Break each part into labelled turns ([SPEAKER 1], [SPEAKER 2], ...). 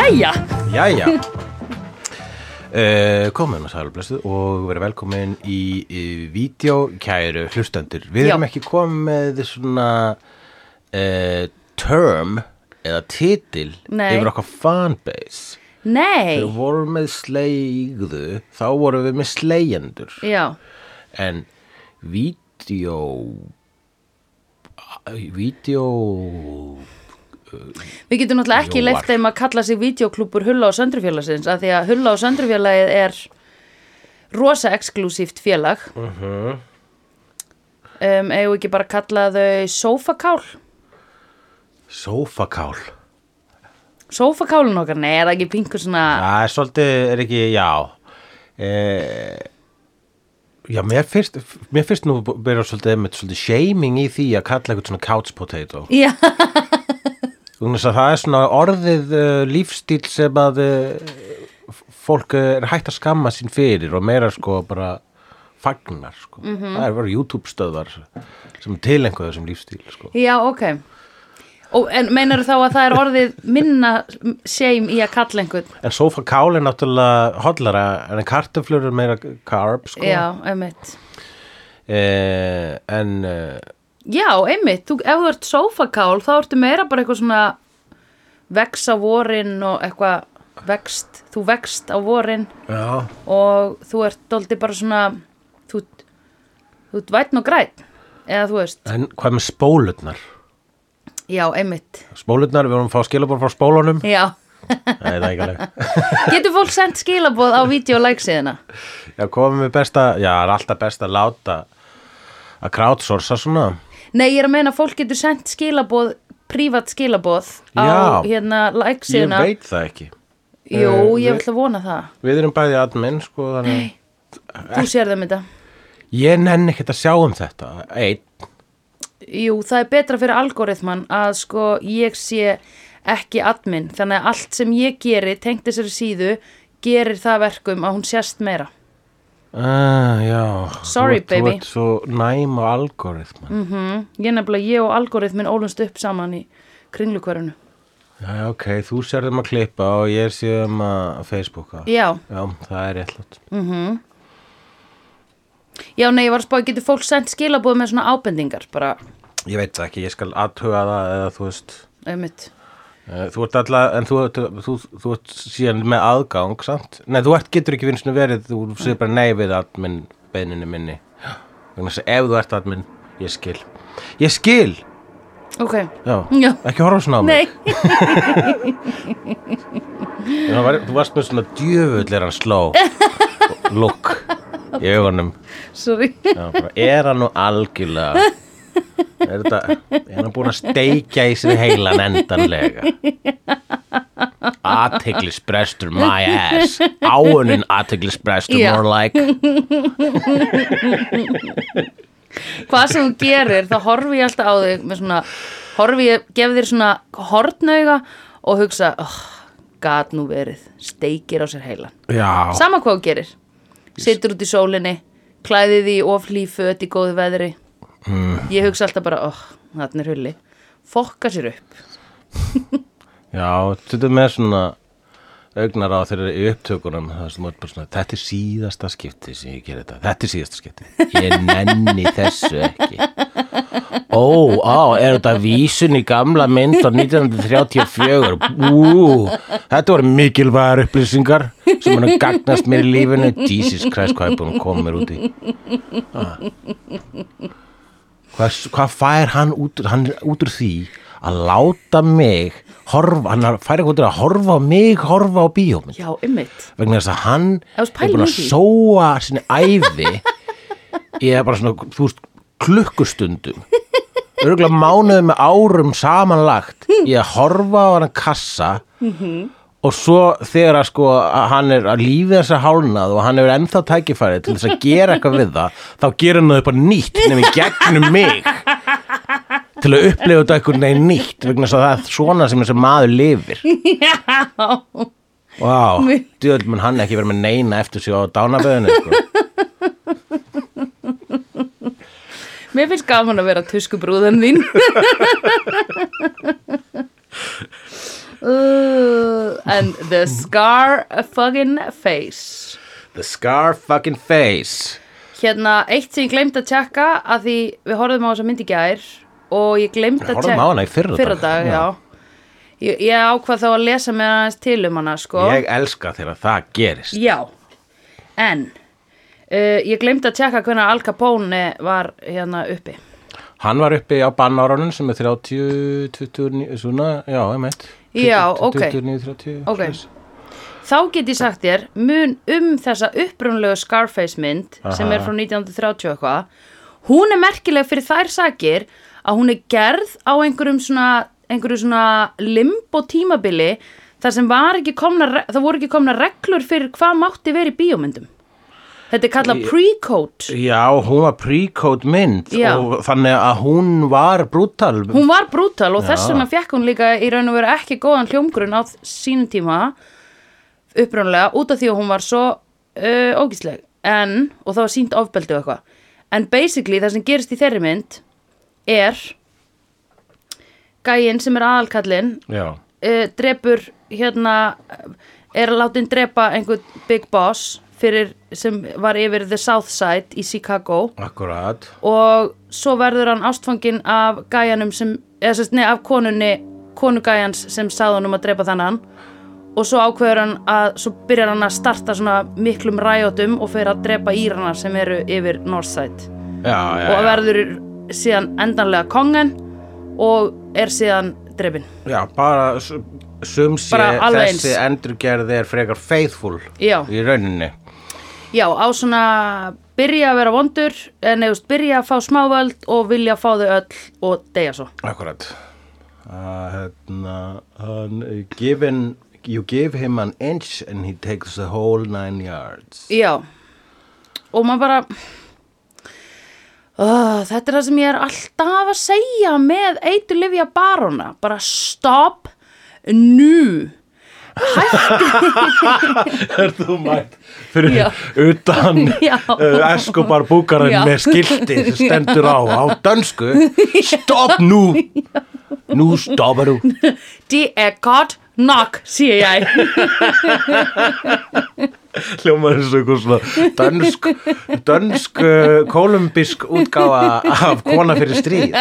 [SPEAKER 1] Jæja uh, Komin og sælblessuð og verið velkomin í, í vídeo kæru hlustendur Við
[SPEAKER 2] Já.
[SPEAKER 1] erum ekki komið með svona uh, term eða titil
[SPEAKER 2] Nei.
[SPEAKER 1] yfir okkar fanbase
[SPEAKER 2] Nei,
[SPEAKER 1] Þegar við vorum með sleigðu þá vorum við með slegjendur
[SPEAKER 2] já,
[SPEAKER 1] en vídeo vídeo
[SPEAKER 2] við getum náttúrulega ekki
[SPEAKER 1] Jóar.
[SPEAKER 2] leift þeim að kalla sig videoklúpur Hulla og Söndrufélagsins af því að Hulla og Söndrufélagið er rosa exklusíft félag uh um, eigum við ekki bara að kalla þau sófakál
[SPEAKER 1] sofakál
[SPEAKER 2] sófakálun okkar, nei, er það ekki pingu svona
[SPEAKER 1] það er svolítið, er ekki, já eh, já, mér fyrst mér fyrst nú byrja svolítið með svolítið shaming í því að kalla eitthvað svona couch potato
[SPEAKER 2] já,
[SPEAKER 1] Þannig að það er svona orðið uh, lífstíl sem að uh, f- fólk eh, er hægt að skamma sín fyrir og meira sko bara fagnar sko. Það er verið YouTube stöðvar sem tilengu þessum lífstíl sko.
[SPEAKER 2] já, ok Og, en meinar þá að það er orðið minna shame í að kalla einhvern
[SPEAKER 1] En sofakál er náttúrulega hollara en kartaflur er meira carb sko.
[SPEAKER 2] já, einmitt
[SPEAKER 1] Eh, en eh,
[SPEAKER 2] Já, einmitt, þú, ef þú ert sófakál þá ertu meira bara eitthvað svona vex á vorin og eitthvað vext, þú vext á vorin
[SPEAKER 1] já,
[SPEAKER 2] og þú ert dóldi bara svona þú, ert- þú ert vætn og græn eða þú veist,
[SPEAKER 1] en hvað með spólurnar?
[SPEAKER 2] já, einmitt
[SPEAKER 1] Spólurnar, við vorum að fá skilabór frá spólunum
[SPEAKER 2] Já,
[SPEAKER 1] Nei, það er ekki alveg
[SPEAKER 2] getur fólk sendt skilaboð á videolæksíðina?
[SPEAKER 1] Já, komum við best að, já, er alltaf best að láta að crowdsourca svona.
[SPEAKER 2] Nei, ég er að meina að fólk getur sendt skilaboð prívat skilaboð á
[SPEAKER 1] Já.
[SPEAKER 2] hérna
[SPEAKER 1] Ég
[SPEAKER 2] læksíðina
[SPEAKER 1] veit það ekki.
[SPEAKER 2] Jú,
[SPEAKER 1] Eh,
[SPEAKER 2] ég
[SPEAKER 1] við-
[SPEAKER 2] ætla að vona það
[SPEAKER 1] Við erum bæði admin, sko, þannig.
[SPEAKER 2] Nei, þú sér þeim þetta
[SPEAKER 1] Ég nenni ekkert að sjá um þetta. Einn,
[SPEAKER 2] Jú, það er betra fyrir algoritman að sko ég sé ekki admin, þannig að allt sem ég geri tengt þessari síðu, gerir það verkum að hún sérst meira.
[SPEAKER 1] uh, já.
[SPEAKER 2] Sorry,
[SPEAKER 1] þú, ert-
[SPEAKER 2] baby.
[SPEAKER 1] Þú ert svo næm á algoritman. Mm.
[SPEAKER 2] Ég nefnilega, ég og algoritmin ólumst upp saman í kringlukvarinu.
[SPEAKER 1] Já, já, ok, þú sérðum að klippa og ég séðum að Facebooka.
[SPEAKER 2] Já,
[SPEAKER 1] Já, það er réttlátt.
[SPEAKER 2] já, nei, ég var að spá, getur fólk sendt skilaboð með svona ábendingar, bara,
[SPEAKER 1] Ég veit það ekki, ég skal aðtuga það eða þú veist...
[SPEAKER 2] auðvitað.
[SPEAKER 1] eh, Þú ert alltaf, en þú, þú, þú, þú ert síðan með aðgang, samt? Nei, þú ert, getur ekki finnst verið, þú sér bara nei við admin beininu minni. Þannig að ef þú ert admin, ég skil. Ég skil!
[SPEAKER 2] Ok,
[SPEAKER 1] Já,
[SPEAKER 2] Já.
[SPEAKER 1] ekki horfa svona á
[SPEAKER 2] nei,
[SPEAKER 1] mig. En það Var, þú varst með svona djöfull er hann sló look í augunum.
[SPEAKER 2] sorry.
[SPEAKER 1] Já, bara, er hann nú algjörlega? Er, þetta, er hann búin að steikja í sig heilan endanlega? Athyglisbrestur, my ass. Áunin athyglisbrestur,
[SPEAKER 2] Já.
[SPEAKER 1] more like.
[SPEAKER 2] Hvað sem þú gerir, þá horfi ég alltaf á þig með svona, horfi ég, gef þér svona hortnauga og hugsa, oh, gat nú verið, steikir á sér heilan.
[SPEAKER 1] Já,
[SPEAKER 2] Sama hvað þú gerir Sittur út í sólinni Klæðið í oflí föt í góðu veðri Ég hugsa alltaf bara oh, Þarna er hulli Fokka sér upp
[SPEAKER 1] já, þetta er með svona augnar á þeirra í upptökunum það sem er bara svona, þetta er síðasta skipti sem ég gerir þetta, þetta er síðasta skipti ég nenni þessu ekki Ó, á, er þetta vísun í gamla mynd á 1934? Ú, þetta voru mikilvægar upplýsingar sem hann gagnast mér í lífinu. Jesus Christ, hvað er búin að koma mér út í? Ah. Hvað, hvað fær hann út, hann er út úr því að láta mig horfa, hann fær eitthvað út úr að horfa á mig, horfa á bíómynd?
[SPEAKER 2] Já, ymmit
[SPEAKER 1] vegna þess að hann
[SPEAKER 2] Ef þú
[SPEAKER 1] er
[SPEAKER 2] spælir í
[SPEAKER 1] búin að
[SPEAKER 2] því.
[SPEAKER 1] sóa sinni æði ég er bara svona, þú veist, klukkustundum örgulega mánuði með árum samanlagt ég að horfa á hann kassa
[SPEAKER 2] Mhm.
[SPEAKER 1] og svo þegar að sko að hann er að lífi þess að hálnað og hann hefur ennþá tækifæri til þess að gera eitthvað við það þá gerir hann það upp á nýtt nefnir gegnum mig til að upplifa þetta eitthvað neginn nýtt vegna þess að það er svona sem þessi maður lifir Vá, wow, djöðl mun hann ekki verið með neina eftir sér á dánaböðinu sko.
[SPEAKER 2] Mér finnst gaman að vera tuskubrúðan þín uh, and the scar fucking face
[SPEAKER 1] The scar fucking face
[SPEAKER 2] Hérna, eitt sem ég glemt að tjekka að því við horfðum á þessa mynd í gær og ég glemt að
[SPEAKER 1] Horfðum
[SPEAKER 2] tjekka
[SPEAKER 1] á hana í fyrradag.
[SPEAKER 2] já, Ég, ég ákvað þá að lesa mér aðeins til um hana sko.
[SPEAKER 1] Ég elska þegar það gerist
[SPEAKER 2] Já, en uh, ég glemt að tjekka hvernig Al Capone var hérna uppi
[SPEAKER 1] Hann var uppi á bannárunum sem er 30, 29, svona, já, ég meint
[SPEAKER 2] Já, ok.
[SPEAKER 1] 29, 30
[SPEAKER 2] Ok.
[SPEAKER 1] svoleiðis.
[SPEAKER 2] Þá get ég sagt þér mun um þessa upprunlegu Scarface mynd sem er frá 1930 og eitthvað hún er merkileg fyrir þær sakir að hún er gerð á einhverjum svona, einhverju svona limbo tímabili þar sem var ekki komna, re- það voru ekki komna reglur fyrir hvað mátti verið í bíómyndum. Þetta er kallað pre-code.
[SPEAKER 1] Já, hún var pre-code mynd
[SPEAKER 2] Já.
[SPEAKER 1] og þannig að hún var brútal
[SPEAKER 2] Hún var brútal og þess vegna fekk hún líka í raun og veru ekki góðan hljómgrunn á sínum tíma upprunlega út af því að hún var svo uh, ógísleg en, og það var sínt ofbeldi og eitthvað en basically það sem gerist í þeirri mynd er gæinn sem er aðalkallinn
[SPEAKER 1] Já,
[SPEAKER 2] uh, drepur hérna er að láta hinn drepa einhvern big boss fyrir, sem var yfir the south side í Chicago
[SPEAKER 1] akkurat
[SPEAKER 2] og svo verður hann ástfangin af gæjanum sem, eða sérst, nei, af konunni konugæjans sem sáði hann um að drepa þannan og svo ákveður hann að svo byrjar hann að starta svona miklum ræjótum og fer að drepa írana sem eru yfir Northside
[SPEAKER 1] Já, já,
[SPEAKER 2] og
[SPEAKER 1] já.
[SPEAKER 2] verður síðan endanlega kongen og er síðan drepin
[SPEAKER 1] já bara s- sum sé
[SPEAKER 2] Bara alveg eins.
[SPEAKER 1] þessi endurgerð er frekar faithful
[SPEAKER 2] Já.
[SPEAKER 1] í rauninni
[SPEAKER 2] Já, á svona byrja að vera vondur en eða þú veist, byrja að fá smávöld og vilja fá þau öll og deyja svo
[SPEAKER 1] Akkurat uh, hérna, hann, uh, given, You give him an inch and he takes the whole nine yards
[SPEAKER 2] Já Og maður bara oh, Þetta er það sem ég er alltaf að segja með eitur lifja barona bara stop nú
[SPEAKER 1] Er þú mætt fyrir
[SPEAKER 2] Já.
[SPEAKER 1] utan
[SPEAKER 2] Já.
[SPEAKER 1] uh, Escobar búkarinn
[SPEAKER 2] Já.
[SPEAKER 1] með skilti sem stendur á á dönsku Stopp nú Nú stoppar þú
[SPEAKER 2] Die er gott nokk, sé ég
[SPEAKER 1] Hljómaður eins og eitthvað svona dönsk, dönsk uh, kolumbísk útgáfa af kona fyrir stríð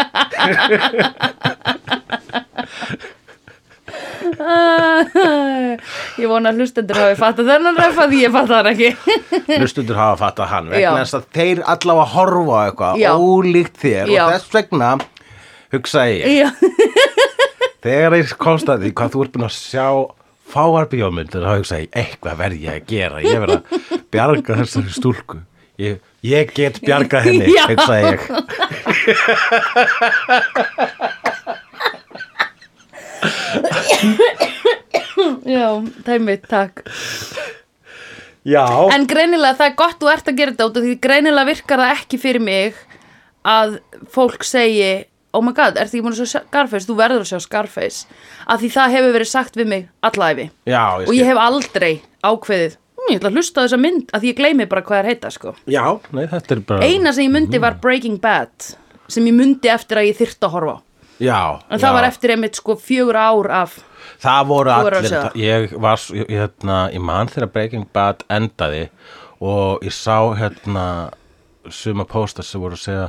[SPEAKER 2] Ég vona að hlustendur hafi fattað þennan ref að ég fattað hann ekki
[SPEAKER 1] Hlustundur hafa fattað hann
[SPEAKER 2] Hm. Já.
[SPEAKER 1] vegna þess að þeir allavega horfa á eitthvað
[SPEAKER 2] Já.
[SPEAKER 1] ólíkt þér
[SPEAKER 2] Já.
[SPEAKER 1] og þess vegna hugsaði ég,
[SPEAKER 2] Já,
[SPEAKER 1] þegar ég komst að því hvað þú ert búin að sjá fáar bíómyndir þá hugsaði ég, eitthvað verð ég að gera ég verð að bjarga þessari stúlku ég, ég get bjargað henni
[SPEAKER 2] Já.
[SPEAKER 1] hugsaði ég
[SPEAKER 2] já það er mitt, takk
[SPEAKER 1] Já,
[SPEAKER 2] En greinilega það er gott þú ert að gera þetta út af því greinilega virkar það ekki fyrir mig að fólk segi oh my god, ertu ekki búin að sjá Scarface? Þú verður að sjá Scarface af því það hefur verið sagt við mig allæfi
[SPEAKER 1] já,
[SPEAKER 2] og
[SPEAKER 1] skil.
[SPEAKER 2] ég hef aldrei ákveðið hm, ég ætla að hlusta á þessa mynd af því ég gleymi bara hvað það heita sko.
[SPEAKER 1] já, nei, þetta er bara
[SPEAKER 2] Eina sem ég myndi var Breaking Bad sem ég myndi eftir að ég þyrfti að horfa á
[SPEAKER 1] já,
[SPEAKER 2] en það
[SPEAKER 1] já.
[SPEAKER 2] var eftir einmitt sko fjögur ár af
[SPEAKER 1] Það voru
[SPEAKER 2] Þú verður að
[SPEAKER 1] allir,
[SPEAKER 2] segja.
[SPEAKER 1] það- ég var, s- ég, hérna, ég man þegar Breaking Bad endaði og ég sá hérna suma póstar sem voru að segja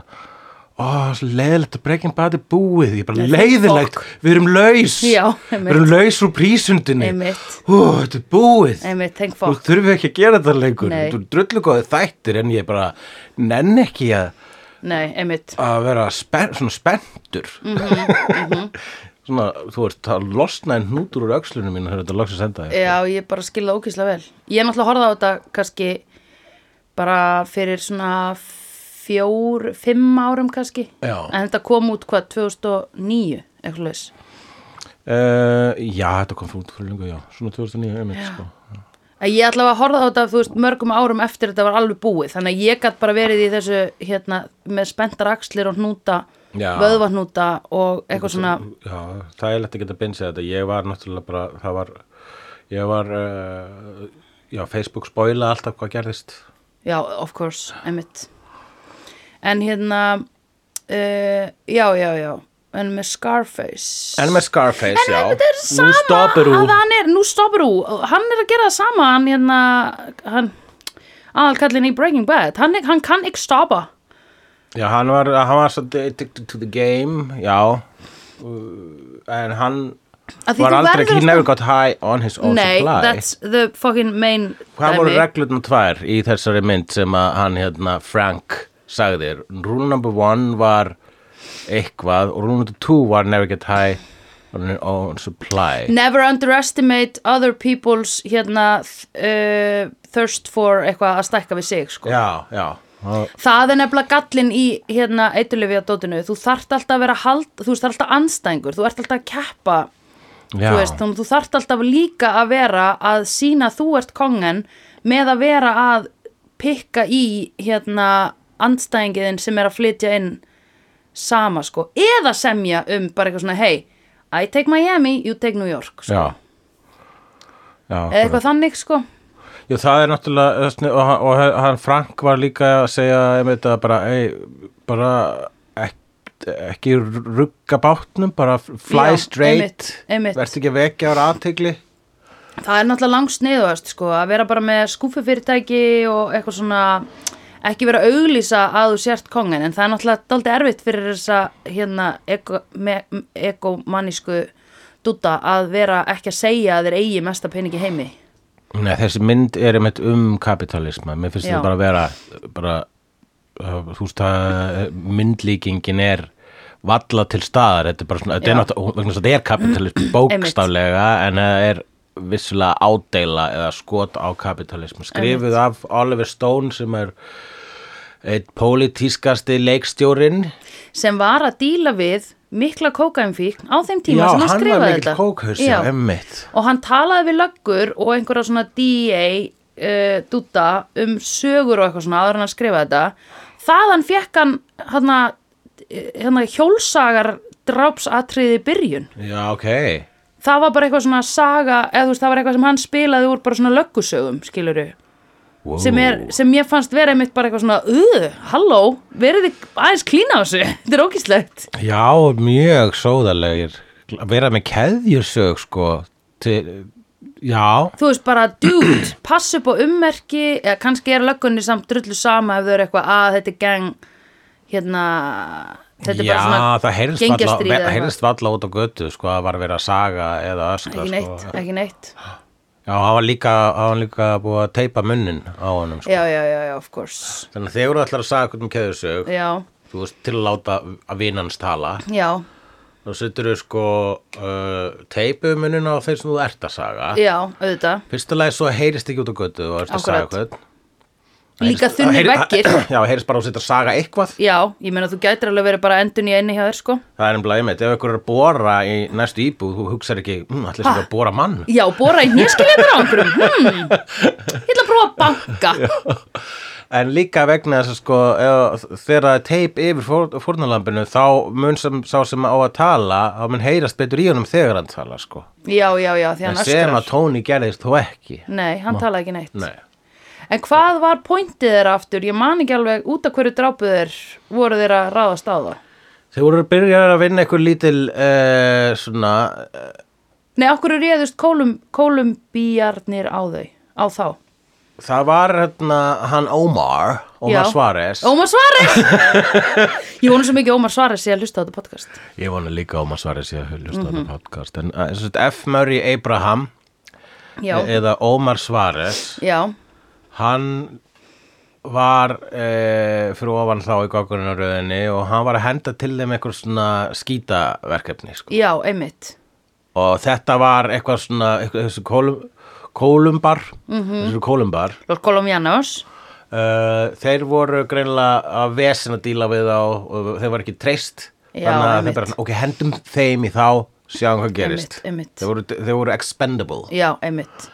[SPEAKER 1] ó, svo leiðilegt að Breaking Bad er búið, ég er bara
[SPEAKER 2] Nei,
[SPEAKER 1] leiðilegt, við erum laus,
[SPEAKER 2] Já, einmitt.
[SPEAKER 1] við erum laus úr prísundinni,
[SPEAKER 2] Einmitt.
[SPEAKER 1] ó, þetta er búið,
[SPEAKER 2] einmitt, thank
[SPEAKER 1] þú
[SPEAKER 2] fuck
[SPEAKER 1] þurfum ekki að gera þetta lengur,
[SPEAKER 2] Nei.
[SPEAKER 1] þú eru drullu góði þættir en ég bara nenn ekki að,
[SPEAKER 2] Nei, einmitt
[SPEAKER 1] að vera spen, svona spenntur.
[SPEAKER 2] Mhm,
[SPEAKER 1] Svona, þú ert að losna en hnútur úr öxlunum mínu þegar þetta loks að senda þér.
[SPEAKER 2] Já, ég bara skil það ókýrslega vel. Ég er náttúrulega horfði á þetta kannski bara fyrir svona fjór, fimm árum kannski.
[SPEAKER 1] Já.
[SPEAKER 2] En þetta kom út hvað, 2009, eitthvað leis.
[SPEAKER 1] Uh, já, þetta kom frá út fyrir lengur, já, svona 2009, einmitt, sko.
[SPEAKER 2] Að ég ætla að horfa á þetta, þú veist, mörgum árum eftir þetta var alveg búið. Þannig að ég gat bara verið í þessu, hérna, með spenntar axlir og hnúta,
[SPEAKER 1] Já.
[SPEAKER 2] vöðvahnúta og eitthvað svona,
[SPEAKER 1] Já, það er lett að geta beinsið þetta, ég var náttúrulega bara, það var, ég var, uh, já, Facebook spoila alltaf hvað gerðist.
[SPEAKER 2] já, of course, einmitt. En hérna, uh, eh, já, já, já. en með Scarface
[SPEAKER 1] En með Scarface, já
[SPEAKER 2] þetta er sama
[SPEAKER 1] Nú stoppar
[SPEAKER 2] að
[SPEAKER 1] hún
[SPEAKER 2] hann er, nú stoppar hún hann er að gera það sama hann hérna, hann aðalkallin í Breaking Bad, hann, hann kann ekki stoppa
[SPEAKER 1] Já, hann var, hann var svo addicted to the game Já Uh, En hann
[SPEAKER 2] Af því
[SPEAKER 1] var
[SPEAKER 2] þú
[SPEAKER 1] aldrei
[SPEAKER 2] verður
[SPEAKER 1] He
[SPEAKER 2] að-
[SPEAKER 1] never got high on his own
[SPEAKER 2] nei,
[SPEAKER 1] supply
[SPEAKER 2] that's the fucking main
[SPEAKER 1] Hvað voru
[SPEAKER 2] dæmi.
[SPEAKER 1] reglutnum tvær í þessari mynd sem að hann hérna Frank sagði þér? Rule number one var eitthvað og rule number two var never get high on your own supply.
[SPEAKER 2] never underestimate other people's hérna uh, thirst for eitthvað að stækka við sig sko.
[SPEAKER 1] Já, já. Og-
[SPEAKER 2] það er nefnilega gallin í hérna eitulifja dótinu, þú þarft alltaf að vera hald, þú veist alltaf anstæðingur, þú ert alltaf að keppa
[SPEAKER 1] Já,
[SPEAKER 2] þú veist, þannig að þú þarft alltaf líka að vera að sína þú ert kongen með að vera að pikka í hérna andstæðingiðin sem er að flytja inn sama sko, eða semja um bara eitthvað svona, hey, I take Miami you take New York, sko,
[SPEAKER 1] já. Já,
[SPEAKER 2] eða eitthvað þannig sko
[SPEAKER 1] Jú, það er náttúrulega það er sni- og, hann- og hann Frank var líka að segja einmitt að bara, ei, bara ekki, ekki rugga bátnum, bara fly
[SPEAKER 2] Já,
[SPEAKER 1] straight
[SPEAKER 2] einmitt, einmitt.
[SPEAKER 1] verðst ekki að vekja ára aðtegli
[SPEAKER 2] það er náttúrulega langsniðuðast sko, að vera bara með skúfufyrirtæki og eitthvað svona ekki vera að auglýsa að þú sért kongen en það er náttúrulega daldi erfitt fyrir þessa hérna ego- me- m- egomanísku dutta að vera ekki að segja að þeir eigi mesta peningi heimi
[SPEAKER 1] Nei, þessi mynd er einmitt um kapitalisma. Mér finnst
[SPEAKER 2] Já.
[SPEAKER 1] þetta bara að vera, bara, uh, þú veist að myndlíkingin er valla til staðar. Þetta er bara svona,
[SPEAKER 2] Já.
[SPEAKER 1] þetta er náttúrulega, vegna þess að þetta er kapitalismi bókstaflega, en það er vissulega ádeila eða skot á kapitalismu. Skrifuð af Oliver Stone sem er eitt pólitískasti leikstjórinn.
[SPEAKER 2] sem var að díla við mikla kókainfíkn á þeim tíma sem hann
[SPEAKER 1] var
[SPEAKER 2] skrifaði
[SPEAKER 1] mikill
[SPEAKER 2] þetta
[SPEAKER 1] kókhausi,
[SPEAKER 2] Já.
[SPEAKER 1] emmitt.
[SPEAKER 2] og hann talaði við löggur og einhverja svona DA uh, dutta um sögur og eitthvað svona áður en hann skrifaði þetta þaðan fekk hann hana, hana hjólsagar drápsatriði byrjun
[SPEAKER 1] Já, ok.
[SPEAKER 2] það var bara eitthvað svona saga eða þú veist það var eitthvað sem hann spilaði úr bara svona löggusögum skiluru
[SPEAKER 1] Wow.
[SPEAKER 2] sem, er, sem ég fannst vera einmitt bara eitthvað svona uh, halló, verið þið aðeins klína á þessu þetta er ógíslegt
[SPEAKER 1] Já, mjög sóðalegir að vera með keðjursög sko til, já
[SPEAKER 2] þú veist bara, dude, pass upp á ummerki eða kannski er löggunni samt drullu sama ef þau eru eitthvað að þetta er gang hérna, þetta er
[SPEAKER 1] já,
[SPEAKER 2] bara svona
[SPEAKER 1] það heyrðist
[SPEAKER 2] gengjastríð
[SPEAKER 1] valla,
[SPEAKER 2] eða eitthvað.
[SPEAKER 1] heyrðist valla út á götu sko, það var verið að saga eða öskra
[SPEAKER 2] ekki neitt,
[SPEAKER 1] sko.
[SPEAKER 2] ekki neitt
[SPEAKER 1] Já, hann var líka, hann var líka búið að teipa munnin á honum sko.
[SPEAKER 2] já, já, já, já, of course
[SPEAKER 1] Þannig að þegar þú ætlar að saga eitthvað um keðjursög
[SPEAKER 2] já,
[SPEAKER 1] þú veist til að láta að vinans tala
[SPEAKER 2] já,
[SPEAKER 1] þá setur þau sko uh, teipu munnin á þeir sem þú ert að saga
[SPEAKER 2] já, auðvitað
[SPEAKER 1] Fyrsta lagi svo heyrist ekki út á götu og ert að saga
[SPEAKER 2] Akkurat.
[SPEAKER 1] eitthvað
[SPEAKER 2] líka þunni veggir
[SPEAKER 1] Já, heyrist bara að þú setur að saga eitthvað
[SPEAKER 2] já, ég meina þú gætir alveg verið bara endun í einni hjá þér sko
[SPEAKER 1] Það er nefnilega einmitt, ef ykkur er að bóra í næstu íbúð, þú hugsar ekki, mm, allir sem er að bóra mann.
[SPEAKER 2] já, bóra í nýskiljaður á einhverjum hmm. ég ætla að prófa að banka
[SPEAKER 1] En líka vegna þess að sko, ef, þegar það er teip yfir fór, fórnalambinu, þá mun sem, sá sem á að tala, þá mun heyrast betur í honum þegar hann tala, sko.
[SPEAKER 2] já, já, já, því
[SPEAKER 1] En
[SPEAKER 2] hann
[SPEAKER 1] sem að
[SPEAKER 2] öskrar
[SPEAKER 1] Tony gerðist þó ekki.
[SPEAKER 2] nei, hann talaði ekki neitt
[SPEAKER 1] Nei.
[SPEAKER 2] En hvað var pointið þeirra aftur? Ég man ekki alveg út af hverju drápuð þeir voru þeirra að ráðast á það.
[SPEAKER 1] Þeir voru að byrja að vinna eitthvað lítil, uh, svona, uh,
[SPEAKER 2] Nei, okkur réðust Kólum, Kólumbíjarnir á þau, á þá.
[SPEAKER 1] það var hérna hann Omar, Omar
[SPEAKER 2] Já.
[SPEAKER 1] Suárez.
[SPEAKER 2] Ómar Svares! ég vonu svo mikið Ómar Svares ég að hlusta á þetta podcast.
[SPEAKER 1] Ég vona líka Omar Suárez ég að hlusta á
[SPEAKER 2] Mhm.
[SPEAKER 1] þetta podcast. En, uh, F. Murray Abraham,
[SPEAKER 2] Já,
[SPEAKER 1] E-, eða Ómar Svares
[SPEAKER 2] já,
[SPEAKER 1] hann var e, fyrir ofan þá í goggunaröðinni og hann var að henda til þeim eitthvað svona skítaverkefni sko.
[SPEAKER 2] já, einmitt.
[SPEAKER 1] og þetta var eitthvað svona eitthvað, þessu kólum, kólumbar mm
[SPEAKER 2] Mhm.
[SPEAKER 1] -hmm. þessu kólumbar
[SPEAKER 2] Lord Kólumjános.
[SPEAKER 1] Uh, þeir voru greinilega að vesen að díla við þá og þeir var ekki treyst
[SPEAKER 2] Já,
[SPEAKER 1] þannig að þeir
[SPEAKER 2] einmitt.
[SPEAKER 1] bara, ok, hendum þeim í þá sjáum hvað gerist
[SPEAKER 2] einmitt.
[SPEAKER 1] Þeir, voru, þeir voru expendable
[SPEAKER 2] Já, einmitt.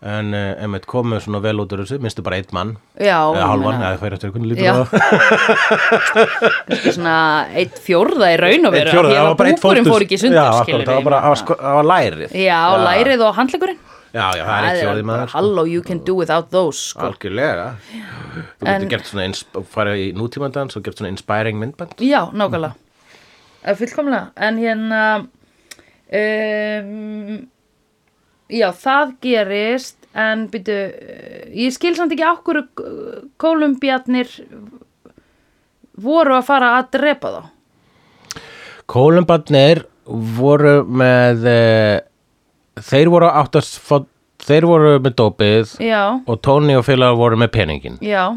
[SPEAKER 1] en uh, einmitt komu svona vel út úr þessu minnstu bara einn mann
[SPEAKER 2] Já,
[SPEAKER 1] eða
[SPEAKER 2] ég
[SPEAKER 1] hálfan,
[SPEAKER 2] meina,
[SPEAKER 1] eða fyrir eftir hvernig lítur
[SPEAKER 2] Já.
[SPEAKER 1] það
[SPEAKER 2] kannski svona eitt fjórða í raun og
[SPEAKER 1] Einn
[SPEAKER 2] vera.
[SPEAKER 1] fjórða, það var bara eitt
[SPEAKER 2] Búkurinn
[SPEAKER 1] fótus.
[SPEAKER 2] fór ekki í sundur,
[SPEAKER 1] Já, akkurat,
[SPEAKER 2] skilur
[SPEAKER 1] það var bara, það var sko- það var lærið
[SPEAKER 2] Já, lærið og handlegurinn.
[SPEAKER 1] Já, já, það er eitt fjórði maður sko.
[SPEAKER 2] Hello, you can do without those, sko.
[SPEAKER 1] Algjörlega Þú getur gert svona, ins- farið í nútímandans og gert svona inspiring myndband
[SPEAKER 2] Já, nákvæmlega. Eh, fullkomlega, en hérna um, já, það gerist en byrju eh, ég skil samt ekki okkur kolumbjarnir voru að fara að drepa þá
[SPEAKER 1] Kólumbarnir voru með eh, þeir voru áttast þeir voru með dópið
[SPEAKER 2] já,
[SPEAKER 1] og Tony og félagar voru með peningin
[SPEAKER 2] já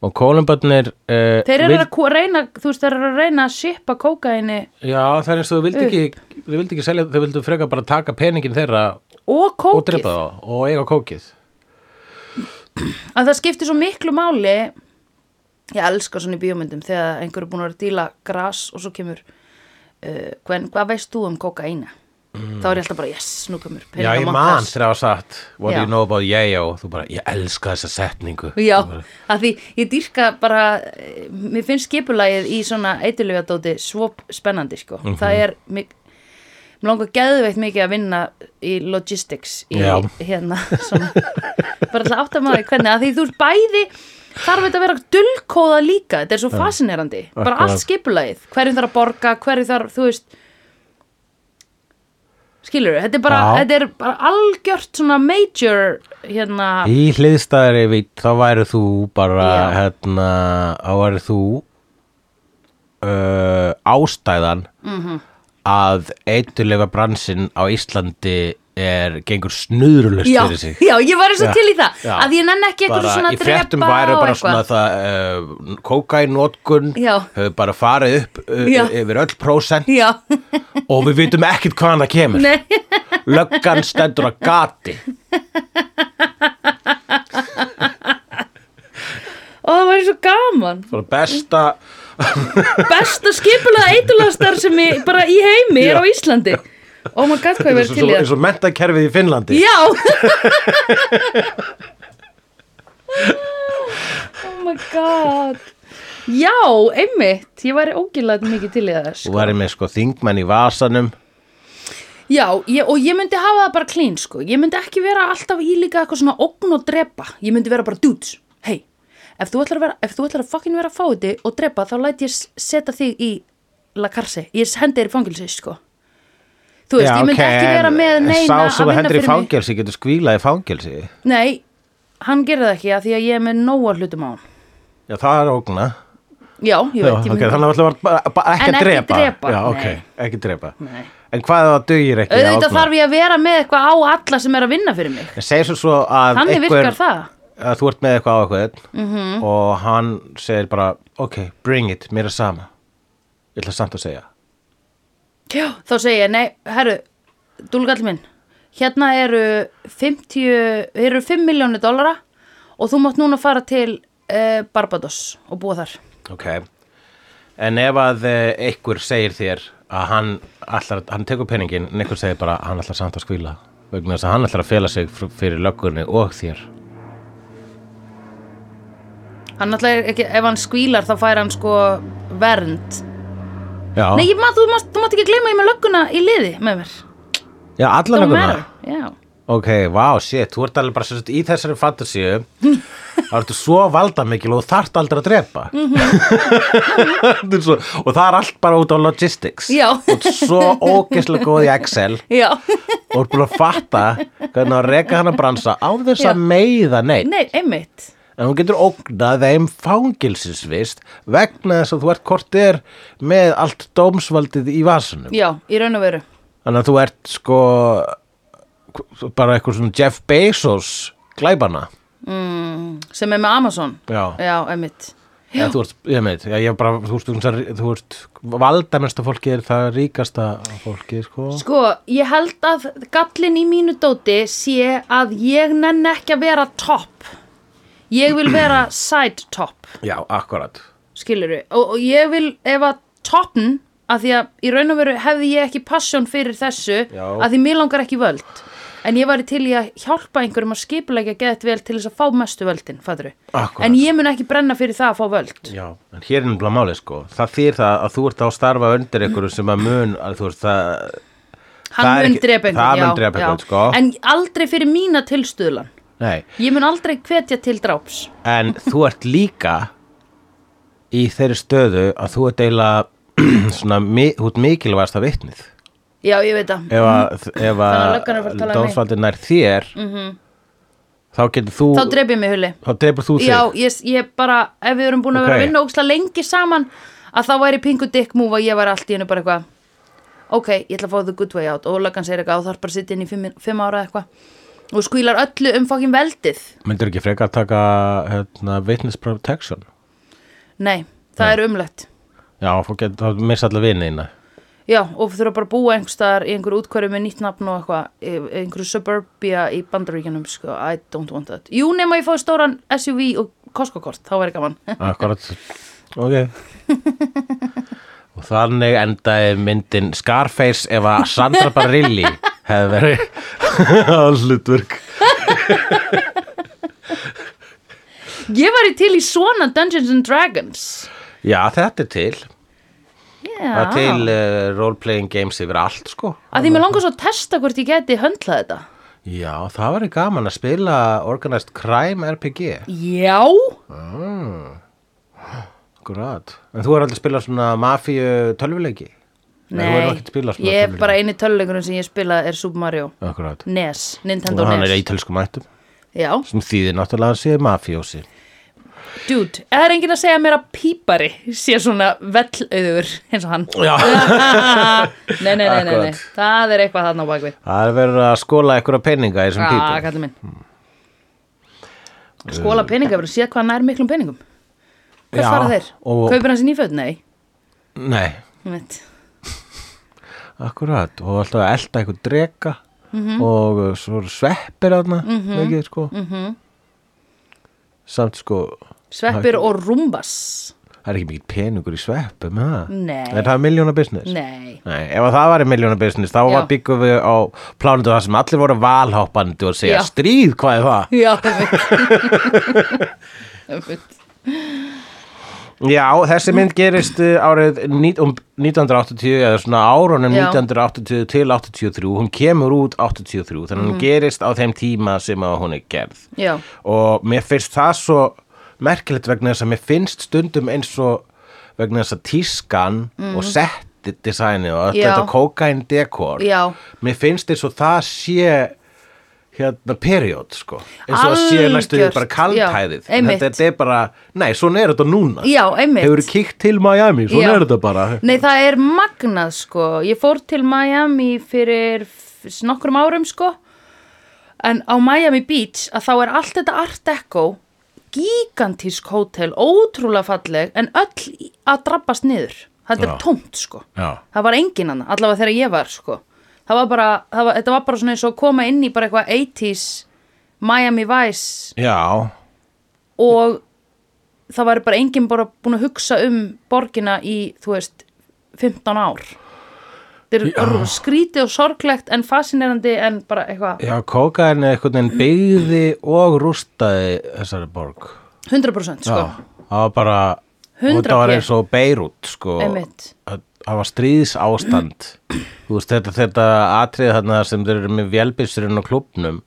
[SPEAKER 1] og kólumbarnir eh,
[SPEAKER 2] þeir eru
[SPEAKER 1] vil-
[SPEAKER 2] að kú- reyna, þú veist, þeir eru að reyna að shippa kókaini
[SPEAKER 1] Já, það er eins og þau vildi
[SPEAKER 2] Uh.
[SPEAKER 1] ekki þau vildi ekki selja, þau vildi freka bara taka peningin þeirra
[SPEAKER 2] og
[SPEAKER 1] og
[SPEAKER 2] kókið
[SPEAKER 1] drepa þá og eiga kókið
[SPEAKER 2] að það skiptir svo miklu máli ég elska svona í bíómyndum þegar einhver er búin að vera að díla gras og svo kemur uh, hven, hvað veist þú um kokaina þá er ég alltaf bara yes, nú kemur
[SPEAKER 1] Mm. Já, ég
[SPEAKER 2] peningamagn
[SPEAKER 1] man
[SPEAKER 2] gras.
[SPEAKER 1] þegar það var satt What
[SPEAKER 2] Já.
[SPEAKER 1] do you know about yayo? Þú bara, ég elska þessa setningu
[SPEAKER 2] já,
[SPEAKER 1] Þú bara,
[SPEAKER 2] að því ég dýrka bara eh, mér finnst skipulagið í svona eitilöfjadóti svo spennandi sko
[SPEAKER 1] Mhm.
[SPEAKER 2] það er mig, mér langar geðveitt mikið að vinna í logistics í
[SPEAKER 1] Já.
[SPEAKER 2] hérna svona, bara alltaf áttamaði hvernig að því þú ert bæði þarf þetta að vera dullkóða líka þetta er svo fascinerandi, bara
[SPEAKER 1] akkurat.
[SPEAKER 2] allt skipulagið hverju þarf að borga, hverju þarf þú veist skilur þetta er bara,
[SPEAKER 1] Já.
[SPEAKER 2] þetta er bara algjört svona major hérna,
[SPEAKER 1] Í hliðstæðari vít, þá væri þú bara,
[SPEAKER 2] Já.
[SPEAKER 1] hérna, þá væri þú uh, ástæðan
[SPEAKER 2] Mhm.
[SPEAKER 1] að eitulega bransinn á Íslandi er gengur snuðrulust
[SPEAKER 2] já,
[SPEAKER 1] fyrir sig
[SPEAKER 2] já, ég var eins og
[SPEAKER 1] Já,
[SPEAKER 2] til í það
[SPEAKER 1] já.
[SPEAKER 2] að ég nenni ekki eitthvað
[SPEAKER 1] bara
[SPEAKER 2] svona
[SPEAKER 1] í
[SPEAKER 2] að
[SPEAKER 1] fréttum
[SPEAKER 2] drepa
[SPEAKER 1] væri
[SPEAKER 2] og
[SPEAKER 1] bara svona
[SPEAKER 2] eitthvað
[SPEAKER 1] það uh, kókainótkun
[SPEAKER 2] Já.
[SPEAKER 1] hefur bara farið upp uh,
[SPEAKER 2] Já.
[SPEAKER 1] yfir öll prósent
[SPEAKER 2] já,
[SPEAKER 1] og við vitum ekkert hvaðan það kemur
[SPEAKER 2] nei
[SPEAKER 1] löggan stendur að gati
[SPEAKER 2] og það var svo gaman
[SPEAKER 1] Svona besta
[SPEAKER 2] besta skipulaða eitulagastar sem ég, bara í heimi er
[SPEAKER 1] Já.
[SPEAKER 2] á Íslandi oh my god hvað ég verið til í
[SPEAKER 1] eins
[SPEAKER 2] það
[SPEAKER 1] og mentakerfið í Finnlandi
[SPEAKER 2] já oh Oh my god já, einmitt ég væri ógilað mikið til í það
[SPEAKER 1] Þú
[SPEAKER 2] sko.
[SPEAKER 1] væri með sko þingmenn í vasanum
[SPEAKER 2] já, ég, og ég myndi hafa það bara klín sko. ég myndi ekki vera alltaf í líka eitthvað svona okn og drepa, ég myndi vera bara dudes hei, ef þú ætlar að vera ef þú ætlar að fucking vera fáiði og drepa þá læt ég s- setja þig í la karse, ég hendi þér í fangilsi sko Þú veist, ég myndi ekki vera með neina
[SPEAKER 1] Sá sem
[SPEAKER 2] að vinna
[SPEAKER 1] hendur í
[SPEAKER 2] fyrir mig.
[SPEAKER 1] fangelsi getur skvílað í fangelsi Já,
[SPEAKER 2] Nei, hann gerir það ekki að því að ég er með nóa hlutum á hann.
[SPEAKER 1] það er ógna
[SPEAKER 2] Já, ég
[SPEAKER 1] Já,
[SPEAKER 2] veit, ég
[SPEAKER 1] okay,
[SPEAKER 2] myndi.
[SPEAKER 1] Þannig að það var bara, bara ekki
[SPEAKER 2] En
[SPEAKER 1] að
[SPEAKER 2] ekki
[SPEAKER 1] drepa
[SPEAKER 2] drepa,
[SPEAKER 1] Já,
[SPEAKER 2] nei.
[SPEAKER 1] ok, ekki drepa
[SPEAKER 2] Nei.
[SPEAKER 1] En hvað ef það dugir ekki að
[SPEAKER 2] Auðvitað
[SPEAKER 1] ógna?
[SPEAKER 2] þarf ég að vera með eitthvað á alla sem er að vinna fyrir mig.
[SPEAKER 1] En segir svo svo að
[SPEAKER 2] Þannig
[SPEAKER 1] einhver,
[SPEAKER 2] virkar það.
[SPEAKER 1] að þú ert með eitthvað á eitthvað
[SPEAKER 2] Mhm.
[SPEAKER 1] og hann segir bara ok, bring it, mér er sama ég ætla samt að segja
[SPEAKER 2] Já. Þá segi ég, nei, herru, dúlgall minn, hérna eru 50, eru 5 miljónir dollara og þú mátt núna fara til uh, Barbados og búa þar.
[SPEAKER 1] ok, en ef að eh, einhver segir þér að hann, allar, hann tekur peningin en einhver segir bara hann ætlar samt að skvíla vegna þess að hann ætlar að fela sig fr- fyrir löggunni og þér
[SPEAKER 2] Hann náttúrulega er ekki, ef hann skvílar þá fær hann sko vernd.
[SPEAKER 1] já,
[SPEAKER 2] Nei, ég, ma, þú, mátt, þú mátt ekki gleyma ég er með lögguna í liði með mér.
[SPEAKER 1] já allar
[SPEAKER 2] Don't
[SPEAKER 1] lögguna
[SPEAKER 2] matter. Já.
[SPEAKER 1] ok, vá, shit, þú ert alveg bara sem sagt í þessari fantasíu þá ertu svo valdamikil og þú þarft aldrei að drepa Þetta er svo, og það er allt bara út á logistics
[SPEAKER 2] Mhm. Já.
[SPEAKER 1] og ert svo ógeðslega góð í Excel
[SPEAKER 2] Já.
[SPEAKER 1] og ert búin að fatta hvernig að reka hann að bransa á þess
[SPEAKER 2] Já.
[SPEAKER 1] að meiða neitt
[SPEAKER 2] Nei, einmitt.
[SPEAKER 1] en hún getur ógnað þeim fangilsinsvist vegna þess að þú ert kortir með allt dómsvaldið í vasunum
[SPEAKER 2] Já, í raun og veru.
[SPEAKER 1] þannig að þú ert sko bara eitthvað svona Jeff Bezos glæbana
[SPEAKER 2] Mm, sem er með Amazon.
[SPEAKER 1] Já.
[SPEAKER 2] Já, einmitt.
[SPEAKER 1] Já. Þú ert, ég veit, já, ég bara, þú veist, þú veist, þú veist valdamesta fólki er það ríkasta fólki, sko.
[SPEAKER 2] Sko, ég held að gallin í mínu dóti sé að ég nenn ekki að vera top. Ég vil vera side top,
[SPEAKER 1] Já, akkurat.
[SPEAKER 2] skilur við. Og, og ég vil, ef að topn, að því að í raun og veru hefði ég ekki passion fyrir þessu,
[SPEAKER 1] Já.
[SPEAKER 2] að því mér langar ekki völd. En ég var til í að hjálpa einhverjum að skipulegja geðt vel til þess að fá mestu völdin, fadru.
[SPEAKER 1] Akkúrat.
[SPEAKER 2] En ég mun ekki brenna fyrir það að fá völd.
[SPEAKER 1] Já, en hér er náttúrulega málið, sko. Það þýr það að þú ert á að starfa undir einhverju sem að mun, að þú veist, það, Það
[SPEAKER 2] hann
[SPEAKER 1] er
[SPEAKER 2] mun
[SPEAKER 1] ekki-
[SPEAKER 2] drepa einhvern
[SPEAKER 1] það
[SPEAKER 2] já,
[SPEAKER 1] mun drepa
[SPEAKER 2] já.
[SPEAKER 1] einhvern, sko.
[SPEAKER 2] en aldrei fyrir mína tilstuðlan
[SPEAKER 1] nei.
[SPEAKER 2] ég mun aldrei hvetja til dráps
[SPEAKER 1] En þú ert líka í þeirri stöðu að þú ert eiginlega svona, mi- þú ert mikilvægast að vitnið
[SPEAKER 2] Já, ég veit það.
[SPEAKER 1] ef að, ef
[SPEAKER 2] Mhm. Þannig að
[SPEAKER 1] að
[SPEAKER 2] löggan er að fara að tala við mig. Mhm.
[SPEAKER 1] dómsvaldið nær þér þá getur þú
[SPEAKER 2] Þá dreip ég mig hulli.
[SPEAKER 1] þá dreipur þú þig
[SPEAKER 2] Já, ég, ég bara, ef við erum búin að vera
[SPEAKER 1] Ok.
[SPEAKER 2] að vinna óksla lengi saman, að þá væri pingu dick move að ég var allt í hennu bara eitthvað. Ok, ég ætla að fá the good way out og löggan segir eitthvað og þarf bara að sitja inn í fimm, fimm ára eða eitthvað og skvílar öllu um fokkin veldið.
[SPEAKER 1] myndur ekki frekar taka hérna, witness protection
[SPEAKER 2] Nei, það er umlegt.
[SPEAKER 1] já, þá getur þá missa allir vinina
[SPEAKER 2] Já, og þurfa bara að búa einhverstaðar í einhverju útkværu með nýtt nafn og eitthvað, í- einhverju suburbia í bandaríkjanum, sko, I don't want that. Jú, nema ég fóði stóran SUV og Costco-kort, þá væri gaman.
[SPEAKER 1] akkurat ok og þannig endaði myndin Scarface ef að Sandra Barilli hefði verið allutverk
[SPEAKER 2] Ég væri til í svona Dungeons and Dragons.
[SPEAKER 1] já, þetta er til það
[SPEAKER 2] Já.
[SPEAKER 1] er til uh, role-playing games yfir allt sko
[SPEAKER 2] Að því mér langar svo að testa hvort ég geti höndlað þetta.
[SPEAKER 1] Já, það væri gaman að spila Organized Crime RPG
[SPEAKER 2] Já.
[SPEAKER 1] Grát En þú er aldrei að spila svona mafíu tölvuleiki Nei, þú er
[SPEAKER 2] Nei,
[SPEAKER 1] ekki að spila svona
[SPEAKER 2] ég er bara eini töluleikurinn sem ég spila er Super Mario.
[SPEAKER 1] Akkurát
[SPEAKER 2] NES,
[SPEAKER 1] Og
[SPEAKER 2] Nintendo
[SPEAKER 1] hann er
[SPEAKER 2] NES.
[SPEAKER 1] ítölsku mættum
[SPEAKER 2] Já,
[SPEAKER 1] sem þýðir náttúrulega að hann sé mafíósi
[SPEAKER 2] dude, það er enginn að segja mér að pípari sé svona vellauður eins og hann.
[SPEAKER 1] Já
[SPEAKER 2] nei, nei, nei, nei, nei,
[SPEAKER 1] Akkurat.
[SPEAKER 2] það er eitthvað þarna á bakvið
[SPEAKER 1] Það er verið að skóla einhverja peninga í þessum
[SPEAKER 2] Ah,
[SPEAKER 1] pípum
[SPEAKER 2] kallið minn Skóla peninga, verður séð hvað hann nær miklum peningum Hvað
[SPEAKER 1] Já,
[SPEAKER 2] fara þeir?
[SPEAKER 1] og-
[SPEAKER 2] Kaupir hans í nýföld? Nei
[SPEAKER 1] Nei,
[SPEAKER 2] ég veit.
[SPEAKER 1] akkurát Og alltaf að elda einhver drega
[SPEAKER 2] Mhm.
[SPEAKER 1] og uh, svo eru sveppir þarna mikið sko
[SPEAKER 2] Mhm.
[SPEAKER 1] Samt sko
[SPEAKER 2] Sveppir og rúmbas
[SPEAKER 1] Það er ekki mikið peningur í sveppum, ha?
[SPEAKER 2] Nei.
[SPEAKER 1] Er það miljóna business?
[SPEAKER 2] Nei
[SPEAKER 1] Nei, ef að það var í miljónar business þá
[SPEAKER 2] Já.
[SPEAKER 1] var byggum við á plánutu þar sem allir voru valhoppandi og segja
[SPEAKER 2] Já.
[SPEAKER 1] stríð, hvað er það?
[SPEAKER 2] Já, það veit
[SPEAKER 1] Já, þessi mynd gerist uh, árið ní- um 1980 eða svona árunum
[SPEAKER 2] Já.
[SPEAKER 1] 1980 til 83 hún kemur út 83 þannig hún gerist á þeim tíma sem að hún er gerð
[SPEAKER 2] Já,
[SPEAKER 1] og mér finnst það svo merkilegt vegna þess að mér finnst stundum eins og vegna þess að tískan og setti designið og öll
[SPEAKER 2] Mhm. Já.
[SPEAKER 1] þetta kókain dekor
[SPEAKER 2] Já.
[SPEAKER 1] mér finnst eins og það sé hérna period sko eins og það sé næstu því
[SPEAKER 2] Algjört,
[SPEAKER 1] bara kaldhæðið
[SPEAKER 2] já, einmitt.
[SPEAKER 1] þetta, þetta er bara, nei, svona er þetta núna
[SPEAKER 2] Já, einmitt.
[SPEAKER 1] hefur kíkt til Miami, svona
[SPEAKER 2] Já.
[SPEAKER 1] er þetta bara
[SPEAKER 2] Nei, það er magnað sko. Ég fór til Miami fyrir f- nokkrum árum sko. En á Miami Beach að þá er allt þetta Art Deco gigantísk hótel, ótrúlega falleg en öll í- að drabbast niður. Þetta
[SPEAKER 1] Já.
[SPEAKER 2] er tómt sko.
[SPEAKER 1] Já.
[SPEAKER 2] Það var engin annað, allavega þegar ég var sko. Það var bara, það var, þetta var bara svona eins og að koma inn í bara eitthvað 80s Miami Vice
[SPEAKER 1] Já,
[SPEAKER 2] og það væri bara enginn bara búin að hugsa um borgina í, þú veist, 15 ár. Þetta er skrítið og sorglegt en fascinerandi en bara eitthvað,
[SPEAKER 1] já kókain er einhvern veginn byggði og rústaði þessari borg
[SPEAKER 2] 100% sko.
[SPEAKER 1] Já, það var bara
[SPEAKER 2] 100
[SPEAKER 1] þetta var
[SPEAKER 2] P.
[SPEAKER 1] eins og Beirut sko,
[SPEAKER 2] Einmitt.
[SPEAKER 1] það það var stríðs ástand þú veist þetta, þetta atrið þarna sem þeir eru með vélbyssurinn og klubnum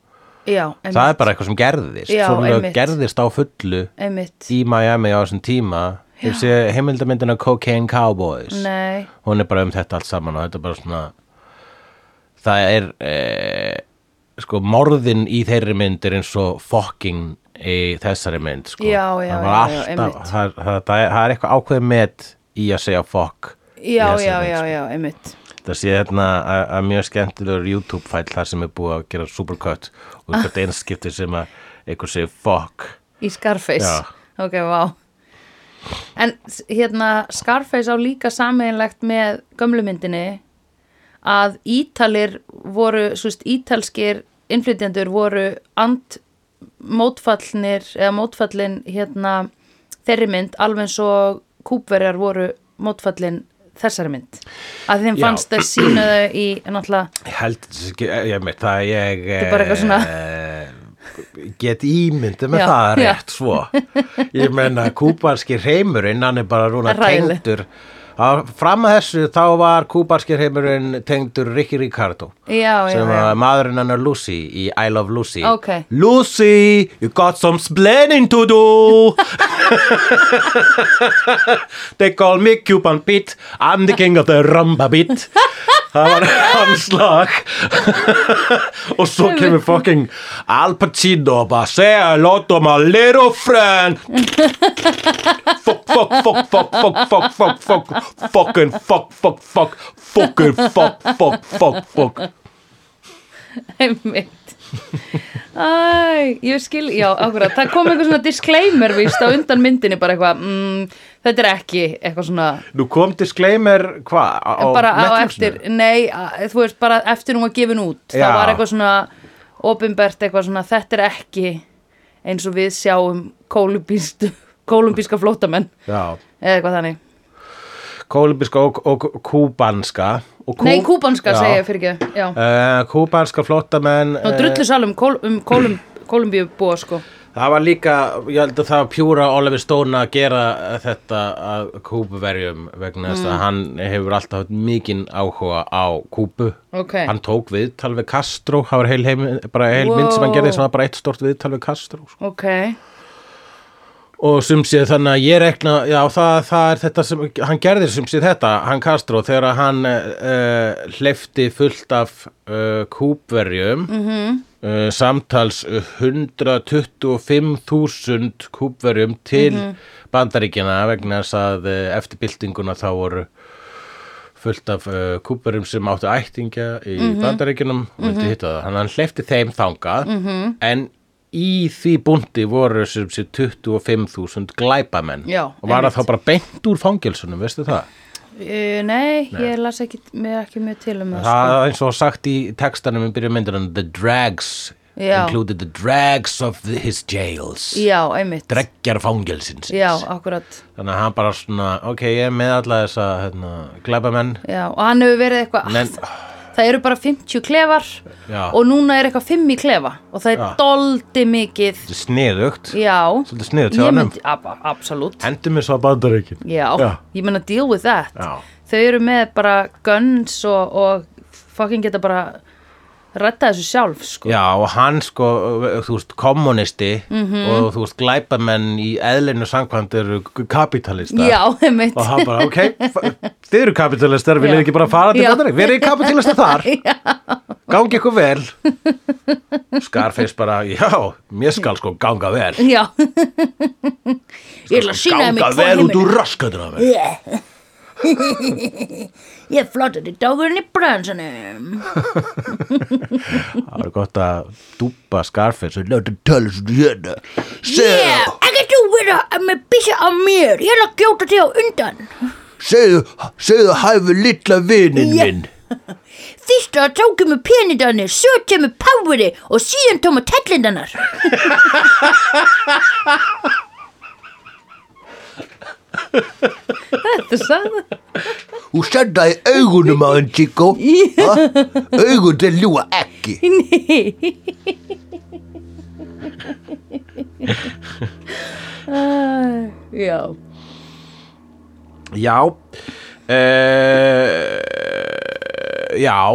[SPEAKER 2] Já, einmitt.
[SPEAKER 1] það er bara eitthvað sem gerðist
[SPEAKER 2] Já,
[SPEAKER 1] svona
[SPEAKER 2] einmitt.
[SPEAKER 1] gerðist á fullu
[SPEAKER 2] Einmitt.
[SPEAKER 1] í Miami á þessum tíma ég sé heimildamyndina Cocaine Cowboys
[SPEAKER 2] Nei,
[SPEAKER 1] hún er bara um þetta allt saman og þetta er bara svona það er eh, sko morðin í þeirri mynd er eins og fokking í þessari mynd sko.
[SPEAKER 2] Já, já,
[SPEAKER 1] það, var
[SPEAKER 2] já, já,
[SPEAKER 1] alltaf,
[SPEAKER 2] einmitt.
[SPEAKER 1] það, það, það, er, það er eitthvað ákveðið met í að segja fokk í
[SPEAKER 2] já,
[SPEAKER 1] þessari
[SPEAKER 2] já,
[SPEAKER 1] mynd,
[SPEAKER 2] já,
[SPEAKER 1] sko.
[SPEAKER 2] já, einmitt.
[SPEAKER 1] það sé hérna að- að mjög skemmtilegur YouTube fæll þar sem er búið að gera supercut og hvert einskipti sem að einhver segir fokk
[SPEAKER 2] Í Scarface.
[SPEAKER 1] Já.
[SPEAKER 2] Ok, vá. En s- hérna, Scarface á líka sameinlegt með gömlumyndinni að Ítalir voru, svo veist, ítalskir innflytjendur voru and mótfallnir eða mótfallin hérna þeirri mynd alveg eins og kúpverjar voru mótfallin þessari mynd að þeim
[SPEAKER 1] Já.
[SPEAKER 2] fannst þess sínaðu í náttúrulega
[SPEAKER 1] Ég held þessi ekki, ég meitt það ég
[SPEAKER 2] er bara eitthvað svona-
[SPEAKER 1] eh, get ímyndið með
[SPEAKER 2] Já,
[SPEAKER 1] það
[SPEAKER 2] já.
[SPEAKER 1] rétt svo ég menna kúpanski reymurinn hann er bara rúna
[SPEAKER 2] Hræðileg.
[SPEAKER 1] tengdur Að fram að þessu þá var kúbarskirheimurinn tengdur Ricky Ricardo
[SPEAKER 2] Já, já, já.
[SPEAKER 1] sem var maðurinn hennar Lucy í I Love Lucy
[SPEAKER 2] Ok.
[SPEAKER 1] Lucy, you got some splaining to do They call me Cuban Pete I'm the king of the rumba beat Það var hans lag Og svo kemur fucking Al Pacino og bara Say hello to my little friend Fuck, fuck, fuck, fuck, fuck, fuck, fuck, fuck Fucking fuck, fuck, fuck Fucking fuck, fuck, fuck, fuck
[SPEAKER 2] Einmitt. Æ, ég skil, já, akkurat. Það kom eitthvað svona disclaimer víst á undan myndinni bara eitthvað, mm, þetta er ekki eitthvað svona,
[SPEAKER 1] Nú kom disclaimer hvað? á- á
[SPEAKER 2] bara á
[SPEAKER 1] Netflixinu?
[SPEAKER 2] eftir, nei, að, þú veist, bara eftir hún var gefin út.
[SPEAKER 1] Já.
[SPEAKER 2] Það var eitthvað svona opinbert eitthvað svona, þetta er ekki eins og við sjáum kólumbíst, kólumbíska flótamenn
[SPEAKER 1] Já,
[SPEAKER 2] eða eitthvað þannig.
[SPEAKER 1] kólumbíska og, og kúbanska og kú...
[SPEAKER 2] Nei, kúbanska
[SPEAKER 1] Já.
[SPEAKER 2] segja ég fyrir ekki, já.
[SPEAKER 1] Eh, Kúbanska eh, flottamenn
[SPEAKER 2] Og drullu sal um, kól, um kólum, kólumbíu búa, sko.
[SPEAKER 1] Það var líka, ég held að það var pjúra Oliver Stone að gera þetta að kúbuverjum vegna þess
[SPEAKER 2] Mm.
[SPEAKER 1] að hann hefur alltaf haft mikinn áhuga á kúbu.
[SPEAKER 2] Ok.
[SPEAKER 1] Hann tók viðtal við Castro, það var heil, heim, bara heil mynd sem hann
[SPEAKER 2] Wow.
[SPEAKER 1] gerði sem var bara eitt stort viðtal við Castro. Sko.
[SPEAKER 2] Ok,
[SPEAKER 1] Og sum sé þannig að ég rekna, já það, það er þetta sem, hann gerðir sum sé þetta, hann Castro, þegar að hann uh, hleyfti fullt af uh, kúbverjum, -hmm. uh, samtals 125.000 kúbverjum til bandaríkjana vegna þess að uh, eftir byltinguna þá voru fullt af uh, kúbverjum sem áttu ættingja í
[SPEAKER 2] Mhm.
[SPEAKER 1] bandaríkjunum og vildi hitta það. Þannig að hann hleyfti þeim þangað
[SPEAKER 2] Mhm.
[SPEAKER 1] en í því búndi voru sem sé 25.000 glæpamenn
[SPEAKER 2] Já,
[SPEAKER 1] og var það
[SPEAKER 2] einmitt.
[SPEAKER 1] þá bara beint úr fangelsunum, veistu það?
[SPEAKER 2] uh, nei, ég las ekki, mér ekki mjög til um það,
[SPEAKER 1] Það er eins og sagt í textanum í byrju myndunum The drags
[SPEAKER 2] Já.
[SPEAKER 1] included the drags of the, his jails
[SPEAKER 2] sko. Já, einmitt.
[SPEAKER 1] dreggjar fangelsins
[SPEAKER 2] Já, akkurat.
[SPEAKER 1] þannig að hann bara svona, ok, ég er með alla þessa hérna, glæpamenn
[SPEAKER 2] Já, og hann hefur verið eitthvað,
[SPEAKER 1] Men-
[SPEAKER 2] það eru bara 50 klefar
[SPEAKER 1] Já.
[SPEAKER 2] og núna er eitthvað 5 í klefa og það er
[SPEAKER 1] Já.
[SPEAKER 2] doldi mikið.
[SPEAKER 1] sniðugt,
[SPEAKER 2] Já.
[SPEAKER 1] svolítið sniðugt hjá
[SPEAKER 2] Ég
[SPEAKER 1] hann
[SPEAKER 2] myndi, ab, absolutt.
[SPEAKER 1] Endur mér svo að bandaríkin.
[SPEAKER 2] Já,
[SPEAKER 1] Já.
[SPEAKER 2] ég menna deal with that.
[SPEAKER 1] Já.
[SPEAKER 2] Þau eru með bara guns og, og fucking geta bara rætta þessu sjálf, sko.
[SPEAKER 1] Já, og hann sko, þú veist, kommunisti
[SPEAKER 2] Mhm.
[SPEAKER 1] og þú veist, glæpamenn í eðlinu samkvæmt eru kapitalista.
[SPEAKER 2] Já, einmitt.
[SPEAKER 1] Og hann bara, ok, f- þið eru kapitalistar, viljið
[SPEAKER 2] Já.
[SPEAKER 1] ekki bara fara til
[SPEAKER 2] Já.
[SPEAKER 1] bandarík? Verið þið kapitalistar þar? Já. Gangi ykkur vel. Scarface bara, já, mér skal sko ganga vel.
[SPEAKER 2] Já Ég ætla að sína þeim í
[SPEAKER 1] Ganga
[SPEAKER 2] tvo
[SPEAKER 1] vel út
[SPEAKER 2] heimili
[SPEAKER 1] úr raskatur af mér.
[SPEAKER 2] Ég flottur í dagurinn í bransanum
[SPEAKER 1] Það var gott að dúpa Scarface og láta tala svo hérna.
[SPEAKER 2] Yeah,
[SPEAKER 1] Segðu,
[SPEAKER 2] ekki þú vera með bísa á mér Ég ætla að gjóta þig á undan
[SPEAKER 1] segðu, segðu hæfi litla vininn
[SPEAKER 2] Já.
[SPEAKER 1] minn.
[SPEAKER 2] Fyrst að þá kemur peningarnir, svo kemur poweri og síðan tóma tellindarnar Þetta sagði
[SPEAKER 1] Þú senda í augunum á hann, Chico. Ha? Augun til ljúa ekki.
[SPEAKER 2] Nei Ah, Já
[SPEAKER 1] Já, uh, já,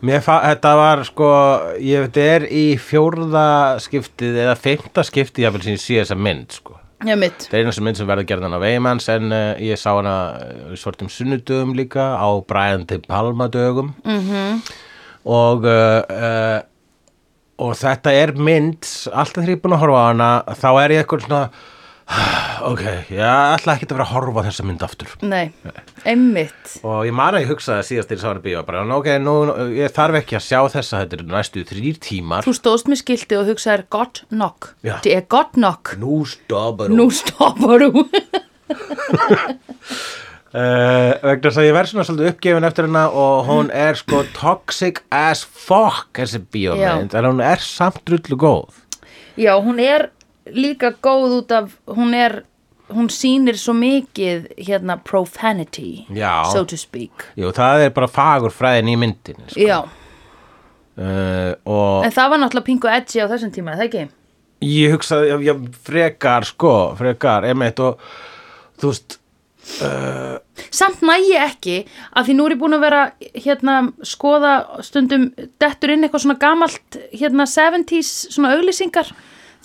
[SPEAKER 1] mér fa- þetta var sko, ég veit, er í fjórða skiptið eða fymta skiptið, ég vil sín sé þessa mynd, sko.
[SPEAKER 2] Já mitt
[SPEAKER 1] Það er eina sem mynd sem verður gerðan á Veimanns en uh, ég sá hana eh, svartum sunnudögum líka á Brian til Palma dögum -hmm. og uh, uh, og þetta er mynd alltaf þegar ég er búin að horfa á hana þá er ég eitthvað svona ok, ég ætla ekki að vera að horfa á þessa mynd aftur
[SPEAKER 2] Nei, einmitt
[SPEAKER 1] og ég man að ég hugsaði síðast þegar ég sá hana í bíó bara ok, nú, ég þarf ekki að sjá þessa þetta er næstu þrýr tímar
[SPEAKER 2] Þú stóðst með skilti og hugsaðir gott nokk.
[SPEAKER 1] Já.
[SPEAKER 2] Þetta er gott nokk.
[SPEAKER 1] nú stoppar
[SPEAKER 2] Nú stoppar þú.
[SPEAKER 1] Uh, vegna þess að ég verð svona svolítið uppgefin eftir hennar og hún er sko toxic as fuck þessi bíómynd, en hún er samt drullu góð
[SPEAKER 2] Já, hún er líka góð út af, hún er, hún sýnir svo mikið hérna profanity,
[SPEAKER 1] Já.
[SPEAKER 2] so to speak.
[SPEAKER 1] Jú, það er bara fagur fræðin í myndinni sko.
[SPEAKER 2] Já,
[SPEAKER 1] uh, og
[SPEAKER 2] en það var náttúrulega pingu edgy á þessum tíma, er það ekki?
[SPEAKER 1] ég hugsaði, ég, ég frekar sko, frekar, emitt og þú veist
[SPEAKER 2] samt næ ég ekki að því nú er ég búin að vera hérna skoða stundum dettur inn eitthvað svona gamalt hérna 70s svona auglýsingar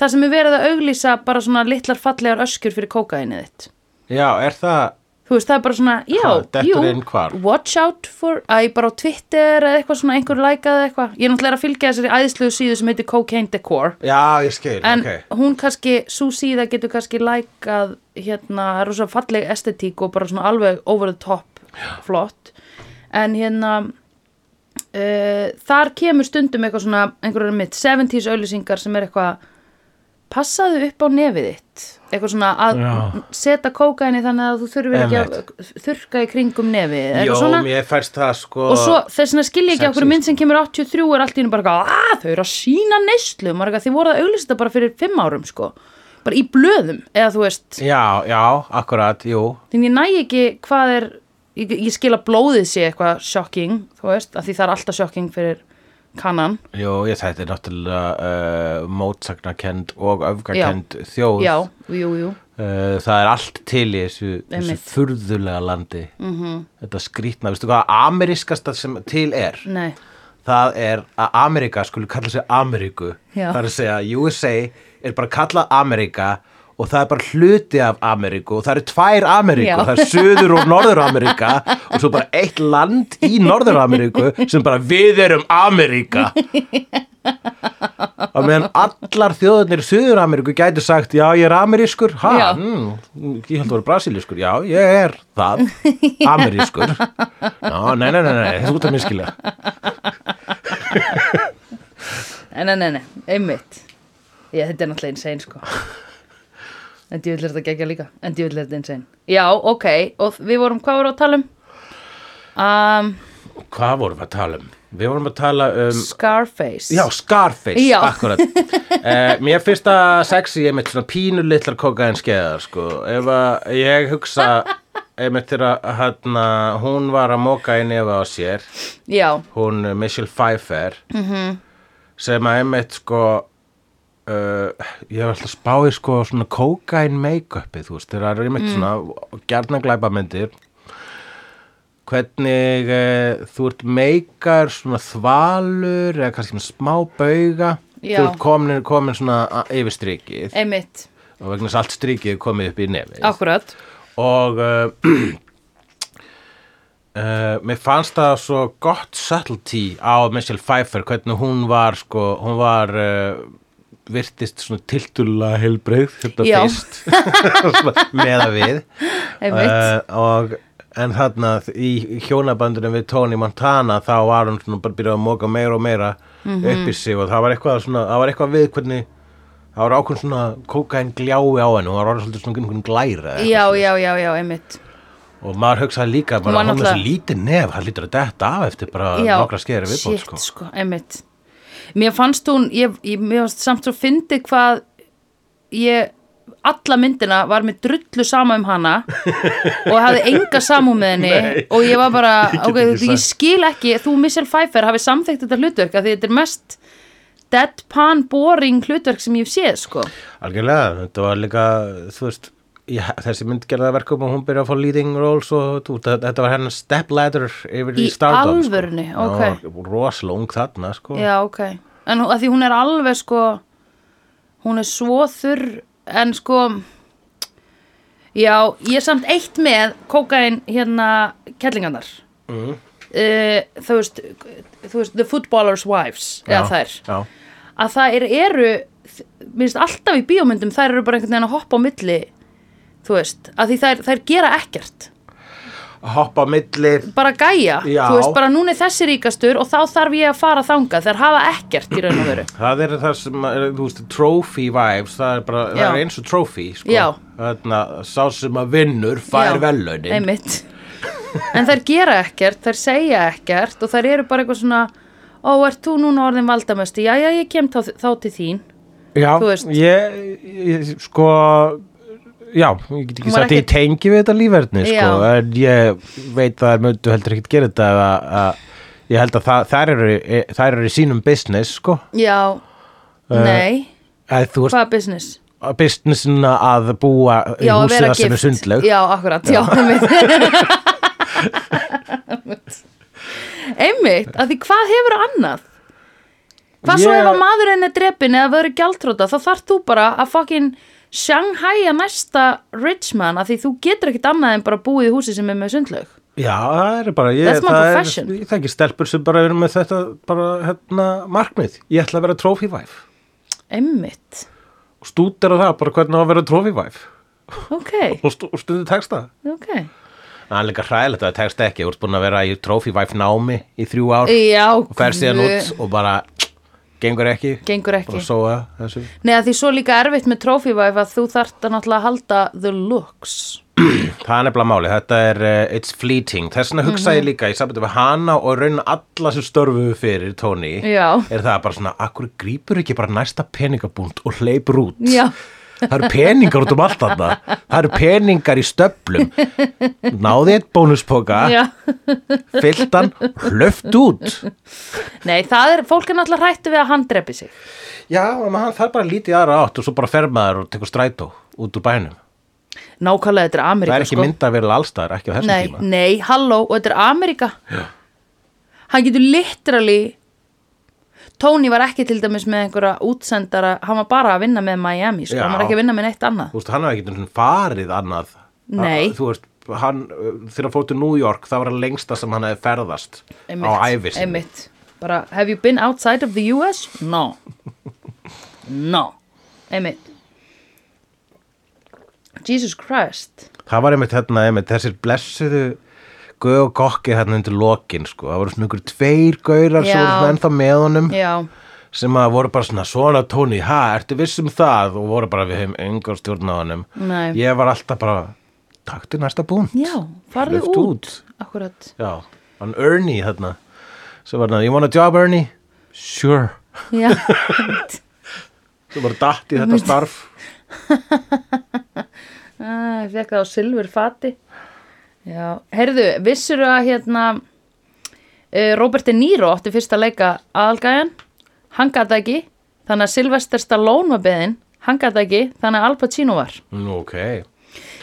[SPEAKER 2] þar sem er verið að auglýsa bara svona litlar fallegar öskur fyrir kókaðinni þitt
[SPEAKER 1] Já, er það
[SPEAKER 2] þú veist það er bara svona, já,
[SPEAKER 1] Hvað, dettur
[SPEAKER 2] jú
[SPEAKER 1] inn hvar?
[SPEAKER 2] watch out for, að ég bara á Twitter eða eitthvað svona, einhver lækaði eitthvað ég er náttúrulega að fylgja þessari æðisluðu síðu sem heitir Cocaine Decor
[SPEAKER 1] Já, ég skil,
[SPEAKER 2] en
[SPEAKER 1] ok
[SPEAKER 2] hún kannski, svo síða getur kannski lækað hérna, það er rosa falleg estetík og bara svona alveg over the top flott en hérna uh, þar kemur stundum eitthvað svona einhverjum mitt 70s auðlýsingar sem er eitthvað passaðu upp á nefið þitt eitthvað svona að
[SPEAKER 1] Já.
[SPEAKER 2] setja kókaini þannig að þú þurfir ekki að þurrka í kringum nefið eitthvað
[SPEAKER 1] Jó,
[SPEAKER 2] svona
[SPEAKER 1] mér fæst það sko
[SPEAKER 2] og svo þess vegna skil ég ekki okkur
[SPEAKER 1] Sexist.
[SPEAKER 2] mynd sem kemur 83 er allt í hennu bara eitthvað, að þau eru að sína neyslu marga því voru að auglýsa þetta bara fyrir 5 árum sko bara í blöðum eða þú veist
[SPEAKER 1] Já, já, akkurat, jú
[SPEAKER 2] því ég næ ekki hvað er ég, ég skil að blóðið sé eitthvað shocking þú veist að því það er alltaf shocking fyrir kannan
[SPEAKER 1] Jú, ég þetta er náttúrulega uh, mótsagnakend og öfgakend þjóð
[SPEAKER 2] já, jú, jú
[SPEAKER 1] Uh, það er allt til í þessu, þessu
[SPEAKER 2] Einmitt.
[SPEAKER 1] furðulega landi -hmm. þetta skrýtna, veistu hvað amerískasta sem til er
[SPEAKER 2] nei
[SPEAKER 1] það er að Amerika skulle kalla sig Ameríku
[SPEAKER 2] Já.
[SPEAKER 1] það er að segja USA er bara kallað Amerika og það er bara hluti af Ameríku og það eru tvær Ameríku,
[SPEAKER 2] Já.
[SPEAKER 1] það er Suður og Norður Ameríka og svo bara eitt land í Norður Ameríku sem bara við erum Ameríka og meðan allar þjóðunir í Suður Ameríku gætu sagt já ég er amerískur,
[SPEAKER 2] Já.
[SPEAKER 1] ha, mm, ég held að vera brasilískur, já ég er það, amerískur Ná, nei, nei, nei, nei, þetta er út að minnskilja
[SPEAKER 2] Nei, nei, nei, nei, einmitt Já, þetta er náttúrulega insane, sko En djúvill er þetta gegja líka En djúvill er þetta insane Já, ok, og við vorum, hvað vorum við að tala um? Um,
[SPEAKER 1] Hvað vorum við að tala um? Við vorum að tala um
[SPEAKER 2] Scarface
[SPEAKER 1] Já, Scarface,
[SPEAKER 2] Já.
[SPEAKER 1] akkurat eh, Mér finnst það sexy einmitt svona pínu litlar kokaðin skeiðar sko. ef að ég hugsa einmitt þegar hana, hún var að móka í nefa á sér
[SPEAKER 2] Já,
[SPEAKER 1] hún eh, Michelle Pfeiffer -hmm. sem að einmitt sko Uh, ég hef alltaf spáið sko svona kókain make-upið, þú veist, þegar það er einmitt svona gjarnaglæpa myndir hvernig uh, þú ert meikar svona þvalur eða kannski með smá bauga
[SPEAKER 2] Já.
[SPEAKER 1] þú ert komin, komin svona a- yfir strikið
[SPEAKER 2] einmitt,
[SPEAKER 1] og vegna þess að allt strikið er komið upp í nefið
[SPEAKER 2] akkurat
[SPEAKER 1] og uh, uh, mér fannst það svo gott subtlety á Michelle Pfeiffer hvernig hún var sko, hún var uh, virtist svona tiltulega heilbreyð hérna
[SPEAKER 2] Já.
[SPEAKER 1] fyrst Svona með að við
[SPEAKER 2] Einmitt.
[SPEAKER 1] Eh, og en þarna í hjónabandunum við Tony Montana þá var hún svona bara byrjað að móka meira og meira
[SPEAKER 2] Mhm.
[SPEAKER 1] upp í sig og það var eitthvað svona, það var eitthvað við hvernig það var ákveðn svona kókain glái á henni og það var orðin svolítið svona einhvern glæra eða eitthvað
[SPEAKER 2] Já, já, já, já, einmitt
[SPEAKER 1] og maður hugsaði líka
[SPEAKER 2] Hún
[SPEAKER 1] bara
[SPEAKER 2] var
[SPEAKER 1] hún með þessi
[SPEAKER 2] náttúrulega-
[SPEAKER 1] lítið nef, hann lítur að detta af eftir bara
[SPEAKER 2] já,
[SPEAKER 1] nokkra skeri viðbót
[SPEAKER 2] shit,
[SPEAKER 1] sko.
[SPEAKER 2] sko, einmitt Mér fannst hún, ég, ég, mér fannst samt svo fyndið hvað ég alla myndina var með drullu sama um hana og hafði enga samúð með henni
[SPEAKER 1] Nei,
[SPEAKER 2] og ég var bara,
[SPEAKER 1] ég get
[SPEAKER 2] ok,
[SPEAKER 1] ekki
[SPEAKER 2] ég, ég
[SPEAKER 1] sagt.
[SPEAKER 2] skil ekki þú Michelle Pfeiffer hafi samþekkt þetta hlutverk af því þetta er mest deadpan boring hlutverk sem ég hef séð sko.
[SPEAKER 1] algjörlega, þetta var líka þú veist, ég, þessi mynd gerði það verkum og hún byrjaði að fá leading roles og þú, þetta- þetta var hennar step ladder yfir í,
[SPEAKER 2] Í
[SPEAKER 1] stardom
[SPEAKER 2] alvörunni,
[SPEAKER 1] sko.
[SPEAKER 2] ok.
[SPEAKER 1] Ná, rosalung þarna sko.
[SPEAKER 2] Já, ok. En hún- af því hún er alveg sko, hún er svo þurr, en sko, já, ég er samt eitt með kókain hérna kellingarnar.
[SPEAKER 1] Mhm.
[SPEAKER 2] Mm. þú veist, þú veist, The Footballers Wives, eða þær.
[SPEAKER 1] já,
[SPEAKER 2] Að það er, eru, minnst alltaf í bíómyndum, þær eru bara einhvern veginn að hoppa á milli, þú veist, að því þær, þær gera ekkert.
[SPEAKER 1] hoppa á milli
[SPEAKER 2] Bara gæja,
[SPEAKER 1] Já.
[SPEAKER 2] þú veist, bara núna er þessi ríkastur og þá þarf ég að fara þangað, þær hafa ekkert í raun og veru.
[SPEAKER 1] Það er það sem, er, þú veist, trophy vibes, það er bara,
[SPEAKER 2] Já.
[SPEAKER 1] það er eins og trophy, sko.
[SPEAKER 2] Já.
[SPEAKER 1] Þarna, sá sem að vinnur
[SPEAKER 2] Já,
[SPEAKER 1] fær velaunin.
[SPEAKER 2] einmitt en þær gera ekkert, þær segja ekkert og þær eru bara eitthvað svona ó, ert þú núna orðin valdamösti, já, já, ég kem þá, þá til þín
[SPEAKER 1] Já,
[SPEAKER 2] Þú veist.
[SPEAKER 1] ég, ég sko já, ég get ekki
[SPEAKER 2] Hún var
[SPEAKER 1] sagt að
[SPEAKER 2] ekkert-
[SPEAKER 1] ég tengi við þetta lífverðni sko,
[SPEAKER 2] Já.
[SPEAKER 1] en ég veit að það möndu heldur ekkert gera þetta að, að ég held að það, þær, eru, e- þær eru í sínum business sko,
[SPEAKER 2] já, nei
[SPEAKER 1] að þú veist
[SPEAKER 2] hvað business,
[SPEAKER 1] businessina að búa í
[SPEAKER 2] Já, að
[SPEAKER 1] húsi
[SPEAKER 2] vera
[SPEAKER 1] það sem er
[SPEAKER 2] gift.
[SPEAKER 1] sundlaug
[SPEAKER 2] Já, akkurat, já, einmitt Einmitt, af því hvað hefur annað? Hvað svo
[SPEAKER 1] Ég-
[SPEAKER 2] ef að maðurinn er drepin eða verður gjaldróta, þá þarf þú bara að fucking Shanghai að næsta rich man af því þú getur ekkit annað en bara búið í húsi sem er með sundlaug
[SPEAKER 1] Já, það er bara ég,
[SPEAKER 2] That's my
[SPEAKER 1] það er,
[SPEAKER 2] profession.
[SPEAKER 1] ég þekki stelpur sem bara eru með þetta bara hérna markmið ég ætla að vera trófívæf
[SPEAKER 2] Einmitt,
[SPEAKER 1] og stútir á það bara hvernig á að vera trófívæf
[SPEAKER 2] ok,
[SPEAKER 1] og, stu, og stundir texta
[SPEAKER 2] ok
[SPEAKER 1] Það er líka hræðilegt að það tekst ekki Þú ert búin að vera í trófívæf námi í þrjú ár
[SPEAKER 2] Já,
[SPEAKER 1] og fer síðan
[SPEAKER 2] guð,
[SPEAKER 1] út og bara gengur ekki
[SPEAKER 2] gengur ekki
[SPEAKER 1] bara sóa þessu
[SPEAKER 2] Nei, að því svo líka erfitt með trófívæf að þú þarft að náttúrulega halda the looks
[SPEAKER 1] Það er nefnilega máli, þetta er uh, It's Fleeting, þess vegna hugsaði
[SPEAKER 2] Mhm.
[SPEAKER 1] ég líka í sambandi við hana og raunin alla sem störfuðu fyrir Tony,
[SPEAKER 2] Já.
[SPEAKER 1] er það bara svona akkur grípur ekki bara næsta peningabúnd og hleypur út
[SPEAKER 2] Já.
[SPEAKER 1] Það eru peningar út um allt þarna Það eru peningar í stöflum Náði eitt bónuspoka
[SPEAKER 2] Já
[SPEAKER 1] Fyllt hann, hlöft út
[SPEAKER 2] Nei, það er, fólk er náttúrulega hrættu við að hann drepi sig.
[SPEAKER 1] Já, en hann þarf bara lítið í aðra átt og svo bara fer maður og tekur strætó út úr bænum
[SPEAKER 2] Nákvæmlega, þetta er Ameríka,
[SPEAKER 1] Það er ekki
[SPEAKER 2] sko.
[SPEAKER 1] mynda að vera allstaðar, ekki á þessum
[SPEAKER 2] Nei,
[SPEAKER 1] tíma
[SPEAKER 2] nei, halló, og þetta er Ameríka. Já. Hann getur literally, Tony var ekki til dæmis með einhverja útsendara, hann var bara að vinna með Miami, sko,
[SPEAKER 1] Já.
[SPEAKER 2] hann var ekki að vinna með neitt annað.
[SPEAKER 1] þú veist, hann hafði ekki einhvern veginn farið annað
[SPEAKER 2] Nei.
[SPEAKER 1] Að- þú veist, hann, uh, þegar hann fór til New York það var að lengsta sem hann hefði ferðast á æfi sinni
[SPEAKER 2] Einmitt, bara, have you been outside of the US? No. no. Einmitt. Jesus Christ.
[SPEAKER 1] það var einmitt hérna, einmitt, þessir blessuðu guð og kokki hérna undir lokin sko. það voru svona ykkur tveir gaurar sem
[SPEAKER 2] Já.
[SPEAKER 1] voru svona ennþá með honum
[SPEAKER 2] Já,
[SPEAKER 1] sem að voru bara svona svona tóni, ha, ertu viss um það og voru bara við hefum engar stjórn á honum
[SPEAKER 2] Nei.
[SPEAKER 1] ég var alltaf bara taktu næsta búnt
[SPEAKER 2] já, farðu
[SPEAKER 1] Hleyptu
[SPEAKER 2] út. Akkurat.
[SPEAKER 1] já, hann Ernie hérna sem var hérna, you want a job Ernie? sure
[SPEAKER 2] Já,
[SPEAKER 1] sem bara datt í þetta starf
[SPEAKER 2] Ah, ég fekk það á silfur fati. Já, heyrðu, vissur að hérna eh, Robert De Niro átti fyrst að leika aðalgæjan, hann gata ekki, þannig að Sylvester Stallone var beðinn, hann gata ekki, þannig að Al Pacino var.
[SPEAKER 1] Nú, ok.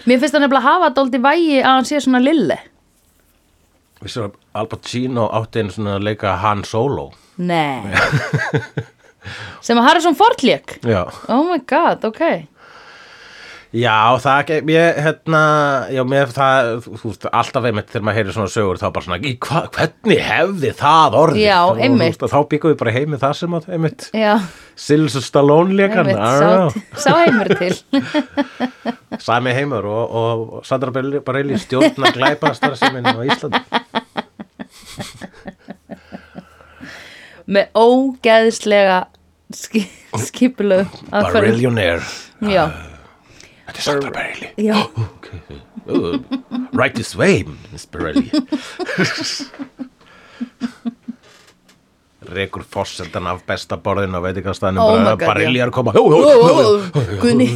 [SPEAKER 2] Mér finnst það nefnilega að hafa dóldi vægi að hann sé svona lille.
[SPEAKER 1] Vissar að Al Pacino átti einu svona að leika Han Solo.
[SPEAKER 2] Nei. Sem að Harrison Ford lék.
[SPEAKER 1] Já.
[SPEAKER 2] Oh my god, ok.
[SPEAKER 1] Já, það ekki, ég, hérna, já, mér, það, þú veist, alltaf einmitt þegar maður heyrir svona sögur þá bara svona, í hva, hvernig hefði það orðið?
[SPEAKER 2] Já,
[SPEAKER 1] Þá- þú
[SPEAKER 2] einmitt.
[SPEAKER 1] veist, Þá byggum við bara heimi það sem að, einmitt,
[SPEAKER 2] Já,
[SPEAKER 1] Silvestur Stallone leikarn,
[SPEAKER 2] einmitt, sá, sá heimur til.
[SPEAKER 1] sami heimur og, og, og Sandra Bareilly- Bareilly stjórna glæpastar sem er á Íslandi.
[SPEAKER 2] Með ógeðslega ski, skipulög aðferðum.
[SPEAKER 1] Barillionaire.
[SPEAKER 2] Já,
[SPEAKER 1] Þetta er Sandra Bareilly.
[SPEAKER 2] já,
[SPEAKER 1] Okay. Uh, right this way, Miss Pirelli Rekur fossendan af besta borðin og veit ekki hvað staðnum
[SPEAKER 2] Oh my
[SPEAKER 1] bara
[SPEAKER 2] God,
[SPEAKER 1] Barilli
[SPEAKER 2] já. Oh,
[SPEAKER 1] er að koma Hó, hó,
[SPEAKER 2] Ó,
[SPEAKER 1] hó,
[SPEAKER 2] ó, ó, Gunni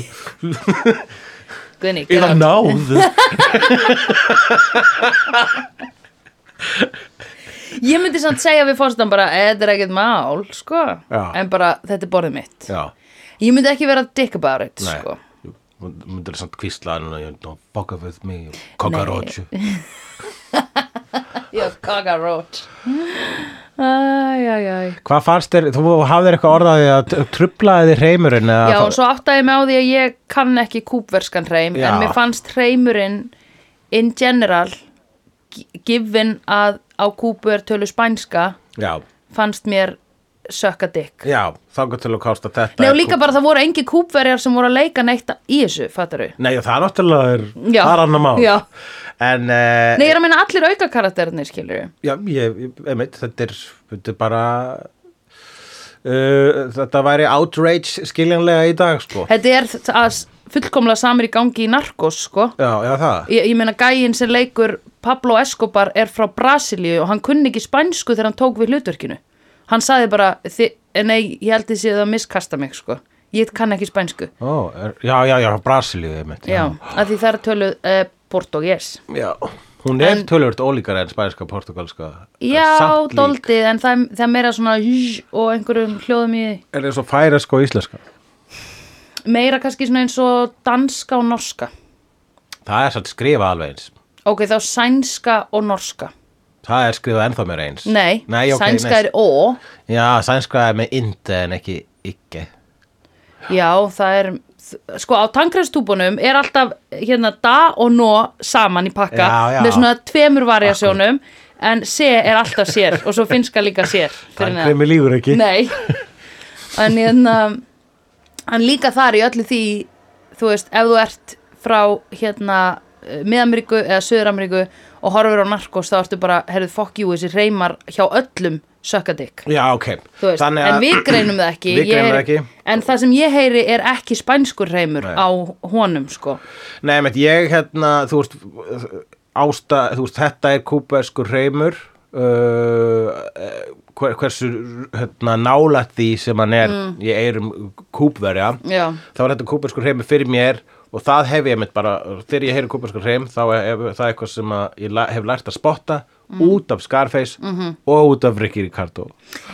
[SPEAKER 2] Gunni,
[SPEAKER 1] Eða
[SPEAKER 2] gerðu það.
[SPEAKER 1] náð
[SPEAKER 2] ég myndi samt segja við fórstan bara þetta er ekkert mál, sko
[SPEAKER 1] Já.
[SPEAKER 2] en bara þetta er borðið mitt
[SPEAKER 1] Já,
[SPEAKER 2] ég myndi ekki vera dick about it,
[SPEAKER 1] nei
[SPEAKER 2] sko
[SPEAKER 1] Jú, mynd- Myndir samt kvísla hann og don't fuck up with me Kakarochu
[SPEAKER 2] já, kakarót æj, æj, æj
[SPEAKER 1] Hvað fannst þér, þú hafðir eitthvað orðaði að trublaði þið reymurinn
[SPEAKER 2] já, og svo áttaði ég mig á því að ég kann ekki kúpverskan hreim
[SPEAKER 1] Já.
[SPEAKER 2] en mér fannst hreimurinn in general gi- given að á kúpu er tölu spænska
[SPEAKER 1] já,
[SPEAKER 2] fannst mér sökka dick
[SPEAKER 1] já, þangað til að kásta þetta
[SPEAKER 2] Nei
[SPEAKER 1] er
[SPEAKER 2] og líka
[SPEAKER 1] kú-
[SPEAKER 2] bara það voru engi kúpverjar sem voru að leika neitt í þessu, fattar þau?
[SPEAKER 1] Nei, það er náttúrulega er,
[SPEAKER 2] Já.
[SPEAKER 1] það er annar mál
[SPEAKER 2] Já.
[SPEAKER 1] En uh,
[SPEAKER 2] Nei, ég er að meina allir auka karakterinir, skilur við.
[SPEAKER 1] Já, ég, ég- einmitt, þetta er, þetta er bara, uh, þetta væri outrage skiljanlega í dag, sko.
[SPEAKER 2] Þetta er þ- að fullkomlega samir í gangi í narkos, sko.
[SPEAKER 1] Já, já, það.
[SPEAKER 2] Ég, ég meina gæinn sem leikur Pablo Escobar er frá Brasilíu og hann kunni ekki spænsku þegar hann tók við hlutverkinu. Hann saði bara, "Þi- nei, ég held þið séð að miskasta mig, sko. Ég kann ekki spænsku.
[SPEAKER 1] Ó, er, já, já, já, Brasilíu, einmitt.
[SPEAKER 2] Já, af því það er töluð uh, portugés.
[SPEAKER 1] Já, hún er
[SPEAKER 2] En-
[SPEAKER 1] tölvöld ólíkar en spænska, portugalska. en
[SPEAKER 2] Já,
[SPEAKER 1] samt lík.
[SPEAKER 2] doldið, en það, er- það er meira svona "Zh" og einhverjum hljóðum í
[SPEAKER 1] Er eins og færesk og íslenska.
[SPEAKER 2] meira kannski svona eins og danska og norska
[SPEAKER 1] Það er satt skrifa alveg eins.
[SPEAKER 2] ok, þá sænska og norska
[SPEAKER 1] Það er skrifað ennþá mér eins.
[SPEAKER 2] nei,
[SPEAKER 1] Nei ok,
[SPEAKER 2] sænska
[SPEAKER 1] nei.
[SPEAKER 2] er ó
[SPEAKER 1] Já, sænska er með indi en ekki ikke.
[SPEAKER 2] já, það er sko á tankræðstúbunum er alltaf hérna da og nó saman í pakka
[SPEAKER 1] Já, já.
[SPEAKER 2] með svona tveimur variasjónum en se er alltaf sér og svo finnska líka sér fyrir neðan.
[SPEAKER 1] Tankremi lígur ekki.
[SPEAKER 2] Nei En hérna En líka þar í öllu því Þú veist, ef þú ert frá hérna Miðameríku eða Suður-Ameríku og horfir á narkos þá ertu bara, heyrðu, fuck you, þessi reymar hjá öllum sökkadikk,
[SPEAKER 1] Já, ok.
[SPEAKER 2] þú veist,
[SPEAKER 1] Þannig
[SPEAKER 2] en
[SPEAKER 1] að
[SPEAKER 2] við greinum það ekki
[SPEAKER 1] Við
[SPEAKER 2] Ég
[SPEAKER 1] greinum það
[SPEAKER 2] heyri-
[SPEAKER 1] ekki.
[SPEAKER 2] en það sem ég heyri er ekki spænskur reymur
[SPEAKER 1] Nei.
[SPEAKER 2] á honum, sko
[SPEAKER 1] Nei, með ég hérna, þú veist, ásta, þú veist, þetta er kúbæskur hreimur, uh, hver, hversu hérna, nálætt því sem hann er, ég eirum kúbverja,
[SPEAKER 2] Já.
[SPEAKER 1] þá er þetta kúbæskur hreimur fyrir mér og það hef ég mitt bara, þegar ég heyri kúbæskur hreim, þá er er það eitthvað sem að ég la- hef lært að spotta út af Scarface og út af Ricky Ricardo.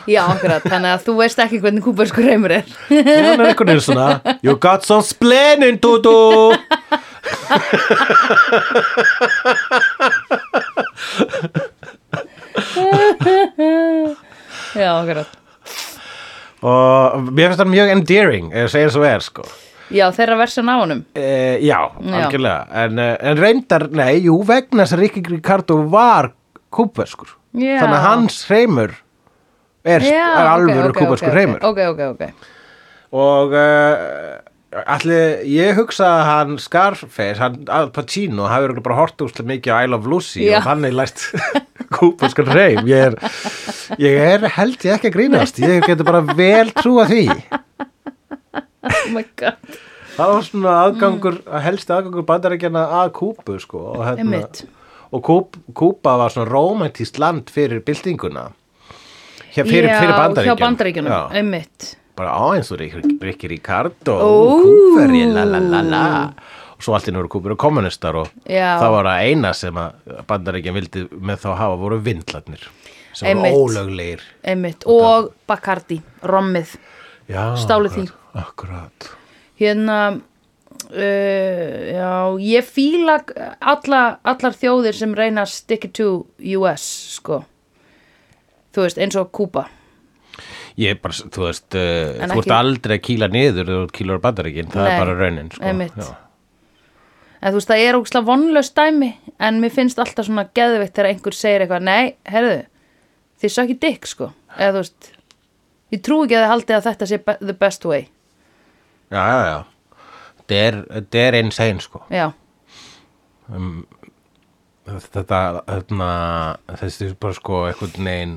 [SPEAKER 2] Já, akkurat, þannig að þú veist ekki hvernig kúberskur reymur er
[SPEAKER 1] Hann er einhvern veginn svona, you got some splenin, Dudu!
[SPEAKER 2] Já, akkurat
[SPEAKER 1] Og mér finnst það mjög endearing, ef ég segja svo er, sko.
[SPEAKER 2] Já, þeirra versjón á honum
[SPEAKER 1] E, já, algjörlega en, eh, en reyndar, nei, jú, vegna þess að Rikki Ricardo var kúpverskur
[SPEAKER 2] Já.
[SPEAKER 1] þannig að hans hreimur er,
[SPEAKER 2] Já,
[SPEAKER 1] er
[SPEAKER 2] ok, ok,
[SPEAKER 1] alvöru okay, kúpverskur
[SPEAKER 2] ok, ok,
[SPEAKER 1] hreimur
[SPEAKER 2] Ok, ok, ok
[SPEAKER 1] og uh, allir, ég hugsa að hann Scarface, hann Al Pacino hafi örugglega bara hort úrslega mikið á I Love Lucy
[SPEAKER 2] Já.
[SPEAKER 1] og þannig lært kúpverskur hreim ég er, ég er held ég ekki að grínast ég getur bara vel trúa því
[SPEAKER 2] oh my god
[SPEAKER 1] það var svona aðgangur mm. helsti aðgangur bandarækjana að Kúbu sko, og, hérna,
[SPEAKER 2] Einmitt.
[SPEAKER 1] og Kúp, Kúba var svona rómantískt land fyrir byltinguna hér fyrir,
[SPEAKER 2] Já,
[SPEAKER 1] fyrir
[SPEAKER 2] hjá
[SPEAKER 1] bandaríkjana
[SPEAKER 2] bandaríkjunum,
[SPEAKER 1] Já,
[SPEAKER 2] einmitt
[SPEAKER 1] bara á eins og Rik- Rikki Ricardo
[SPEAKER 2] Ó.
[SPEAKER 1] og Kúberi la la la la og svo allt í náttúrulega Kúberi kommunistar og
[SPEAKER 2] Já.
[SPEAKER 1] það var að eina sem að bandaríkjan vildi með þá hafa voru vindlarnir sem
[SPEAKER 2] Einmitt.
[SPEAKER 1] voru ólöglegir
[SPEAKER 2] einmitt, og Bacardi, rommið
[SPEAKER 1] Já,
[SPEAKER 2] Stálu
[SPEAKER 1] akkurat,
[SPEAKER 2] því.
[SPEAKER 1] akkurat
[SPEAKER 2] hérna uh, já, ég fíla alla, allar þjóðir sem reyna að stick it to US sko þú veist, eins og Kúba
[SPEAKER 1] Ég er bara, þú veist, uh,
[SPEAKER 2] En
[SPEAKER 1] þú ert
[SPEAKER 2] ekki-
[SPEAKER 1] aldrei að kýla niður þegar þú ert kýlar bandaríkin, það
[SPEAKER 2] Nei,
[SPEAKER 1] er bara raunin sko.
[SPEAKER 2] einmitt.
[SPEAKER 1] Já.
[SPEAKER 2] en þú veist, það er ógslag vonlaust dæmi en mér finnst alltaf svona geðveikt þegar einhver segir eitthvað, nei, herðu þið sökki dick, sko eða þú veist, ég trú ekki að þið haldið að þetta sé be the best way
[SPEAKER 1] já, já, já Þetta er, þetta er insane sko.
[SPEAKER 2] já,
[SPEAKER 1] þetta, þarna þessi er bara sko einhvern veginn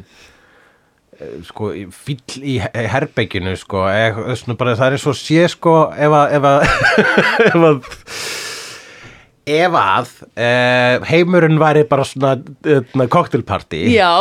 [SPEAKER 1] eh, sko, í- fíll í herbegginu sko, eh, svona bara það er svo sé sko, ef að ef að ef að, ef að eh, heimurinn væri bara svona, svona cocktailparty
[SPEAKER 2] já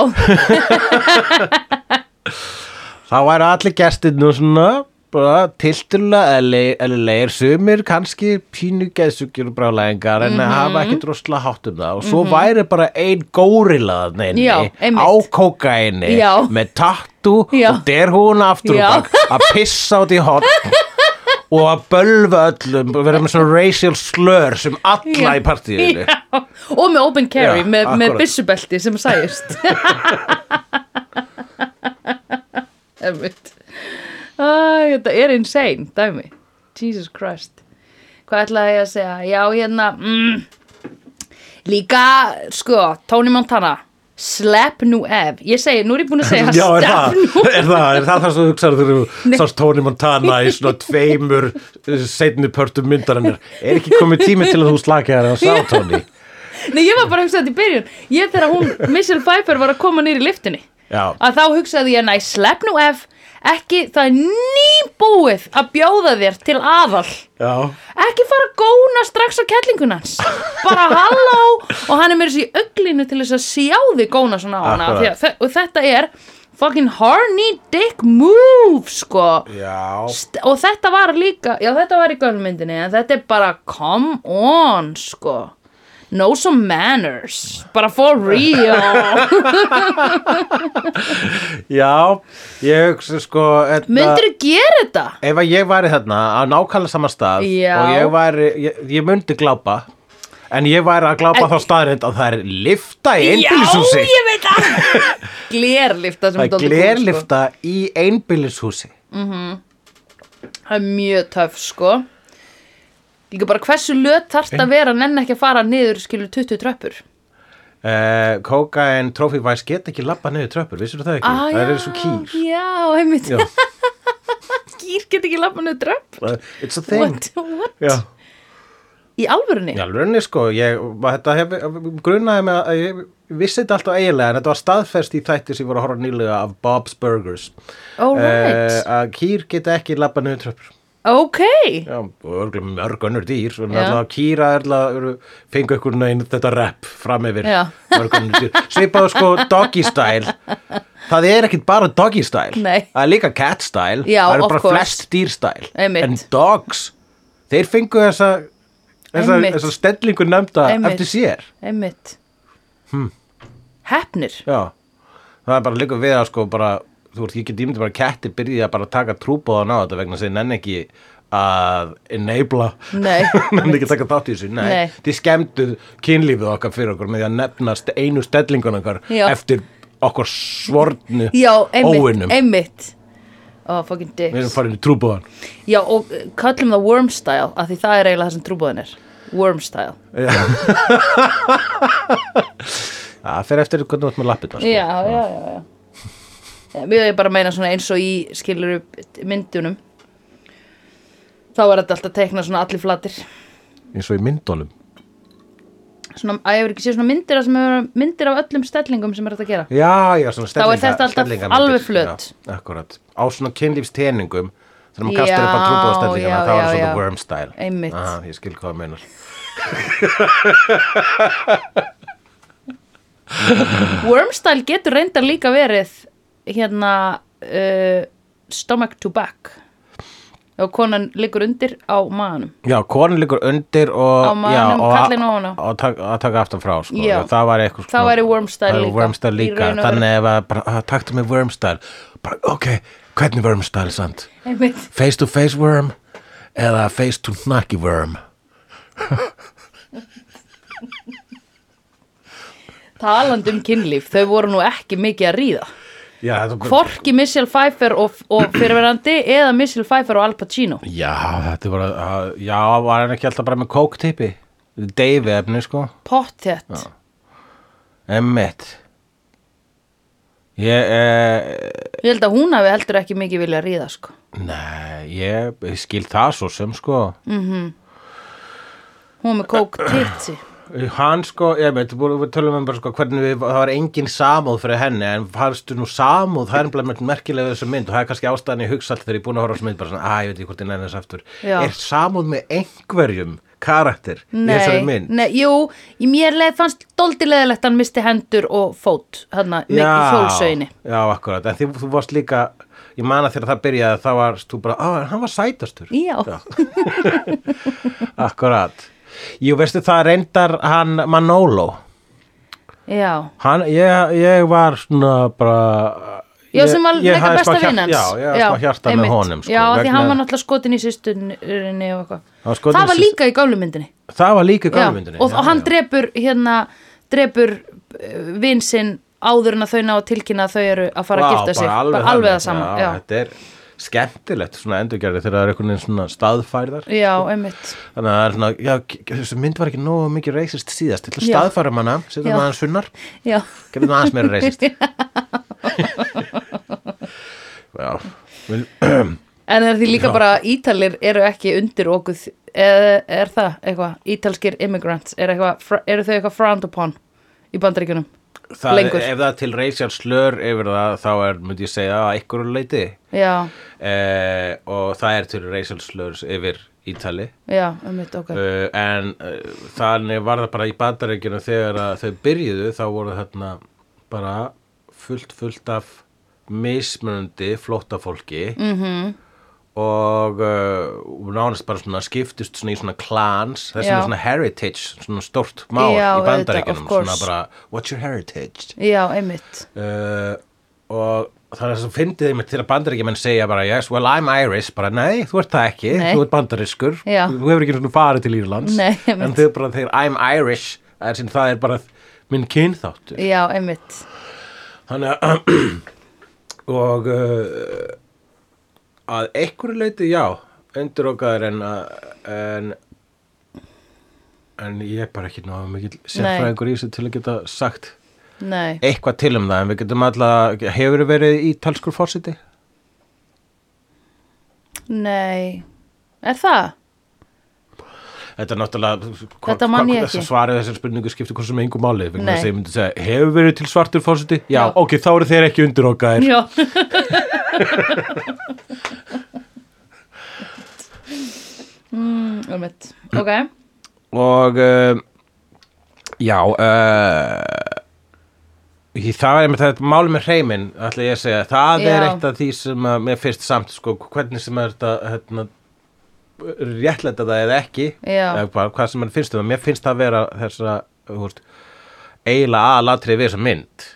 [SPEAKER 1] þá væri allir gestir nú svona bara tiltulega eðlilegir sumir kannski pínu geðsugjur og brálæðingar
[SPEAKER 2] Mhm.
[SPEAKER 1] en hafa ekkert drosla hátt um það og svo væri bara ein górila þarna
[SPEAKER 2] Já,
[SPEAKER 1] inni
[SPEAKER 2] einmitt.
[SPEAKER 1] á kókaini
[SPEAKER 2] Já.
[SPEAKER 1] með tattu
[SPEAKER 2] Já.
[SPEAKER 1] og derhúna aftur
[SPEAKER 2] Já.
[SPEAKER 1] og bak að pissa út í hotn og að bölva öllum og vera með svona racial slur sem alla
[SPEAKER 2] Já.
[SPEAKER 1] í partíinu
[SPEAKER 2] Já, og með open carry,
[SPEAKER 1] Já,
[SPEAKER 2] með, með
[SPEAKER 1] akkúrat.
[SPEAKER 2] byssubelti sem sæjust Einmitt. Æ, Þetta er insane, dæmi Jesus Christ Hvað ætlaði ég að segja? Já, hérna mm, Líka, sko, Tony Montana Slap nú ef Ég segi, nú er ég búin að segja
[SPEAKER 1] Já, er
[SPEAKER 2] slap
[SPEAKER 1] það,
[SPEAKER 2] nú
[SPEAKER 1] er það, er það það sem þú hugsaður þegar þú sást Tony Montana í svona tveimur setni pörtum myndarinnar er ekki komið tími til að þú slakið þær að sá Tony
[SPEAKER 2] Nei, ég var bara að hugsa þetta í byrjun Ég þegar hún, Michelle Pfeiffer var að koma nýri liftinni
[SPEAKER 1] Já.
[SPEAKER 2] Að þá hugsaði ég, næ, slepp nú ef Ekki, það er nýbúið að bjóða þér til aðal
[SPEAKER 1] Já,
[SPEAKER 2] Ekki fara að góna strax á kellingunans Bara halló Og hann er mér þessi auglinu til þess að sjá þig góna svona á hana
[SPEAKER 1] Akkurat.
[SPEAKER 2] Því að þe- Og þetta er fucking horny dick move, sko
[SPEAKER 1] já
[SPEAKER 2] St- og þetta var líka já þetta var í gönnmyndinni en þetta er bara come on sko know some manners bara for real
[SPEAKER 1] Já, ég hugsa sko etna,
[SPEAKER 2] myndirðu gera þetta?
[SPEAKER 1] Ef að ég væri þarna á nákvæmlega sama stað
[SPEAKER 2] Já.
[SPEAKER 1] og ég væri, ég, ég myndi glápa en ég væri að glápa þá staðrind að það er lifta í einbýlishúsi
[SPEAKER 2] Já, ég veit það Glerlifta sem
[SPEAKER 1] Það
[SPEAKER 2] dálítið sko.
[SPEAKER 1] er
[SPEAKER 2] kúl,
[SPEAKER 1] glerlifta í einbýlishúsi
[SPEAKER 2] sko. Það er mjög töf sko Líka bara hversu löt þarft að vera en enn ekki að fara niður skilur 20 tröppur
[SPEAKER 1] uh, Kókain trófívæs get ekki labba niður tröppur, vissir það ekki?
[SPEAKER 2] Ah,
[SPEAKER 1] það
[SPEAKER 2] já,
[SPEAKER 1] eru svo kýr
[SPEAKER 2] Já, einmitt
[SPEAKER 1] Já.
[SPEAKER 2] Kýr get ekki lappa niður tröpp
[SPEAKER 1] Uh, It's a thing
[SPEAKER 2] What? What?
[SPEAKER 1] Já,
[SPEAKER 2] Í alvörunni?
[SPEAKER 1] já rauninni sko ég, var- þetta hef, grunaði mig að ég vissi þetta alltaf eiginlega en þetta var staðfest í þætti sem ég voru að horfa á nýlega af Bob's Burgers
[SPEAKER 2] All right
[SPEAKER 1] Eh, að kýr geta ekki labba niður tröppur
[SPEAKER 2] Ok
[SPEAKER 1] já, og örgulega mörg önnur dýr svona
[SPEAKER 2] Já.
[SPEAKER 1] alltaf kýra alltaf eru- fengu ykkur neginn þetta rep fram yfir
[SPEAKER 2] Já.
[SPEAKER 1] mörg önnur dýr svipaðu sko doggy style það er ekkit bara doggy style
[SPEAKER 2] Nei.
[SPEAKER 1] það er líka cat style
[SPEAKER 2] Já,
[SPEAKER 1] það eru
[SPEAKER 2] of
[SPEAKER 1] bara
[SPEAKER 2] course.
[SPEAKER 1] flest dýr style
[SPEAKER 2] Einmitt.
[SPEAKER 1] en dogs, þeir fengu þessa þessa,
[SPEAKER 2] Einmitt.
[SPEAKER 1] þessa stellingu nefnda
[SPEAKER 2] Einmitt.
[SPEAKER 1] eftir sér
[SPEAKER 2] Einmitt
[SPEAKER 1] Hm.
[SPEAKER 2] Hefnir
[SPEAKER 1] Já, það er bara líka við að sko bara, þú veist, ég get ímyndi bara að ketti byrja að bara taka trúbóðan á þetta vegna sem nenni ekki að enabla,
[SPEAKER 2] Nei
[SPEAKER 1] nenni ekki að taka þátt í þessu, nei,
[SPEAKER 2] Nei.
[SPEAKER 1] þið skemmtu kynlífið okkar fyrir okkur með því að nefna st- einu stellingun okkar
[SPEAKER 2] Já.
[SPEAKER 1] eftir okkur svornu
[SPEAKER 2] Já, einmitt
[SPEAKER 1] óvinnum.
[SPEAKER 2] Einmitt Oh, fucking dicks
[SPEAKER 1] Við erum farin í trúbóðan.
[SPEAKER 2] Já, og eh, kallum það worm style af því það er eiginlega það sem trúbóðin er worm style
[SPEAKER 1] Það fer eftir hvernig þú ert með lappið það, sko.
[SPEAKER 2] Já, já, já, já. Já, Mjög ég bara meina svona eins og í skilur upp myndunum þá er þetta alltaf teikna svona allir flatir
[SPEAKER 1] Eins og í myndunum.
[SPEAKER 2] svona, að ég hefur ekki séð svona myndir af, sem hefur, myndir af öllum stellingum sem er þetta að gera
[SPEAKER 1] Já, já, svona stellinga.
[SPEAKER 2] þetta alltaf
[SPEAKER 1] stellingamyndir.
[SPEAKER 2] alveg flöt.
[SPEAKER 1] Já, akkurat. Á svona kynlífsteningum, þegar maður kastar upp
[SPEAKER 2] Já,
[SPEAKER 1] á trúbóðstellingana,
[SPEAKER 2] já,
[SPEAKER 1] þá er
[SPEAKER 2] já, já.
[SPEAKER 1] svona worm style.
[SPEAKER 2] Einmitt.
[SPEAKER 1] Aha, ég skil hvað það meinar.
[SPEAKER 2] worm style getur reyndar líka verið hérna uh, stomach to back og konan liggur undir á maðanum
[SPEAKER 1] Já, konin liggur undir og...
[SPEAKER 2] Á maganum,
[SPEAKER 1] já, og-
[SPEAKER 2] kallinn ofan á.
[SPEAKER 1] Og tak, að taka aftan frá, sko.
[SPEAKER 2] Já.
[SPEAKER 1] Það var eitthvað
[SPEAKER 2] Það væri worm style
[SPEAKER 1] það væri
[SPEAKER 2] líka.
[SPEAKER 1] worm style
[SPEAKER 2] Í
[SPEAKER 1] líka.
[SPEAKER 2] raun og veru.
[SPEAKER 1] Þannig ef að bara, að, taktu mig worm style. Bara, ok, hvernig worm style, sant?
[SPEAKER 2] einmitt
[SPEAKER 1] Face to face worm eða face to knocky worm?
[SPEAKER 2] Talandi um kynlíf, þau voru nú ekki mikið að ríða.
[SPEAKER 1] Já, þetta-
[SPEAKER 2] Hvorki Michelle Pfeiffer og, og fyrirverandi eða Michelle Pfeiffer og Al Pacino.
[SPEAKER 1] Já, þetta var að, að- já, var hann ekki alltaf bara með kóktipi? Dave efni, sko.
[SPEAKER 2] Pottet.
[SPEAKER 1] Emmett. Ég, eh,
[SPEAKER 2] Ég held að hún hafi heldur ekki mikið vilja að ríða, sko.
[SPEAKER 1] nei, ég, ég skil það svo sem, sko.
[SPEAKER 2] Hún var með kók titsi.
[SPEAKER 1] Hann, sko, Emmett, við við tölum um bara, sko, hvernig við, það var engin samúð fyrir henni, en fannstu nú samúð, það er bara mjög merkilega við þessu mynd og það er kannski ástæðan í hugsa alltaf þegar ég er búin að horfa á þessu mynd, bara svona, að, ég veit ekki hvort ég næði þessu aftur.
[SPEAKER 2] Já.
[SPEAKER 1] Er samúð með einhverjum karakter í þessari
[SPEAKER 2] Nei,
[SPEAKER 1] mynd?
[SPEAKER 2] nei, jú, í mér leið fannst doldi leðilegt hann misti hendur og fót, hann að mikið í hjólsauðinni.
[SPEAKER 1] Já, akkurat, en því, þú varst líka ég man að þegar það byrjaði þá varst þú bara, á, en hann var sætastur
[SPEAKER 2] Já.
[SPEAKER 1] Akkurat Jú, veistu það reyndar hann Manolo
[SPEAKER 2] Já,
[SPEAKER 1] hann, ég, ég var svona bara
[SPEAKER 2] já
[SPEAKER 1] ég-
[SPEAKER 2] sem var
[SPEAKER 1] ég
[SPEAKER 2] leika
[SPEAKER 1] hafði
[SPEAKER 2] besta
[SPEAKER 1] smá hjarta-
[SPEAKER 2] vinnans.
[SPEAKER 1] Já, ég hafði smá hjarta með honum sko,
[SPEAKER 2] Já, af því
[SPEAKER 1] vegna-
[SPEAKER 2] hann var náttúrulega skotin í systurinni og eitthvað.
[SPEAKER 1] Hann var skotin í
[SPEAKER 2] Það var
[SPEAKER 1] syst-
[SPEAKER 2] líka í gáflumyndinni.
[SPEAKER 1] Það var líka
[SPEAKER 2] Já,
[SPEAKER 1] gálmyndinni
[SPEAKER 2] og, og hann drepur hérna, drepur vinsinn áður en að þau ná að tilkynna að þau eru að fara að gifta sig, bara alveg, það sama já, já.
[SPEAKER 1] Þetta er skemmtilegt svona endurgerði þegar það er einhvern veginn svona staðfærðar
[SPEAKER 2] einmitt
[SPEAKER 1] Þannig að það er svona, já, k- þessi mynd var ekki nógu mikið reisist síðast, til að
[SPEAKER 2] Já.
[SPEAKER 1] staðfæra manna, setja
[SPEAKER 2] Já.
[SPEAKER 1] maður aðeins sunnar,
[SPEAKER 2] já.
[SPEAKER 1] getur maður aðeins meira reisist. já, vil,
[SPEAKER 2] en er því líka bara ítalir eru ekki undir okkuð eða er það eitthvað, ítalskir immigrants er eitthvað, fr- eru þau eitthvað frowned upon í bandaríkunum
[SPEAKER 1] það,
[SPEAKER 2] Lengur.
[SPEAKER 1] ef það er til reisjar slör yfir það, þá er, myndi ég segja, að ykkur leiti.
[SPEAKER 2] já,
[SPEAKER 1] Eh, og það er til reisjar slör yfir Ítali.
[SPEAKER 2] já, einmitt okkar
[SPEAKER 1] Uh, en uh, þannig var það bara í bandarækjunum þegar að þau byrjuðu þá voru þarna bara
[SPEAKER 2] Mhm.
[SPEAKER 1] fullt fullt af mismunandi flóttafólki -hmm. og uh, nánast bara svona skiptist svona í svona clans þess
[SPEAKER 2] Já.
[SPEAKER 1] vegna svona heritage, svona stórt mál
[SPEAKER 2] Já,
[SPEAKER 1] í
[SPEAKER 2] auðvitað,
[SPEAKER 1] bandaríkjunum,
[SPEAKER 2] of course.
[SPEAKER 1] svona bara what's your heritage
[SPEAKER 2] já, einmitt
[SPEAKER 1] uh, og það er svo fyndið einmitt til að bandaríkjumenn segja bara yes, well I'm Irish, bara nei, þú ert það ekki
[SPEAKER 2] Nei.
[SPEAKER 1] þú ert bandarískur,
[SPEAKER 2] Já.
[SPEAKER 1] þú hefur ekki svona farið til Írlands
[SPEAKER 2] Nei, einmitt.
[SPEAKER 1] en þau bara þegar I'm Irish er sinn, það er bara minn kynþáttur
[SPEAKER 2] já, einmitt
[SPEAKER 1] þannig að og uh, að einhverju leiti já undirokaður en að en, en ég er bara ekki náðu mikill sérfræðingur í þessu til að geta sagt
[SPEAKER 2] nei,
[SPEAKER 1] eitthvað til um það en við getum alltaf, hefur verið í talskur fórsiti?
[SPEAKER 2] nei er það?
[SPEAKER 1] Þetta er náttúrulega
[SPEAKER 2] Þetta man ég
[SPEAKER 1] Þessi
[SPEAKER 2] ekki.
[SPEAKER 1] svarið þessar spurningu skiptir hvort sem engu máli vegna
[SPEAKER 2] Nei.
[SPEAKER 1] þess að ég myndi segja, hefur verið til svartur fórsiti? Já,
[SPEAKER 2] Já.
[SPEAKER 1] ok, þá eru þeir ekki undirokaðir
[SPEAKER 2] já, mm, einmitt ok,
[SPEAKER 1] og uh, já uh, í- það er með þetta mál með hreiminn ætla ég að segja, það er
[SPEAKER 2] Já.
[SPEAKER 1] eitt af því sem að, mér finnst samt sko, hvernig sem er þetta hérna, réttlæta það eða ekki
[SPEAKER 2] Já.
[SPEAKER 1] eða hvað, hvað sem mann finnst um það, mér finnst það að vera þessa, þú veist eiginlega aðlatri við þessa mynd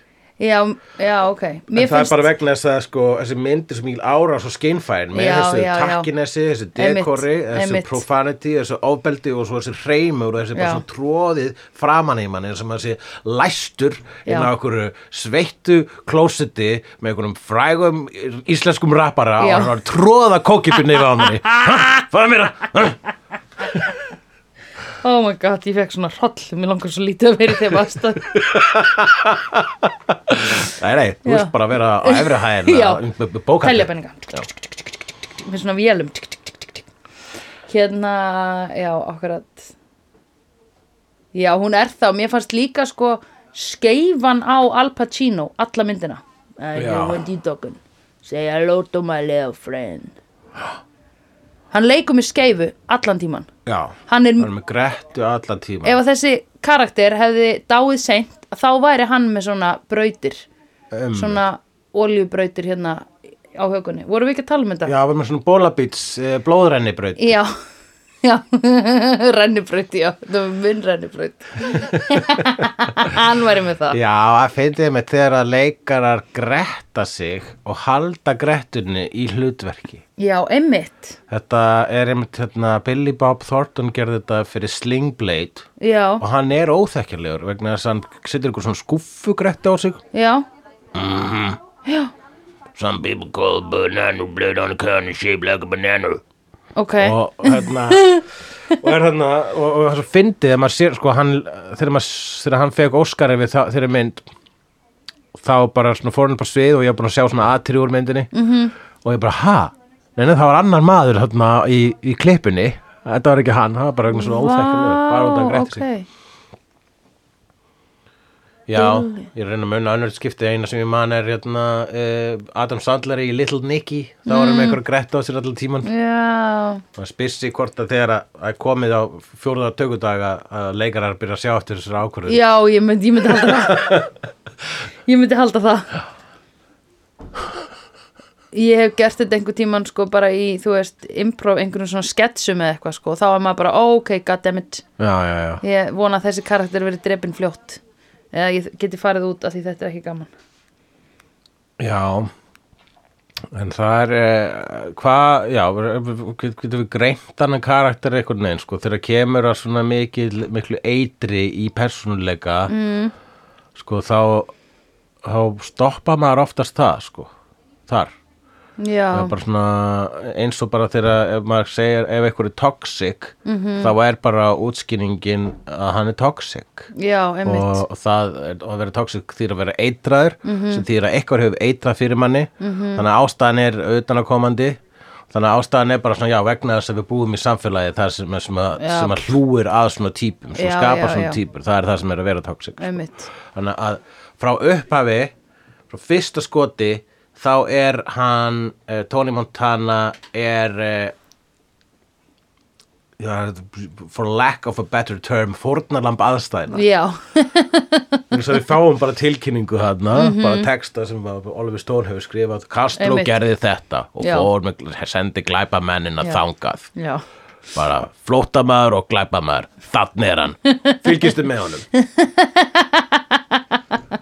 [SPEAKER 2] já, já, ok
[SPEAKER 1] en það er bara vegna þess að sko, þessi myndir sem ég árás og skeinfærin með
[SPEAKER 2] Já,
[SPEAKER 1] þessu
[SPEAKER 2] já, já.
[SPEAKER 1] takkinesi, þessu
[SPEAKER 2] Einmitt,
[SPEAKER 1] dekori, þessu
[SPEAKER 2] einmitt.
[SPEAKER 1] profanity, þessu ofbeldi og svo þessi hreimur og þessi bara
[SPEAKER 2] Já.
[SPEAKER 1] svona tróðið framan í manni sem þessi læstur inn á
[SPEAKER 2] Já.
[SPEAKER 1] einhverju sveittu klósiti með einhverjum frægum íslenskum rappara
[SPEAKER 2] Já.
[SPEAKER 1] og hann var að tróða kókipinni yfir á manni. Ha, Fara mér að...
[SPEAKER 2] Oh my god, ég fekk svona hroll, mér langar svo lítið að vera í þeim aðstæð.
[SPEAKER 1] Nei, nei, þú
[SPEAKER 2] Já.
[SPEAKER 1] veist bara að vera á efri
[SPEAKER 2] Já.
[SPEAKER 1] hæðina,
[SPEAKER 2] Telja
[SPEAKER 1] bókalli.
[SPEAKER 2] peninga. Með svona vélum. Tík, tík, tík, tík, tík. Hérna, já, akkurat. Já, hún er þá, mér fannst líka sko skeifan á Al Pacino, alla myndina. I
[SPEAKER 1] Já.
[SPEAKER 2] know what you're talking. Say hello to my little friend. Hann leikur með skeifu allan tíman.
[SPEAKER 1] Já,
[SPEAKER 2] Hann er
[SPEAKER 1] hann er með grettu allan tíma.
[SPEAKER 2] ef að þessi karakter hefði dáið seint þá væri hann með svona brautir svona oljubrautir hérna á högunni vorum við ekki að tala um þetta?
[SPEAKER 1] Já, við með svona bólabíts, eh, blóðrennibraut.
[SPEAKER 2] já, já. rennibraut, já, það var minn rennibraut hann væri með það
[SPEAKER 1] Já, að fyndið með þegar að leikarar gretta sig og halda grettunni í hlutverki.
[SPEAKER 2] já, einmitt,
[SPEAKER 1] Þetta er einmitt hérna, Billy Bob Thornton gerði þetta fyrir Sling Blade
[SPEAKER 2] já,
[SPEAKER 1] og hann er óþekkjarlegur vegna þess að hann setur einhver svona skúffu gretta á sig.
[SPEAKER 2] já
[SPEAKER 1] Some people call banana blade on a can and shape like a banana.
[SPEAKER 2] ok,
[SPEAKER 1] og hérna og er hérna og, og það er svo fyndið þegar maður sér sko hann þegar, maður, þegar hann fekk Óskari við það, þeirri mynd þá bara svona fór hann upp á svið og ég var búin að sjá svona aðtri úr myndinni
[SPEAKER 2] Mhm.
[SPEAKER 1] -hmm. og ég bara ha neina það var annar maður hérna í, í klippinni þetta var ekki hann, það var bara einhvern svona óþekkilega bara út að
[SPEAKER 2] Vá,
[SPEAKER 1] greita
[SPEAKER 2] ok
[SPEAKER 1] sig Já, ég er að reyna að munna annar skiptið eina sem ég man er hérna, uh, Adam Sandler í Little Nicky þá
[SPEAKER 2] Mm.
[SPEAKER 1] var hann með eitthvað gretta á sér allan tíman
[SPEAKER 2] já,
[SPEAKER 1] Það spyrsi hvort að þegar að að komið á fjóruða tökudaga að leikarar byrja að sjá eftir þessari ákvörðu.
[SPEAKER 2] já, ég myndi, ég myndi halda það ég myndi halda það ég hef gert þetta einhver tíman sko bara í, þú veist, improv einhverjum svona sketsum eða eitthvað sko þá er maður bara, "Ó, ok, goddammit
[SPEAKER 1] Já, já, já.
[SPEAKER 2] ég vona að þessi karakter verið drepin fljótt eða ég geti farið út af því þetta er ekki gaman
[SPEAKER 1] Já, en það er, eh, hvað, já, get- getum við greint annan karakter einhvern veginn, sko, þegar kemur að svona mikil, miklu eitri í persónuleika, mm. sko, þá, þá stoppa maður oftast það, sko, þar. það
[SPEAKER 2] já,
[SPEAKER 1] er bara svona eins og bara þegar ef maður segir ef einhver er toxic
[SPEAKER 2] Mhm.
[SPEAKER 1] þá er bara útskýringin að hann er toxic
[SPEAKER 2] já, einmitt Mhm.
[SPEAKER 1] og það er- og að vera toxic þýr að vera eitraður sem þýr að eitthvað hefur eitrað fyrir manni þannig að ástæðan er utanakomandi þannig að ástæðan er bara svona já vegna þess að við búum í samfélagi þar sem, að- sem, að,
[SPEAKER 2] Já.
[SPEAKER 1] sem að hlúir að svona típum sem
[SPEAKER 2] Já,
[SPEAKER 1] skapar
[SPEAKER 2] já,
[SPEAKER 1] svona
[SPEAKER 2] já.
[SPEAKER 1] típur það er það sem er að vera toxic
[SPEAKER 2] einmitt,
[SPEAKER 1] þannig að frá upphafi frá fyrsta skoti þá er eh, hann, uh, Tony Montana er uh, já, for lack of a better term fórnarlamb aðstæðina
[SPEAKER 2] Já, Mm-hmm.
[SPEAKER 1] þess að við fáum bara tilkynningu þarna, bara texta sem að Oliver Stone hefur skrifað Castro
[SPEAKER 2] Einmitt.
[SPEAKER 1] gerði þetta og
[SPEAKER 2] Já.
[SPEAKER 1] fór með, sendi glæpamennina
[SPEAKER 2] Já.
[SPEAKER 1] þangað
[SPEAKER 2] já.
[SPEAKER 1] bara flóttamaður og glæpamaður þannig er hann, fylgistu með honum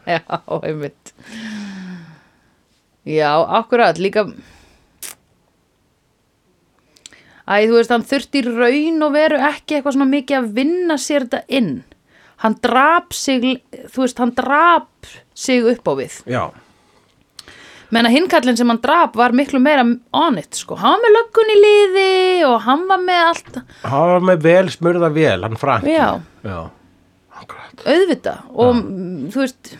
[SPEAKER 2] Já, einmitt Já, akkurat, líka Æ, þú veist, hann þurfti í raun og veru ekki eitthvað svona mikið að vinna sér þetta inn Hann drap sig, þú veist, hann drap sig upp á við
[SPEAKER 1] já,
[SPEAKER 2] Menna hinkallin sem hann drap var miklu meira on it, sko Hann var með löggun í liði og hann var með allt
[SPEAKER 1] hann var með vel smurða vel, hann Frank
[SPEAKER 2] Já.
[SPEAKER 1] já. Akkurat.
[SPEAKER 2] auðvita og mm, þú veist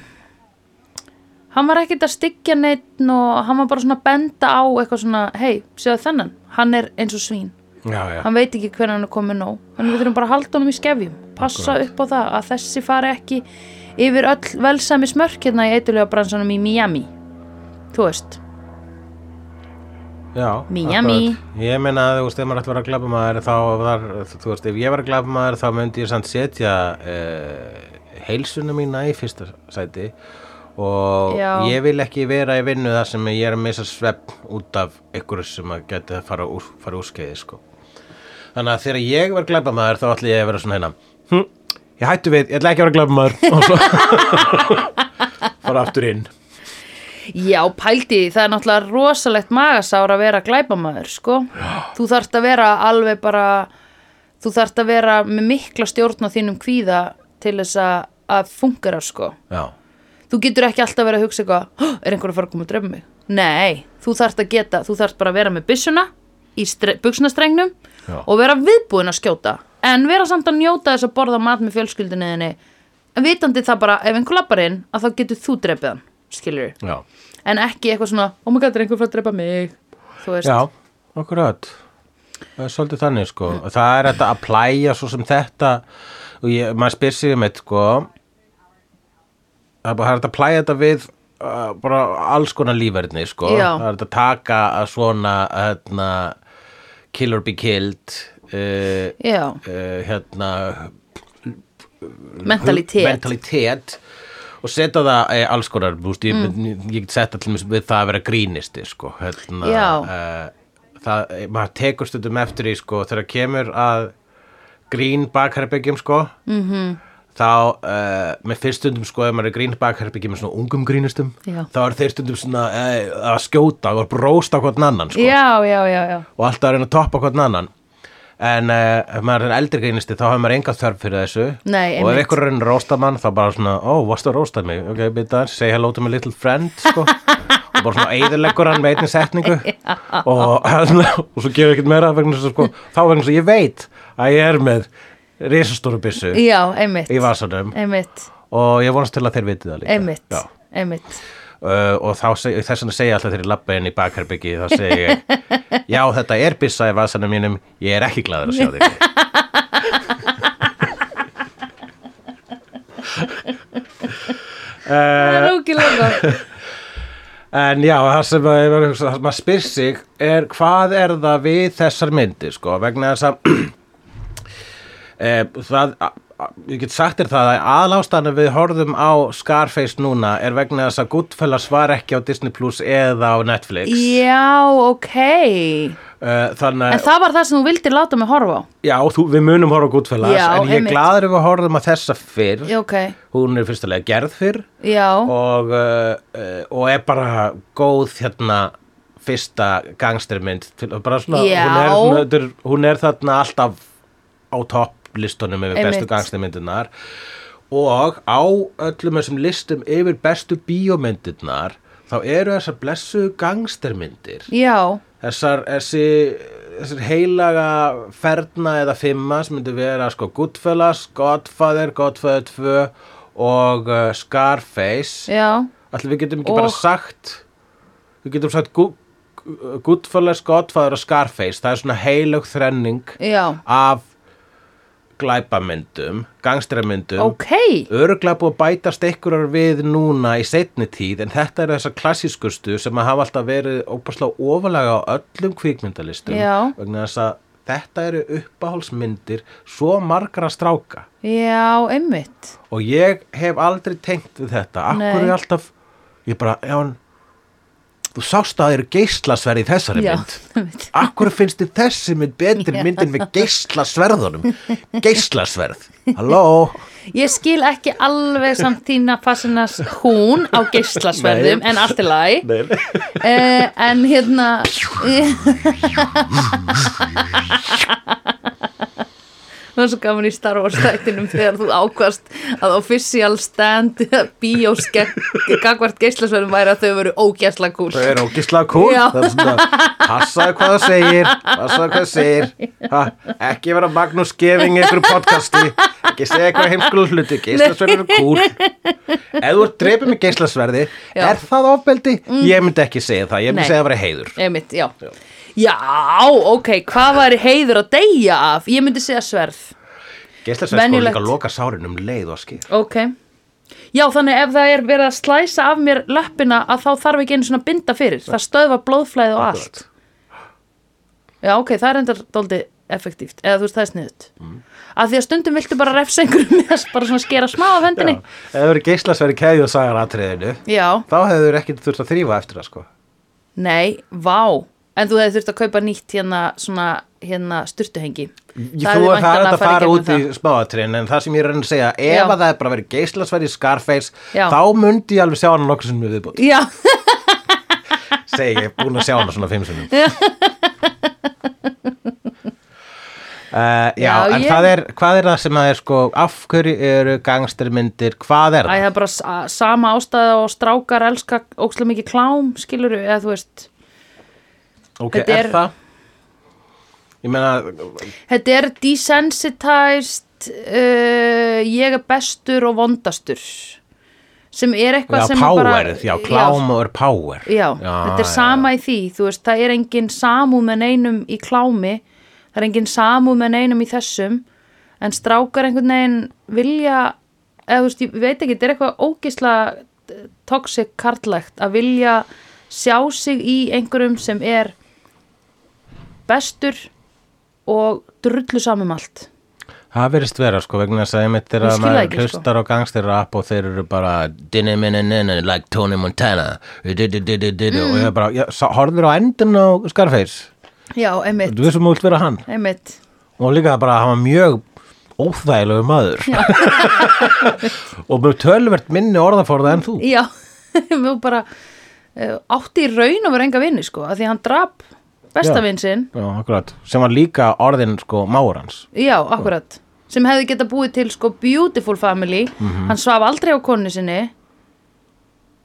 [SPEAKER 2] hann var ekkert að styggja neitt og hann var bara svona að benda á eitthvað svona, hei, séu þennan hann er eins og svín,
[SPEAKER 1] já, já,
[SPEAKER 2] hann veit ekki hvernig hann er komið nóg þannig við þurfum bara að halda honum í skefjum passa upp á það að þessi fari ekki yfir öll velsami smörk hérna í eitulega bransanum í Miami þú veist,
[SPEAKER 1] já
[SPEAKER 2] Miami.
[SPEAKER 1] akkurat. ég meina að þú veist, ef maður ætti að vera glæpamaður þá var, þú veist, ef ég var glæpamaður þá myndi ég samt setja uh, heilsuna mína í fyrsta sæti og
[SPEAKER 2] Já.
[SPEAKER 1] ég vil ekki vera í vinnu þar sem ég er að missa svepp út af ykkur sem að geti að fara úr, fara úr skeiði sko. þannig að þegar ég var glæpamaður þá ætli ég að vera svona hérna hm, ég hættu við, ég ætla ekki að vera glæpamaður og svo fara aftur inn
[SPEAKER 2] já, pældi því það er náttúrulega rosalegt magasára að vera glæpamaður, sko þú þarft að vera alveg bara þú þarft að vera með mikla stjórn á þínum kvíða til þess að, að fungera sko.
[SPEAKER 1] já,
[SPEAKER 2] Þú getur ekki alltaf verið að hugsa eitthvað, "Hó, er einhver að fara að koma að drefa mig? Nei, þú þarft að geta, þú þarft bara að vera með byssuna í buksnastrengnum
[SPEAKER 1] Já.
[SPEAKER 2] og vera viðbúin að skjóta en vera samt að njóta þess að borða mat með fjölskyldinni þinni en vitandi það bara, ef einhver lappar inn að þá getur þú drefið hann, skilur
[SPEAKER 1] já,
[SPEAKER 2] en ekki eitthvað svona, oh my god, er einhver að fara að drefa mig þú veist,
[SPEAKER 1] Já, akkurat Það er svolítið þannig sko Það er þetta að plæja svo sem þetta og ég, maður spyr sig um eitt sko Það er bara það er þetta að plæja þetta við uh, bara alls konar lífverðni sko
[SPEAKER 2] Já.
[SPEAKER 1] Það er þetta að taka að svona hérna, kill or be killed uh,
[SPEAKER 2] já,
[SPEAKER 1] uh, hérna
[SPEAKER 2] mentalitet
[SPEAKER 1] mentalitet og setja það e, alls konar búst, ég, mm. ég get setta til mér við það að vera grínisti sko, hérna,
[SPEAKER 2] Já.
[SPEAKER 1] e, það, e, maður tekur stundum eftir í sko, þegar kemur að grín bakherbyggjum sko, mm
[SPEAKER 2] Mhm.
[SPEAKER 1] -hmm. þá e, með fyrst stundum sko, ef maður er grín bakherbyggjum með svona ungum grínistum
[SPEAKER 2] Já.
[SPEAKER 1] þá er þeir stundum svona e, að skjóta og brósta hvort annan sko
[SPEAKER 2] já, já, já, já
[SPEAKER 1] og alltaf að reyna að toppa hvern annan en uh, ef maður er eldri greinisti þá hefur maður enga þörf fyrir þessu
[SPEAKER 2] Nei,
[SPEAKER 1] og ef
[SPEAKER 2] einmitt.
[SPEAKER 1] ykkur er að rósta mann þá bara svona, ó, oh, varstu að rósta mig ok, bita, say hello to my little friend sko. og bara svona eigðilegur hann með einni setningu og, og svo gefur ekkert meira vegna þess að sko, þá vegna þess að ég veit að ég er með risastóru byssu
[SPEAKER 2] já, einmitt
[SPEAKER 1] í vasanum
[SPEAKER 2] einmitt,
[SPEAKER 1] og ég vonast til að þeir vitið það líka
[SPEAKER 2] einmitt,
[SPEAKER 1] Já.
[SPEAKER 2] einmitt
[SPEAKER 1] Uh, og þá seg, þess vegna segja ég alltaf þegar ég labba inn í bakherbyggi þá segja ég já þetta er byssa í vasanum mínum ég er ekki gladur að sjá þig
[SPEAKER 2] það
[SPEAKER 1] Eh,
[SPEAKER 2] er ógilega gott.
[SPEAKER 1] en já það sem að- það sem maður spyr sig er hvað er það við þessar myndir sko vegna þess að e, það a- a- ég get sagt þér það að aðlástana við horfum á Scarface núna er vegna þess að Goodfellas var ekki á Disney Plus eða á Netflix
[SPEAKER 2] já, ok
[SPEAKER 1] uh, þannig
[SPEAKER 2] en það var það sem þú vildir láta mig horfa á
[SPEAKER 1] Já, þú, við munum horfa á Goodfellas
[SPEAKER 2] Já,
[SPEAKER 1] en ég er
[SPEAKER 2] einmitt.
[SPEAKER 1] gladur ef að horfum að þessa fyrr
[SPEAKER 2] já, ok,
[SPEAKER 1] hún er fyrstulega gerð fyrr
[SPEAKER 2] já,
[SPEAKER 1] og, uh, uh, og er bara góð hérna fyrsta gangstermynd til, bara svona,
[SPEAKER 2] Já.
[SPEAKER 1] hún, er, svona, þetta er, hún er þarna alltaf á topp listunum yfir
[SPEAKER 2] Einmitt.
[SPEAKER 1] bestu gangstermyndirnar og á öllum þessum listum yfir bestu bíómyndirnar þá eru þessar blessu gangstermyndir
[SPEAKER 2] já
[SPEAKER 1] þessar, þessi, þessir heilaga ferna eða fimma sem myndi vera sko Goodfellas, Godfather, Godfather 2 og uh, Scarface
[SPEAKER 2] já,
[SPEAKER 1] Ætli við getum ekki
[SPEAKER 2] Og-
[SPEAKER 1] bara sagt við getum sagt Gu- Gu- Goodfellas, Godfather og Scarface það er svona heilög þrenning
[SPEAKER 2] já
[SPEAKER 1] af glæpamyndum, gangstramyndum
[SPEAKER 2] ok,
[SPEAKER 1] öruglega búið að bætast einhverjar við núna í setni tíð en þetta eru þessar klassískustu sem að hafa alltaf verið óbáslega ofalega á öllum kvikmyndalistum
[SPEAKER 2] Já.
[SPEAKER 1] vegna þess að þetta eru uppáhalsmyndir svo margra stráka
[SPEAKER 2] Já, einmitt.
[SPEAKER 1] og ég hef aldrei tengt við þetta akkur
[SPEAKER 2] Nei.
[SPEAKER 1] er alltaf ég bara, já en þú sást að það eru geislasverð í þessari
[SPEAKER 2] Já,
[SPEAKER 1] mynd akkur finnst þið þessi mynd betri myndin með geislasverðunum geislasverð, halló
[SPEAKER 2] Ég skil ekki alveg samt þína fassinas hún á geislasverðum
[SPEAKER 1] Nei.
[SPEAKER 2] en allt er læg.
[SPEAKER 1] Nei, nei.
[SPEAKER 2] Uh, en hérna, það var svo gaman í Star Wars þættinum þegar þú ákvast að official stand bíós gegn- gagvart geislasverðum væri að þau veru ógæsla kúl.
[SPEAKER 1] þau eru ógislega cool
[SPEAKER 2] Já.
[SPEAKER 1] það er svona, passaðu hvað það segir passaðu hvað það segir ha, ekki vera Magnús Geving í einhverju podcasti ekki segja eitthvað heimskulu hluti geislasverði eru cool ef þú ert dreipið með geislasverði
[SPEAKER 2] Já. Mm.
[SPEAKER 1] er það ofbeldi? ég myndi ekki segja það, ég myndi
[SPEAKER 2] Nei.
[SPEAKER 1] segja það vera heiður
[SPEAKER 2] Einmitt, já. já. ok, hvað var heiður að deyja af? Ég myndi segja sverð.
[SPEAKER 1] geislasverði sko
[SPEAKER 2] Venjulegt.
[SPEAKER 1] líka loka sárinum leið og skýr
[SPEAKER 2] Ok. Já, þannig ef það er verið að slæsa af mér löppina að þá þarf ekki einu svona binda fyrir. Það stöðvar blóðflæði og allt. Já, ok, það er enda dóldi effektíft. Eða þú veist, það er sniðut. Mm. Að því að stundum viltu bara refsa einhverjum með að bara svona skera smá af
[SPEAKER 1] Já,
[SPEAKER 2] hendinni.
[SPEAKER 1] ef það eru geislasverði keðju og sagar atriðinu
[SPEAKER 2] Já.
[SPEAKER 1] þá hefur ekki þurft að þrýfa eftir það sko
[SPEAKER 2] Nei, vá. En þú hefði þurft að kaupa nýtt hérna svona hérna sturtuhengi.
[SPEAKER 1] Ég trúi að það er hægt að fara út í smáatriðin en það sem ég er að reyna að segja, ef
[SPEAKER 2] Já.
[SPEAKER 1] að það er bara verið geislasverð í Scarface,
[SPEAKER 2] Já.
[SPEAKER 1] þá myndi ég alveg sjá hana nokkur sinnum viðbútt.
[SPEAKER 2] Já,
[SPEAKER 1] Segi, ég er búin að sjá hana svona fimm sinnum. Uh, já,
[SPEAKER 2] Já,
[SPEAKER 1] en
[SPEAKER 2] ég-
[SPEAKER 1] það er, hvað er það sem að er sko, af hverju eru gangstermyndir, hvað er
[SPEAKER 2] Æ,
[SPEAKER 1] það?
[SPEAKER 2] það er bara sa- sama ástæða og strákar elska ókslega mikið klám, skiluru, eða þú veist,
[SPEAKER 1] ok,
[SPEAKER 2] þetta
[SPEAKER 1] er
[SPEAKER 2] er-
[SPEAKER 1] það? Ég meina,
[SPEAKER 2] þetta er desensitized, uh, ég er bestur og vondastur, sem er eitthvað
[SPEAKER 1] já,
[SPEAKER 2] sem er bara...
[SPEAKER 1] powerið, já, klám og er power.
[SPEAKER 2] Já, þetta er sama í því, þú veist, það er engin samúð með neinum í klámi, það er engin samúð með neinum í þessum, en strákar einhvern veginn vilja, eða þú veist, ég veit ekki, þetta er eitthvað ógisla toxic karlægt að vilja sjá sig í einhverjum sem er bestur og drullu samum allt.
[SPEAKER 1] Það verðist vera sko vegna þess að einmitt
[SPEAKER 2] Ég
[SPEAKER 1] þegar
[SPEAKER 2] skil það
[SPEAKER 1] maður
[SPEAKER 2] ekki, sko.
[SPEAKER 1] hlustar á gangstir rap og þeir eru bara dinni-minni-ninni like Tony Montana Du-du-du-du-du-du. og ég er bara, já, sá- horfðir á endin á Scarface,
[SPEAKER 2] Já, einmitt,
[SPEAKER 1] þú veist sem þú vilt vera hann
[SPEAKER 2] einmitt.
[SPEAKER 1] og líka bara að hafa mjög óþægilegu maður og með tölvert minni orðaforða en þú
[SPEAKER 2] Já, mjög bara uh, átti í raun og verið enga vinni sko, að því að hann drap
[SPEAKER 1] Já.
[SPEAKER 2] besta vinn sinn,
[SPEAKER 1] Já, akkurat, sem var líka orðin sko máur hans
[SPEAKER 2] já, akkurat sem hefði geta búið til sko beautiful family
[SPEAKER 1] Mhm.
[SPEAKER 2] hann svaf aldrei á konu sinni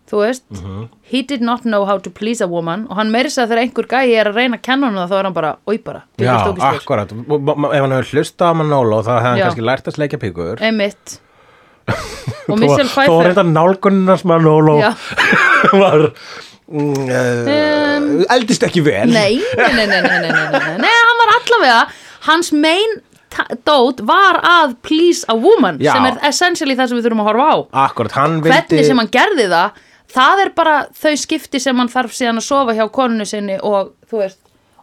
[SPEAKER 2] þú veist
[SPEAKER 1] Mhm.
[SPEAKER 2] he did not know how to please a woman og hann meiri sig að þegar einhver gæi er að reyna að kenna hann það þá er hann bara, oi bara, þú
[SPEAKER 1] Já,
[SPEAKER 2] ert ógeðslegur."
[SPEAKER 1] akkurat, Og ma- ma- ef hann hefur hlustað á Manolo þá hefði hann
[SPEAKER 2] Já.
[SPEAKER 1] kannski lært að sleikja píkur
[SPEAKER 2] einmitt og Michelle
[SPEAKER 1] Þó
[SPEAKER 2] Pfeiffer
[SPEAKER 1] reynda nálgunnars Manolo
[SPEAKER 2] Já.
[SPEAKER 1] var mm, uh, eldist ekki vel
[SPEAKER 2] Nei, nei, nei, nei, nei, nei, nei, nei, nei, nei, hann var allavega, hans main ta- dót var að please a woman,
[SPEAKER 1] Já.
[SPEAKER 2] sem er essentially það sem við þurfum að horfa á.
[SPEAKER 1] Akkurat, hann vildi
[SPEAKER 2] Hvernig sem hann gerði það, það er bara þau skipti sem hann þarf síðan að sofa hjá konunni sinni og þú veist,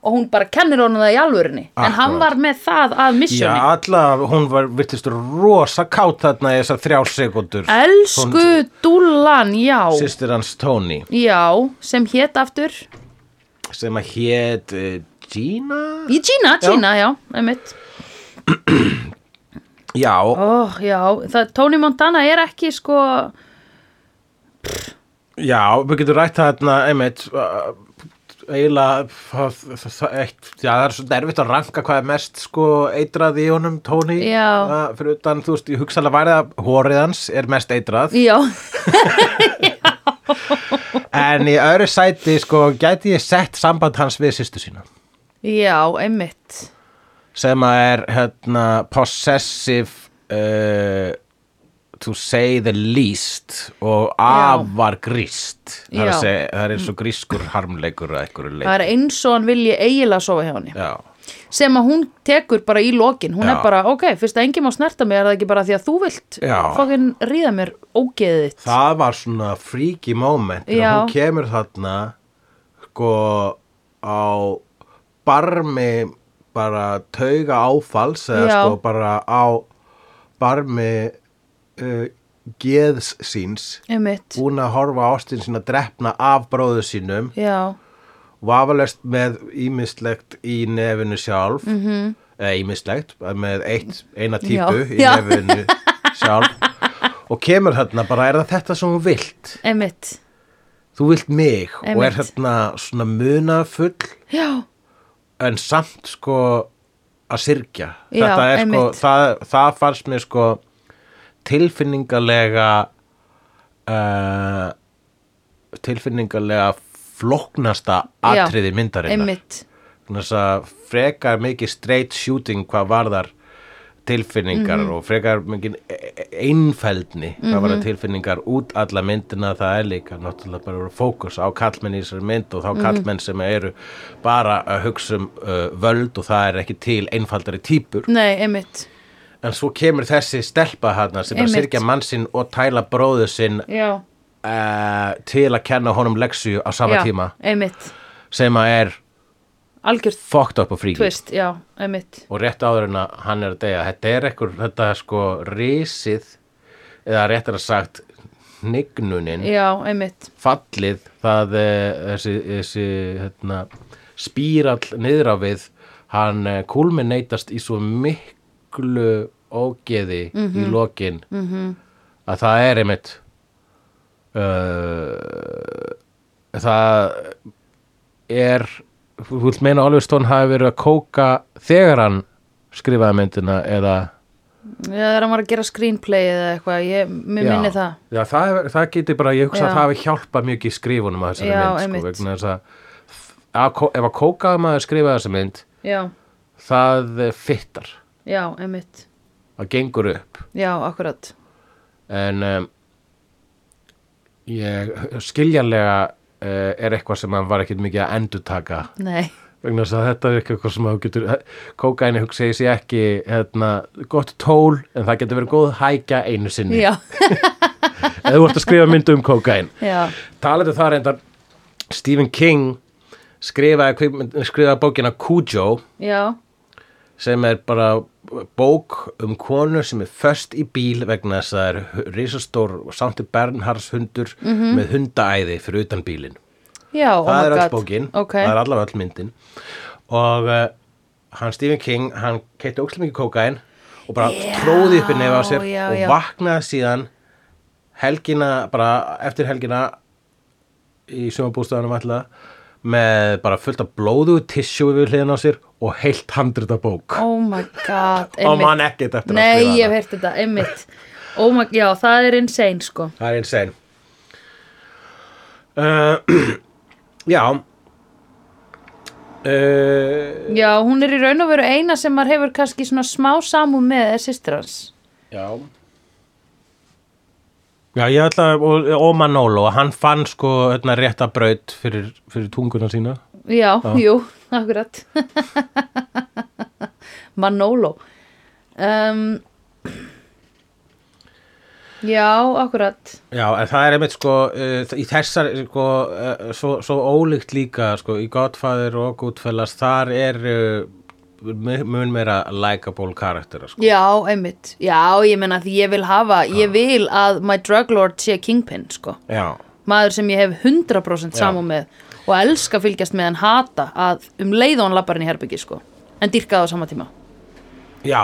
[SPEAKER 2] og hún bara kennir honum það í alvörinni. En hann
[SPEAKER 1] Akkúrat.
[SPEAKER 2] var með það að
[SPEAKER 1] Já,
[SPEAKER 2] missjóni.
[SPEAKER 1] alla, hún var virtist rosa kátt þarna í þessar þrjár sekundur
[SPEAKER 2] Elsku dúllan, já,
[SPEAKER 1] Sýstir hans Tony
[SPEAKER 2] já, sem hét aftur,
[SPEAKER 1] sem að hét uh, Gina
[SPEAKER 2] í Gina, Gina, já, einmitt.
[SPEAKER 1] Já,
[SPEAKER 2] Ó, já, það, Tony Montana er ekki sko,
[SPEAKER 1] já, við getum rætt þarna einmitt uh, eiginlega það, það, það, eitt, já, það er svo nervitt að ranka hvað er mest sko eitrað í honum Tony
[SPEAKER 2] Já.
[SPEAKER 1] uh, fyrir utan, þú veist, ég hugsa alveg að væri það hórið hans er mest eitrað
[SPEAKER 2] já.
[SPEAKER 1] En í öðru sæti, sko, gæti ég sett samband hans við sýstu sína
[SPEAKER 2] Já, einmitt.
[SPEAKER 1] sem að er, hérna, possessive uh, to say the least og
[SPEAKER 2] Já.
[SPEAKER 1] afar gríst það er,
[SPEAKER 2] Já.
[SPEAKER 1] að segja, það er eins og grískur harmleikur að einhverju
[SPEAKER 2] Það
[SPEAKER 1] leik
[SPEAKER 2] er eins og hann vilji eiginlega sofa hjá henni.
[SPEAKER 1] Já,
[SPEAKER 2] Sem að hún tekur bara í lokin. Hún
[SPEAKER 1] Já.
[SPEAKER 2] er bara, ok, fyrst að enginn má snerta mig er það ekki bara því að þú vilt
[SPEAKER 1] Já.
[SPEAKER 2] fokkin ríða mér ógeðið þitt.
[SPEAKER 1] það var svona freaky moment þegar
[SPEAKER 2] Já.
[SPEAKER 1] hún kemur þarna sko á barmi bara tauga áfalls eða
[SPEAKER 2] Já.
[SPEAKER 1] sko bara á barmi uh, geðs síns
[SPEAKER 2] einmitt,
[SPEAKER 1] búin að horfa á ástin sína drefna af bróðu sínum
[SPEAKER 2] já,
[SPEAKER 1] vafalest með ímislegt í nefinu sjálf mm -hmm. eða ímislegt með eitt, eina típu
[SPEAKER 2] Mhm. Já.
[SPEAKER 1] í
[SPEAKER 2] Já.
[SPEAKER 1] nefinu sjálf og kemur þarna bara er það þetta sem þú vilt
[SPEAKER 2] einmitt,
[SPEAKER 1] þú vilt mig og er
[SPEAKER 2] Einmitt.
[SPEAKER 1] þarna svona munafull
[SPEAKER 2] já,
[SPEAKER 1] en samt sko að syrgja
[SPEAKER 2] Já,
[SPEAKER 1] þetta er sko,
[SPEAKER 2] einmitt.
[SPEAKER 1] það, það fannst mér sko tilfinningalega uh, tilfinningalega flóknasta
[SPEAKER 2] Já,
[SPEAKER 1] atriði myndarinnar
[SPEAKER 2] einmitt,
[SPEAKER 1] þannig að frekar mikið straight shooting hvað varðar tilfinningar
[SPEAKER 2] Mhm.
[SPEAKER 1] og frekar mikið einfældni hvað mm varðar tilfinningar út alla myndina það er líka náttúrulega bara að vera fókus á kallmenn í þessari mynd og þá
[SPEAKER 2] Mhm.
[SPEAKER 1] kallmenn sem eru bara að hugsa um uh, völd og það er ekki til einfaldari típur
[SPEAKER 2] nei, einmitt,
[SPEAKER 1] en svo kemur þessi stelpa hana sem er að
[SPEAKER 2] Einmitt.
[SPEAKER 1] syrkja mann sinn og tæla bróðu sinn
[SPEAKER 2] já,
[SPEAKER 1] uh, til að kenna honum leksu á sama
[SPEAKER 2] já,
[SPEAKER 1] tíma
[SPEAKER 2] einmitt,
[SPEAKER 1] sem að er
[SPEAKER 2] algjör
[SPEAKER 1] fucked up og fríkið
[SPEAKER 2] twist, já, einmitt,
[SPEAKER 1] og rétt áður en að hann er að deyja þetta er ekkur, þetta er sko risið eða réttar að sagt hnignunin
[SPEAKER 2] já, einmitt,
[SPEAKER 1] fallið það eh, þessi, þessi hérna, spírall niður á við hann eh, kulminatast í svo miklu ógeði í lokin -hmm. að það er einmitt uh, það er þú vilt meina að Oliver Stone hafi verið að kóka þegar hann skrifaði myndina eða
[SPEAKER 2] já, það er að maður að gera screenplay eða eitthvað, ég, mér minni það,
[SPEAKER 1] Já, það, hefur- það getur bara, ég
[SPEAKER 2] Já.
[SPEAKER 1] hugsa að það hafi hjálpað mikið í skrifunum að þessari
[SPEAKER 2] Já,
[SPEAKER 1] mynd, sko,
[SPEAKER 2] einmitt.
[SPEAKER 1] vegna þess að, að kó- ef að kókaða maður skrifaði þessa mynd,
[SPEAKER 2] já,
[SPEAKER 1] það eh, fittar,
[SPEAKER 2] já, einmitt,
[SPEAKER 1] það gengur upp,
[SPEAKER 2] já, akkurat,
[SPEAKER 1] en um, ég skiljanlega uh, er eitthvað sem maður var ekkert mikið að endurtaka,
[SPEAKER 2] nei,
[SPEAKER 1] vegna þess að þetta er ekki eitthvað sem maður getur, kókaðinni hugsa ég sé ekki, hérna, gott tól, en það getur verið góð hækja einu sinni,
[SPEAKER 2] já,
[SPEAKER 1] ef þú ert að skrifa myndu um kókaðin.
[SPEAKER 2] já,
[SPEAKER 1] Talandi um það reyndar Stephen King skrifaði, kvikmynd- skrifaði bókina Cujo
[SPEAKER 2] já,
[SPEAKER 1] sem er bara bók um konu sem er föst í bíl vegna þess að það er risastór Santi Bernhards hundur með hundaæði fyrir utan bílinn.
[SPEAKER 2] já, oh my
[SPEAKER 1] það er
[SPEAKER 2] god,
[SPEAKER 1] öll bókin,
[SPEAKER 2] ok,
[SPEAKER 1] það er allavega öll myndin og uh, hann Stephen King, hann keitti ókslega mikið kókain og bara tróði upp í nefn á sér
[SPEAKER 2] já,
[SPEAKER 1] og
[SPEAKER 2] já.
[SPEAKER 1] vaknaði síðan helgina, bara eftir helgina í sumabústæðanum alltaf með bara fullt af blóðu tissjú við hliðin á sér og heilt handrita bók
[SPEAKER 2] oh my god,
[SPEAKER 1] og
[SPEAKER 2] einmitt,
[SPEAKER 1] mann ekkert eftir að
[SPEAKER 2] Nei, ég
[SPEAKER 1] skrifa
[SPEAKER 2] hef
[SPEAKER 1] hana.
[SPEAKER 2] heyrt þetta, einmitt oh my, Já, það er insane sko
[SPEAKER 1] það er insane uh, já uh,
[SPEAKER 2] Já, hún er í raun og veru eina sem maður hefur kannski svona smá samú með er systir hans
[SPEAKER 1] Já Já, ég ætla að, og, og Manolo, hann fann sko hérna, rétta braut fyrir, fyrir tunguna sína.
[SPEAKER 2] Já, jú, akkurat Manolo um, Já, akkurat
[SPEAKER 1] Já, en það er einmitt sko, uh, í þessar, sko, uh, svo, svo ólíkt líka, sko, í Godfather og Goodfellas, þar er uh, mun meira likeable karaktera, sko.
[SPEAKER 2] Já, einmitt Já, ég meina því ég vil hafa Ég vil að my drug lord sé kingpin sko
[SPEAKER 1] Já,
[SPEAKER 2] maður sem ég hef 100% samúð með og elska að fylgjast með hann hata að um leið og hann labbar hann í herbyggi sko en dýrka það á sama tíma
[SPEAKER 1] já,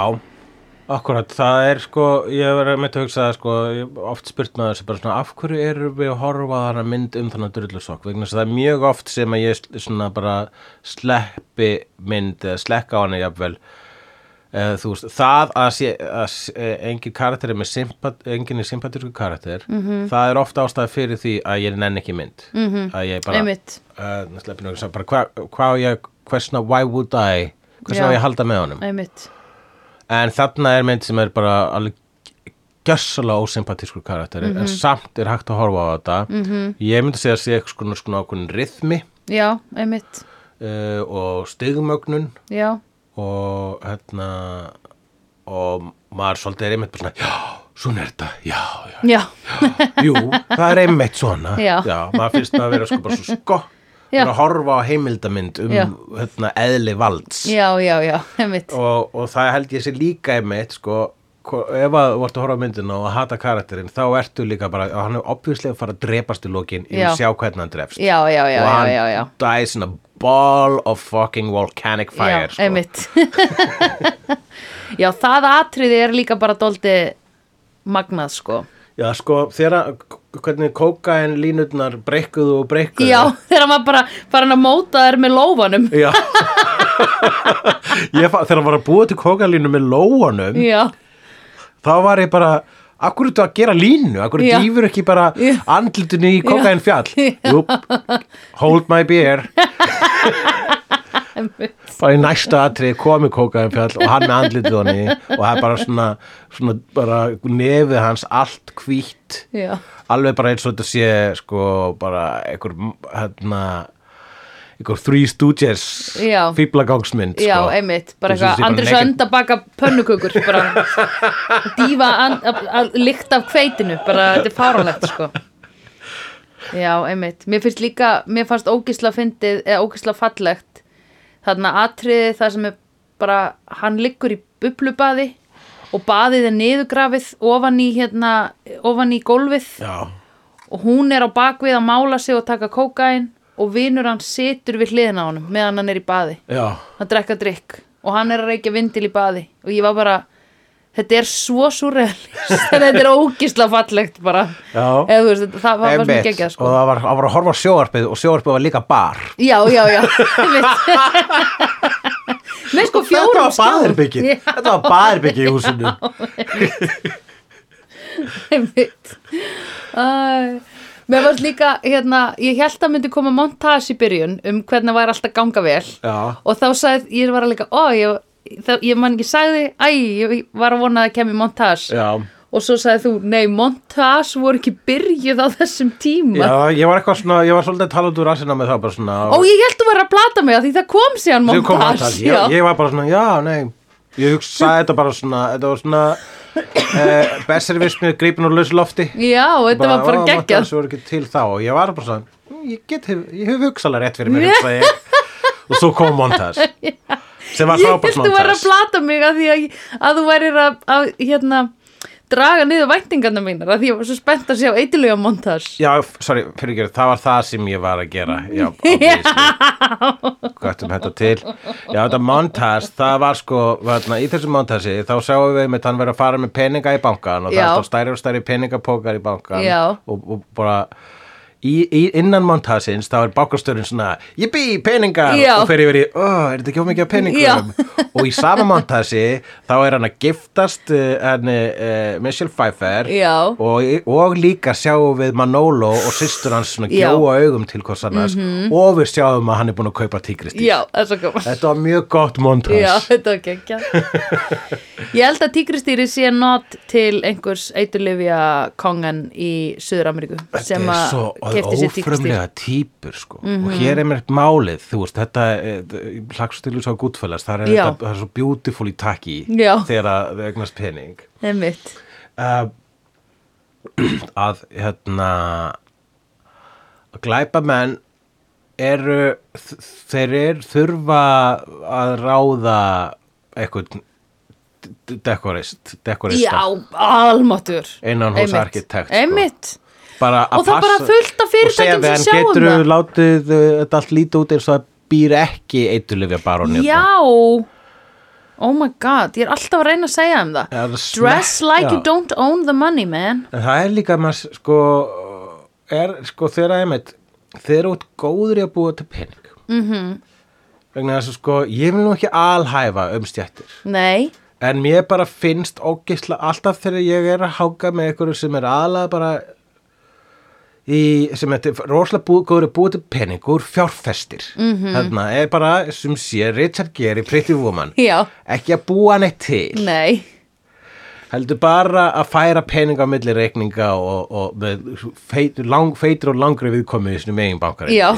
[SPEAKER 1] akkurat, það er sko, ég var einmitt að hugsa það, sko, ég hef oft spurt maður þessi bara svona, af hverju erum við að horfa á þarna mynd um þannig drullusokk, vegna þess að það er mjög oft sem að ég sl- svona bara sleppi mynd eða slekka á hana jafnvel, eða, þú veist, það að, sé, að s- eh, engin karakter er með sympat, engin er sympatísku karakter, -hmm. það er ofta ástæð fyrir því að ég nenn ekki mynd, -hmm. að ég bara,
[SPEAKER 2] einmitt,
[SPEAKER 1] uh, sleppi nú, bara, hvað hva á ég, hversna, why would I,
[SPEAKER 2] Já.
[SPEAKER 1] hversna á ég að halda með honum?
[SPEAKER 2] einmitt
[SPEAKER 1] En þarna er mynd sem er bara alveg gjössalega ósympatískur karakter
[SPEAKER 2] Mhm.
[SPEAKER 1] en samt er hægt að horfa á þetta -hmm. ég myndi segja að sé eitthvað svona, svona ákveðin rithmi
[SPEAKER 2] já, einmitt,
[SPEAKER 1] uh, og stigmögnun
[SPEAKER 2] já
[SPEAKER 1] og hérna og maður svolítið er einmitt bara svona já, svona er þetta, já, já,
[SPEAKER 2] já,
[SPEAKER 1] já jú, það er einmitt svona
[SPEAKER 2] Já.
[SPEAKER 1] maður finnst maður að vera sko bara svo sko Ég
[SPEAKER 2] Já.
[SPEAKER 1] er að horfa á heimildamynd um
[SPEAKER 2] Já.
[SPEAKER 1] hérna, eðli valds
[SPEAKER 2] já, já, já, einmitt
[SPEAKER 1] og, og það held ég sé líka einmitt sko, hvo- ef að þú vart að horfa á myndina og að hata karakterinn, þá ertu líka bara og hann er opjúslega að fara að drepast í lokin ég
[SPEAKER 2] Já.
[SPEAKER 1] vil sjá hvernig hann drefst
[SPEAKER 2] Já, já, já,
[SPEAKER 1] og
[SPEAKER 2] já,
[SPEAKER 1] hann
[SPEAKER 2] já, já
[SPEAKER 1] dies in a ball of fucking volcanic fire
[SPEAKER 2] já,
[SPEAKER 1] sko.
[SPEAKER 2] einmitt Já, það atriði er líka bara dóldi magnað, sko
[SPEAKER 1] Já, sko, þeirra, hvernig kókain línutnar breykkuðu og breykkuðu
[SPEAKER 2] Já, þegar maður bara farin að móta þær með lófanum
[SPEAKER 1] Já ég, fa- Þegar hann var að búa til kókalínu með lóanum
[SPEAKER 2] Já,
[SPEAKER 1] þá var ég bara Akkur ertu að gera línu? Akkur
[SPEAKER 2] Já.
[SPEAKER 1] dýfur ekki bara
[SPEAKER 2] Já.
[SPEAKER 1] andlutinu í kókain fjall? Jú, hold my beer
[SPEAKER 2] einmitt
[SPEAKER 1] bara í næsta atrið komi kókain fjall og hann með andlutið honni og það er bara svona, svona bara nefið hans allt hvítt
[SPEAKER 2] Já,
[SPEAKER 1] alveg bara eins og þetta sé sko bara einhver hérna einhver Three Stooges
[SPEAKER 2] Já.
[SPEAKER 1] fýblagangsmynd
[SPEAKER 2] já
[SPEAKER 1] sko.
[SPEAKER 2] einmitt Bara
[SPEAKER 1] Eins og
[SPEAKER 2] eitthvað,
[SPEAKER 1] sé
[SPEAKER 2] Andrés
[SPEAKER 1] naked-
[SPEAKER 2] önd að baka pönnukökur bara dýfa and, að, að lykt af hveitinu bara þetta er fáránlegt, sko Já, einmitt Mér finnst líka, mér fannst ógisla fyndið eða ógisla fallegt þarna atriði það sem er bara hann liggur í bublubaði og baðið er niðurgrafið ofan í hérna, ofan í gólfið
[SPEAKER 1] Já.
[SPEAKER 2] og hún er á bakvið að mála sig og taka kókain og vinur hann situr við hliðina á honum meðan hann er í baði
[SPEAKER 1] Já.
[SPEAKER 2] hann drekka drikk og hann er að reykja vindil í baði og ég var bara þetta er svo surrealist þetta er ógisla fallegt bara
[SPEAKER 1] Já.
[SPEAKER 2] eða þú veist, þetta- það var bara sem
[SPEAKER 1] Einmitt.
[SPEAKER 2] geggja
[SPEAKER 1] og
[SPEAKER 2] sko.
[SPEAKER 1] það var, það var að horfa á sjóarpið og sjóarpið var líka bar
[SPEAKER 2] já, já, já einmitt. með sko
[SPEAKER 1] þetta
[SPEAKER 2] fjórum
[SPEAKER 1] var baðherbyggið
[SPEAKER 2] Já.
[SPEAKER 1] þetta var baðherbyggið í húsinu
[SPEAKER 2] einmitt Æ. mér varst líka hérna, ég held að myndi koma montage í byrjun um hvernig væri alltaf ganga vel
[SPEAKER 1] Já.
[SPEAKER 2] og þá sagði, ég var líka ó, ég, það, ég man ekki sagði æ, ég var að vona að það kemur montage
[SPEAKER 1] Já.
[SPEAKER 2] og svo sagði þú, nei, montage voru ekki byrjuð á þessum
[SPEAKER 1] Já,
[SPEAKER 2] tíma
[SPEAKER 1] ég var eitthvað svona, ég var svolítið að tala út úr rassina með það bara svona
[SPEAKER 2] Ó, ég held þú verið að plata mig að því það kom síðan
[SPEAKER 1] Sem kom
[SPEAKER 2] montage.
[SPEAKER 1] montage, já, ég var bara svona, já, nei ég hugsaði þetta bara svona þetta var svona eh, besservismið grípin úr lausu lofti
[SPEAKER 2] já. þetta var bara
[SPEAKER 1] "Ó,
[SPEAKER 2] geggjað.
[SPEAKER 1] montage voru ekki til þá og ég var bara svona, "Mm, ég get hef, ég hef hugsaðlega rétt fyrir mér hugsaði ég og svo kom montage sem var
[SPEAKER 2] Ég held
[SPEAKER 1] frábært
[SPEAKER 2] þú verið að
[SPEAKER 1] montage
[SPEAKER 2] plata mig að því að, að þú værir að, að hérna, draga niður væntingarna mínar að því ég var svo spennt að sjá eitilega montage.
[SPEAKER 1] Já, f- sorry, fyrir ekki, það var það sem ég var að gera Já, obviously Gottum þetta til Já, þetta montage, það var sko vatna, í þessu montasi, þá sáum við með hann verið að fara með peninga í bankan og
[SPEAKER 2] Já.
[SPEAKER 1] það stóð stærri og stærri peningapókar í bankan
[SPEAKER 2] Já.
[SPEAKER 1] og, og bara Í, í, innan montasins þá er bankastörun svona ég bý peningar
[SPEAKER 2] Já.
[SPEAKER 1] og fer yfir í, oh, er þetta ekki of mikið af peningum og í sama montasi þá er hann að giftast uh, hann, uh, Michelle Pfeiffer
[SPEAKER 2] Já.
[SPEAKER 1] og, og líka sjáum við Manolo og systur hans svona
[SPEAKER 2] Já. Mhm.
[SPEAKER 1] gjóa augum til hvers annars og við sjáum að hann er búin að kaupa tígristýr
[SPEAKER 2] Já, það er svo gaman.
[SPEAKER 1] þetta var mjög gott montas
[SPEAKER 2] Já, þetta var geggjað. Ég held að tígristýri sé not til einhvers eiturlifja kongan í Suður-Ameríku sem
[SPEAKER 1] þetta er
[SPEAKER 2] að
[SPEAKER 1] svo
[SPEAKER 2] kefti sér Mhm. tígristýri.
[SPEAKER 1] ófrumlega típur sko. og hér er mér málið þú veist, þetta eh, hlagstilus á gúttfælas það er,
[SPEAKER 2] Já.
[SPEAKER 1] þetta, það er svo beautiful í takki
[SPEAKER 2] Já.
[SPEAKER 1] þegar að þau eignast pening
[SPEAKER 2] Einmitt.
[SPEAKER 1] uh, að hérna glæpa menn eru þ- þeir eru þurfa að ráða eitthvað dekorist, dekorista
[SPEAKER 2] Já, almatur.
[SPEAKER 1] Innan hús arkitekt, sko.
[SPEAKER 2] Einmitt.
[SPEAKER 1] bara að
[SPEAKER 2] Og það er bara
[SPEAKER 1] passa-
[SPEAKER 2] fullt af
[SPEAKER 1] og segja
[SPEAKER 2] fyrirtækjum sem
[SPEAKER 1] við hann,
[SPEAKER 2] sjá um
[SPEAKER 1] geturðu
[SPEAKER 2] það."
[SPEAKER 1] látið uh, þetta allt lítið út eins og það býr ekki eitulifja barónir
[SPEAKER 2] Já. Oh my god, ég er alltaf að reyna að segja um það.
[SPEAKER 1] Já, það smekk-
[SPEAKER 2] Dress like
[SPEAKER 1] já.
[SPEAKER 2] you don't own the money, man.
[SPEAKER 1] En það er líka maður sko, er, sko þeirra einmitt þeir eru út góður í að búa til pening mm -hmm. vegna þess að sko ég vil nú ekki alhæfa um stjættir
[SPEAKER 2] Nei,
[SPEAKER 1] en mér bara finnst ógisla alltaf þegar ég er að háka með einhverju sem er aðlega bara í, sem þetta er rosalega bú, góður að búa til pening úr fjárfestir mm -hmm. þarna er bara sem sé Richard Gere í Pretty Woman
[SPEAKER 2] Já.
[SPEAKER 1] ekki að búa neitt til
[SPEAKER 2] nei.
[SPEAKER 1] heldur bara að færa peninga á milli reikninga og, og með feit, lang, feitur og langri viðkomið í sinni megin bankari
[SPEAKER 2] Já,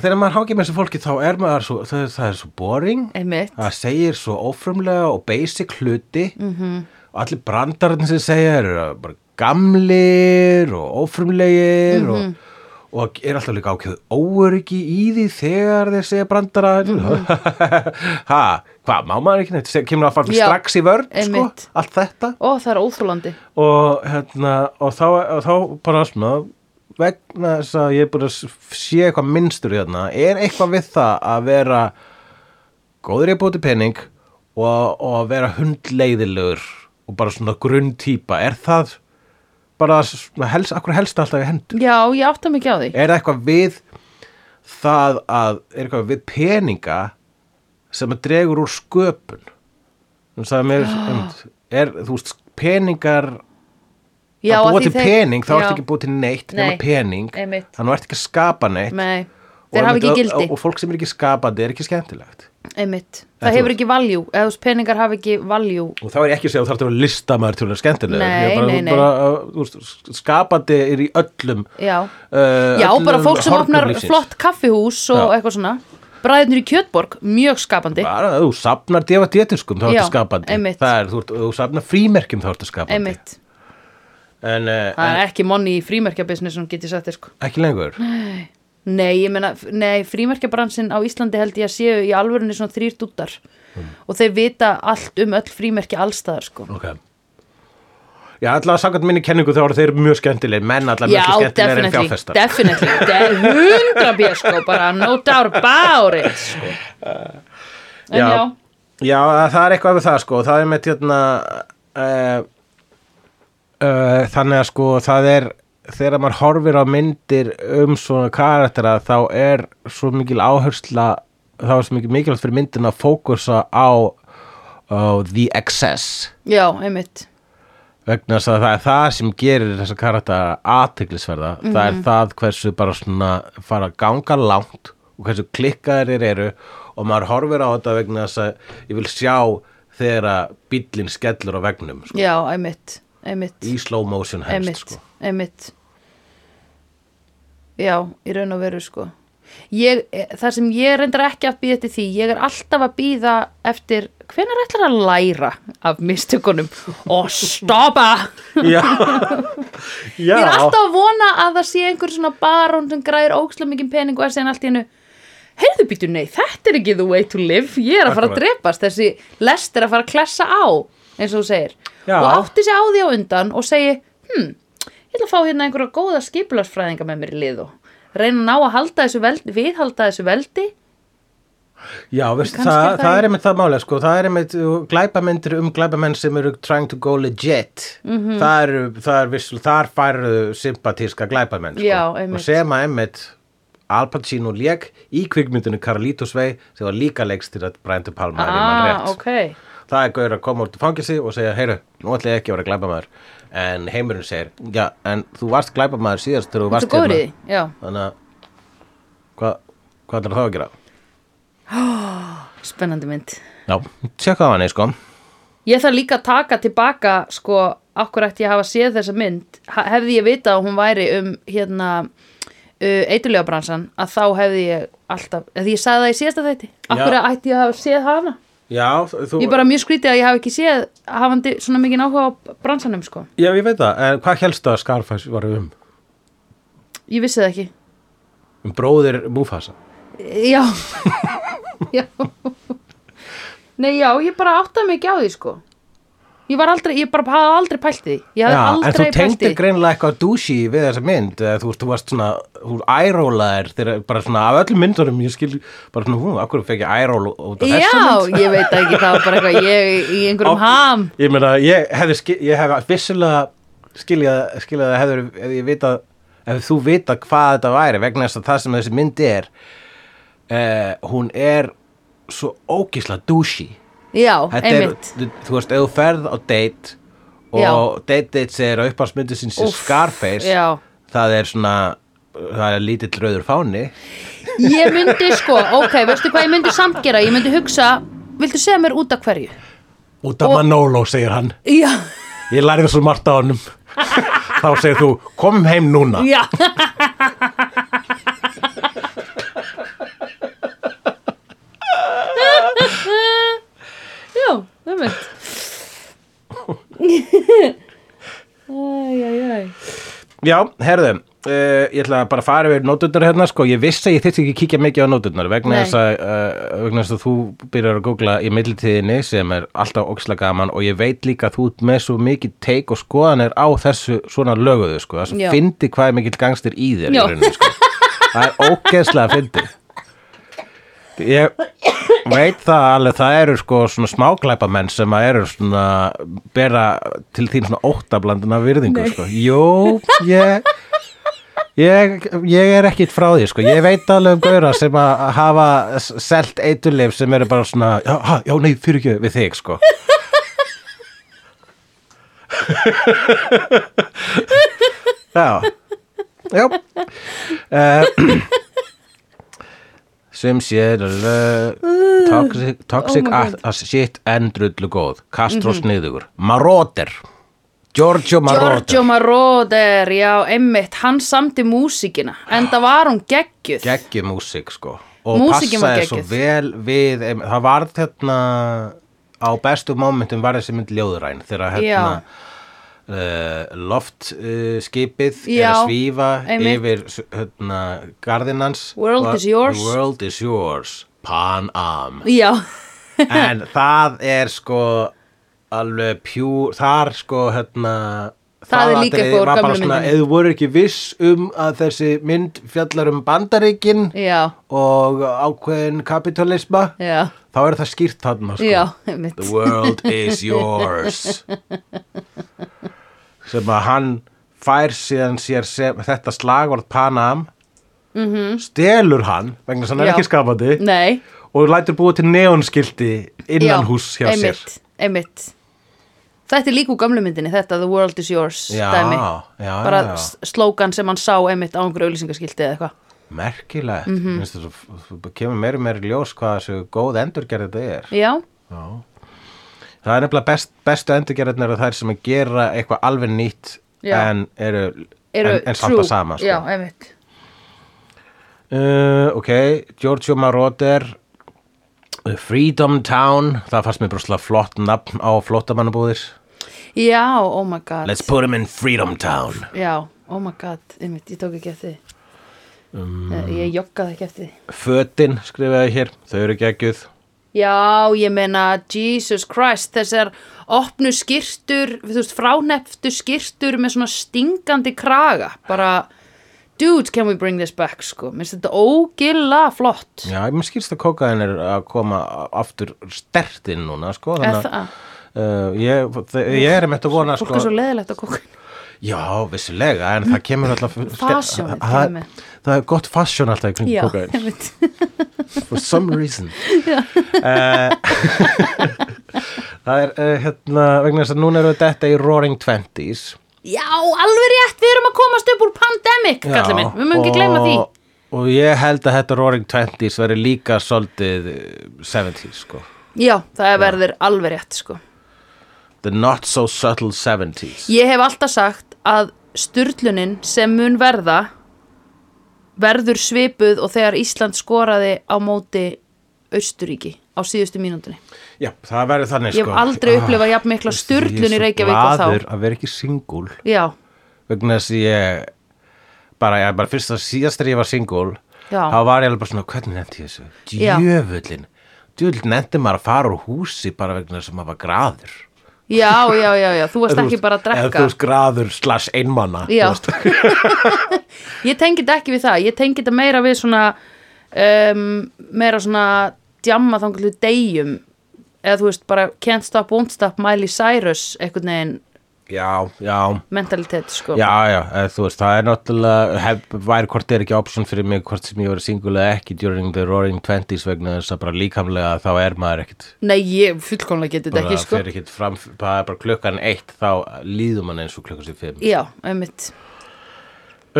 [SPEAKER 1] þegar maður hákir með þessu fólki þá er maður svo, það, það er svo boring
[SPEAKER 2] einmitt.
[SPEAKER 1] það segir svo ófrumlega og basic hluti
[SPEAKER 2] Mhm.
[SPEAKER 1] -hmm. og allir
[SPEAKER 2] Mhm.
[SPEAKER 1] brandarinn sem segja eru bara gamlir og ófrumlegir og, og er alltaf líka ákveð óöryggi í því þegar þeir segja brandara ha, hvað, má maður ekki neitt Seg- kemur að fara
[SPEAKER 2] Mhm. Já,
[SPEAKER 1] strax í vörn sko,
[SPEAKER 2] einmitt.
[SPEAKER 1] allt þetta
[SPEAKER 2] Ó, það er óþólandi.
[SPEAKER 1] og, hérna, og, þá, og þá bara svona vegna þess að ég er búin að s- sé eitthvað minnstur hérna, er eitthvað við það að vera góður í að búti pening og, og að vera hundleiðilegur og bara svona grunntýpa, er það bara svona helst, akkur helst alltaf í hendur
[SPEAKER 2] Já, ég átta mig ekki á því.
[SPEAKER 1] er það eitthvað við það að, er eitthvað við peninga sem að dregur úr sköpun þú veist það er mér um, er, þú veist, peningar
[SPEAKER 2] Já,
[SPEAKER 1] að
[SPEAKER 2] af
[SPEAKER 1] búa
[SPEAKER 2] því
[SPEAKER 1] til pening, þá
[SPEAKER 2] Já.
[SPEAKER 1] ertu ekki að búa til neitt nema
[SPEAKER 2] Nei,
[SPEAKER 1] pening,
[SPEAKER 2] einmitt.
[SPEAKER 1] þannig að ertu ekki að skapa neitt
[SPEAKER 2] Nei,
[SPEAKER 1] Og
[SPEAKER 2] þeir hafa ekki
[SPEAKER 1] einmitt,
[SPEAKER 2] gildi.
[SPEAKER 1] og, og fólk sem er ekki skapandi er ekki skemmtilegt
[SPEAKER 2] Einmitt. Það
[SPEAKER 1] En þú
[SPEAKER 2] hefur
[SPEAKER 1] veist.
[SPEAKER 2] ekki valjú, eða þess peningar hafa ekki valjú.
[SPEAKER 1] og þá er ég ekki að segja að þú þarf að vera listamæður til að vera skemmtilegur
[SPEAKER 2] Nei,
[SPEAKER 1] Ég er bara,
[SPEAKER 2] nei, nei.
[SPEAKER 1] bara, uh, þú veist, skapandi er í öllum
[SPEAKER 2] Já.
[SPEAKER 1] uh,
[SPEAKER 2] Já, bara
[SPEAKER 1] öllum
[SPEAKER 2] fólk sem
[SPEAKER 1] hornum
[SPEAKER 2] opnar
[SPEAKER 1] lífsins.
[SPEAKER 2] flott kaffihús og eitthvað svona. Bræðinur í Kjötborg, mjög skapandi.
[SPEAKER 1] bara að þú safnar divatétiskum þá
[SPEAKER 2] Já,
[SPEAKER 1] ertu skapandi
[SPEAKER 2] einmitt.
[SPEAKER 1] það er, þú, ert- þú safnar frímerkjum þá ertu skapandi
[SPEAKER 2] Einmitt.
[SPEAKER 1] en, eh,
[SPEAKER 2] Það er ekki monni í frímerkjabusinessum, get ég sagt þér sko.
[SPEAKER 1] en ekki lengur
[SPEAKER 2] Nei, ég meina, f- nei, frímerkjabransin á Íslandi held ég að séu í alvörunni svona þrýr dúttar
[SPEAKER 1] Mm.
[SPEAKER 2] og þeir vita allt um öll frímerki allstaðar sko.
[SPEAKER 1] ok já, allavega samkvæmt minni kenningu þá eru þeir mjög skemmtileg menn allavega
[SPEAKER 2] Já,
[SPEAKER 1] mjög skemmtilegir en
[SPEAKER 2] definitely,
[SPEAKER 1] fjárfestar
[SPEAKER 2] definitely, de hundra bér sko, bara no doubt about it sko. En já,
[SPEAKER 1] já, það er eitthvað við það sko það er með tjóna uh, uh, þannig að sko það er þegar maður horfir á myndir um svona karaktera þá er svo mikil áhersla þá er svo mikil mikilvægt fyrir myndin að fókusa á uh, the excess
[SPEAKER 2] já, einmitt,
[SPEAKER 1] vegna þess að það er það sem gerir þessa karaktera aðteglisverða
[SPEAKER 2] Mhm.
[SPEAKER 1] það er það hversu bara svona fara að ganga langt og hversu klikkaðir þeir eru og maður horfir á þetta vegna þess að ég vil sjá þegar að bíllinn skellur á vegnum sko,
[SPEAKER 2] já, einmitt, einmitt,
[SPEAKER 1] í slow motion helst
[SPEAKER 2] einmitt,
[SPEAKER 1] sko.
[SPEAKER 2] einmitt. Já, í raun og veru sko. Ég, eh, það sem ég reyndar ekki að býða eftir því, ég er alltaf að býða eftir hvenær ætlar að læra af mistökunum og stoppa!
[SPEAKER 1] já, já.
[SPEAKER 2] Ég er alltaf að vona að það sé einhver svona barón sem græðir ókslega mikið pening og er síðan allt í hennu Heyrðu býtu, nei, þetta er ekki the way to live Ég er að fara að
[SPEAKER 1] Akkurat.
[SPEAKER 2] drepast Þessi lest er að fara að klessa á eins og þú segir
[SPEAKER 1] Já.
[SPEAKER 2] og átti sig á því á undan og segi hm, ég ætla að fá hérna einhverja góða skipularsfræðinga með mér í lið og reyna að ná að halda þessu veldi viðhalda þessu veldi
[SPEAKER 1] Já, veist,
[SPEAKER 2] Kannski
[SPEAKER 1] það,
[SPEAKER 2] er það
[SPEAKER 1] það er
[SPEAKER 2] í-
[SPEAKER 1] einmitt það málega sko, það er einmitt uh, glæpamyndir um glæpamenn sem eru trying to go legit
[SPEAKER 2] Mhm.
[SPEAKER 1] það eru, það er vissul, þar færðu sympatíska glæpamenn sko.
[SPEAKER 2] Já, einmitt.
[SPEAKER 1] og sem að einmitt Al Pacino lék í kvikmyndinu Carlitos vei sem var líka leikst til að Brian De Palma er í mann rétt
[SPEAKER 2] Ah, ok
[SPEAKER 1] það er gaur að koma úr til fangelsi og segja heyru, nú ætla ég ekki að vera glæpamaður en heimurinn segir, já, en þú varst glæpamaður síðast þegar þú
[SPEAKER 2] Þú
[SPEAKER 1] varst hérna."
[SPEAKER 2] góður í því, já
[SPEAKER 1] þannig að hvað, hvað er það að gera?
[SPEAKER 2] Spennandi mynd
[SPEAKER 1] Já, tjekkaðu hann sko
[SPEAKER 2] Ég þarf líka að taka tilbaka sko, akkur ætti ég að hafa séð þessa mynd Ha- hefði ég vitað að hún væri um hérna uh, eitulega bransan að þá hefði ég alltaf eða ég sagði það í síðasta þætti akkur
[SPEAKER 1] Já.
[SPEAKER 2] ætti ég að hafa séð hana
[SPEAKER 1] Já, þú,
[SPEAKER 2] ég er bara mjög skrítið að ég hafi ekki séð hafandi svona mikið áhuga á bransanum sko.
[SPEAKER 1] já, ég veit það, en hvað helst að Scarface var um?
[SPEAKER 2] ég vissi það ekki
[SPEAKER 1] Um bróðir Mufasa?
[SPEAKER 2] já, já. nei já, ég bara áttaði mig ekki á því sko. ég var aldrei, ég bara hafði aldrei pælt í því ég hafði
[SPEAKER 1] Já, en þú
[SPEAKER 2] aldrei pælt í
[SPEAKER 1] tengdir
[SPEAKER 2] því
[SPEAKER 1] greinilega eitthvað douchi við þessa mynd, eða, þú veist, þú varst svona, þú ærólaðir, þegar bara svona af öllum myndunum, ég skil, bara svona, hú, akkur fekk ég æról út af þessa mynd?
[SPEAKER 2] Já, ég veit ekki, það var bara eitthvað ég í einhverjum
[SPEAKER 1] Á-
[SPEAKER 2] ham
[SPEAKER 1] Ég meina, ég hefði, skil, ég hefði vissulega skiljað, skiljað að hefur, ef ég vitað, ef þú vitað hvað þetta væri vegna þess að það sem þessi mynd er, eh, hún er svo ógísla douchi.
[SPEAKER 2] Já,
[SPEAKER 1] Þetta er,
[SPEAKER 2] einmitt
[SPEAKER 1] þú, þú veist, ef þú ferð á date og
[SPEAKER 2] Já.
[SPEAKER 1] date date segir að uppáðsmyndu sín sem
[SPEAKER 2] Úff,
[SPEAKER 1] Scarface
[SPEAKER 2] já.
[SPEAKER 1] það er svona það er lítill rauður fáni
[SPEAKER 2] Ég myndi sko, ok, veistu hvað ég myndi samt gera Ég myndi hugsa, viltu segja mér út af hverju?
[SPEAKER 1] út af Manolo segir hann
[SPEAKER 2] Já,
[SPEAKER 1] ég lærði svo margt á honum þá segir þú, komum heim núna
[SPEAKER 2] já Já, einmitt Æ, æ, æ
[SPEAKER 1] já, herðu, Uh, ég ætla bara að fara yfir nóturnar hérna sko, ég vissi að ég þyrst ekki að kíkja mikið á nóturnar vegna
[SPEAKER 2] Nei.
[SPEAKER 1] þess, að, uh, vegna þess að þú byrjar að googla í millitíðinni sem er alltaf óksla gaman og ég veit líka að þú ert með svo mikið teik og skoðanir á þessu svona löguðu sko, þess
[SPEAKER 2] Já.
[SPEAKER 1] að fyndi hvað er mikill gangstir í þér í
[SPEAKER 2] Já.
[SPEAKER 1] rauninni sko, það er ógeðslega að fyndi Ég veit það alveg, það eru sko svona smáklæpamenn sem að eru svona bera til þín svona óttablandina virðingu sko. Jó, ég, ég, ég er ekkit frá því sko. Ég veit alveg um gauðra sem að hafa s- selt eitulif sem eru bara svona, já, ha, já nei, fyrir ekki við þig sko. já, já. Uh, sem sé lalala, toxic, toxic
[SPEAKER 2] Uh, my Mhm.
[SPEAKER 1] oh as shit en drullu góð Castro sniðugur, Marauder Giorgio Marauder
[SPEAKER 2] Giorgio Moroder, já, einmitt, hann samti músíkina, en það var hún geggjuð.
[SPEAKER 1] geggjum músík sko og
[SPEAKER 2] Músíkin var
[SPEAKER 1] passaði svo
[SPEAKER 2] geggjuð.
[SPEAKER 1] vel við em, það varð hérna á bestu momentum var þessi mynd ljóðræn þegar hérna
[SPEAKER 2] Já.
[SPEAKER 1] Uh, loftskipið uh, skipið er að
[SPEAKER 2] Já,
[SPEAKER 1] svífa
[SPEAKER 2] einmitt.
[SPEAKER 1] yfir s- hérna, garðinans
[SPEAKER 2] World
[SPEAKER 1] og-
[SPEAKER 2] is yours.
[SPEAKER 1] World is yours Pan Am
[SPEAKER 2] Já,
[SPEAKER 1] en það er sko alveg pjú þar sko hérna
[SPEAKER 2] Það er líka
[SPEAKER 1] atriði
[SPEAKER 2] eitthvað úr
[SPEAKER 1] var bara
[SPEAKER 2] gömlu
[SPEAKER 1] svona,
[SPEAKER 2] myndinni.
[SPEAKER 1] ef þú voru ekki viss um að þessi mynd fjallar um bandaríkin
[SPEAKER 2] já,
[SPEAKER 1] og ákveðin kapitalisma
[SPEAKER 2] já,
[SPEAKER 1] þá er það skýrt þarna sko
[SPEAKER 2] já, einmitt.
[SPEAKER 1] the world is yours sem að hann fær síðan sér sem, þetta slagvort Panam mm -hmm. stelur hann vegna þess að hann er
[SPEAKER 2] Mhm. Já.
[SPEAKER 1] ekki skapandi
[SPEAKER 2] Nei,
[SPEAKER 1] og lætur búa til neonskildi innan hús hjá
[SPEAKER 2] einmitt,
[SPEAKER 1] sér
[SPEAKER 2] Einmitt, Þetta er líka úr gamlu myndinni, þetta The World is Yours
[SPEAKER 1] Já,
[SPEAKER 2] dæmi.
[SPEAKER 1] já,
[SPEAKER 2] Bara
[SPEAKER 1] já.
[SPEAKER 2] s- slógan sem hann sá einmitt á einhverju auðlýsingaskilti eða eitthvað.
[SPEAKER 1] merkilegt mm
[SPEAKER 2] Mhm.
[SPEAKER 1] -hmm. Minnstu, svo, svo kemur meiri meiri ljós hvað þessu góð endurgerð þetta er
[SPEAKER 2] Já,
[SPEAKER 1] Já. það er nefnilega best, bestu endurgerðarnar eru þær sem að gera eitthvað alveg nýtt
[SPEAKER 2] Já.
[SPEAKER 1] en eru,
[SPEAKER 2] eru
[SPEAKER 1] en, en samt
[SPEAKER 2] true.
[SPEAKER 1] að sama sko.
[SPEAKER 2] Já, einmitt.
[SPEAKER 1] Uh, ok, Giorgio Moroder uh, Freedom Town það fannst mér brúslega flott nafn á flottamannabúðir
[SPEAKER 2] Já, oh my god.
[SPEAKER 1] Let's put him in Freedom Town
[SPEAKER 2] Já, oh my god, einmitt, ég tók ekki eftir því.
[SPEAKER 1] Um,
[SPEAKER 2] Eh, Ég joggaði ekki eftir því.
[SPEAKER 1] Fötin skrifaði ég hér, þau eru geggjuð
[SPEAKER 2] Já, ég meina, Jesus Christ, þessar opnu skýrtur, þú veist, fráneftu skýrtur með svona stingandi kraga, bara, dude, can we bring this back, sko, minnst þetta ógilla flott.
[SPEAKER 1] Já, mér skilst að kókaðin er að koma aftur stertinn núna sko,
[SPEAKER 2] Er
[SPEAKER 1] þannig
[SPEAKER 2] það?
[SPEAKER 1] að uh, ég, þe- ég er meitt að vona
[SPEAKER 2] Fólk
[SPEAKER 1] sko,
[SPEAKER 2] er svo leðilegt að kóka.
[SPEAKER 1] Já, vissulega, en það kemur alltaf
[SPEAKER 2] Fasjónið
[SPEAKER 1] það,
[SPEAKER 2] kemur.
[SPEAKER 1] það er gott fasjón alltaf í kring
[SPEAKER 2] Já,
[SPEAKER 1] kókaðin
[SPEAKER 2] einmitt.
[SPEAKER 1] for some reason Eh, það er uh, hérna vegna þess að núna eru þetta í Roaring Twenties
[SPEAKER 2] Já, alveg rétt, við erum að komast upp úr pandemic, kallið minn, við mögum ekki gleyma því.
[SPEAKER 1] og ég held að þetta Roaring Twenties veri líka svolítið eh, 70s sko
[SPEAKER 2] Já, það verður alveg rétt, sko.
[SPEAKER 1] the not so subtle 70s
[SPEAKER 2] Ég hef alltaf sagt að styrlunin sem mun verða verður svipuð og þegar Ísland skoraði á móti Austuríki á síðustu mínúndinni.
[SPEAKER 1] já, það verður þannig
[SPEAKER 2] Ég
[SPEAKER 1] sko
[SPEAKER 2] hef aldrei upplifað jafn mikla
[SPEAKER 1] veist,
[SPEAKER 2] sturlun í Reykjavík
[SPEAKER 1] ég
[SPEAKER 2] og
[SPEAKER 1] er
[SPEAKER 2] þá.
[SPEAKER 1] svo glaður að vera ekki singul
[SPEAKER 2] Já,
[SPEAKER 1] vegna þess að ég bara, ég bara fyrst að síðast þegar ég var singul
[SPEAKER 2] Já.
[SPEAKER 1] þá var ég alveg bara svona, hvernig nefndi ég þessu
[SPEAKER 2] Já.
[SPEAKER 1] djöfullin, djöfullin nefndi maður að fara úr húsi bara vegna þess að maður var graður
[SPEAKER 2] já, já, já, já, þú varst
[SPEAKER 1] Eða þú
[SPEAKER 2] ekki
[SPEAKER 1] veist-
[SPEAKER 2] bara að
[SPEAKER 1] eða þú
[SPEAKER 2] drekka.
[SPEAKER 1] veist graður slash einmana
[SPEAKER 2] Já.
[SPEAKER 1] þú veist.
[SPEAKER 2] Ég tengi þetta ekki við það, ég tengi þetta meira við svona, um, meira svona djamma þangar til deyjum eða þú veist bara can't stop, won't stop, Miley Cyrus einhvern veginn
[SPEAKER 1] já, já
[SPEAKER 2] mentalitet sko.
[SPEAKER 1] Já, já, eða, þú veist, það er náttúrulega hef, væri hvort er ekki option fyrir mig hvort sem ég var single eða ekki during the roaring 20s vegna þess að bara líkamlega þá er maður ekkit
[SPEAKER 2] Nei, ég fullkomlega geti þetta
[SPEAKER 1] bara
[SPEAKER 2] ekki sko.
[SPEAKER 1] fer ekkit fram, það er bara klukkan eitt þá líður mann eins og klukkan sér fimm
[SPEAKER 2] Já, einmitt.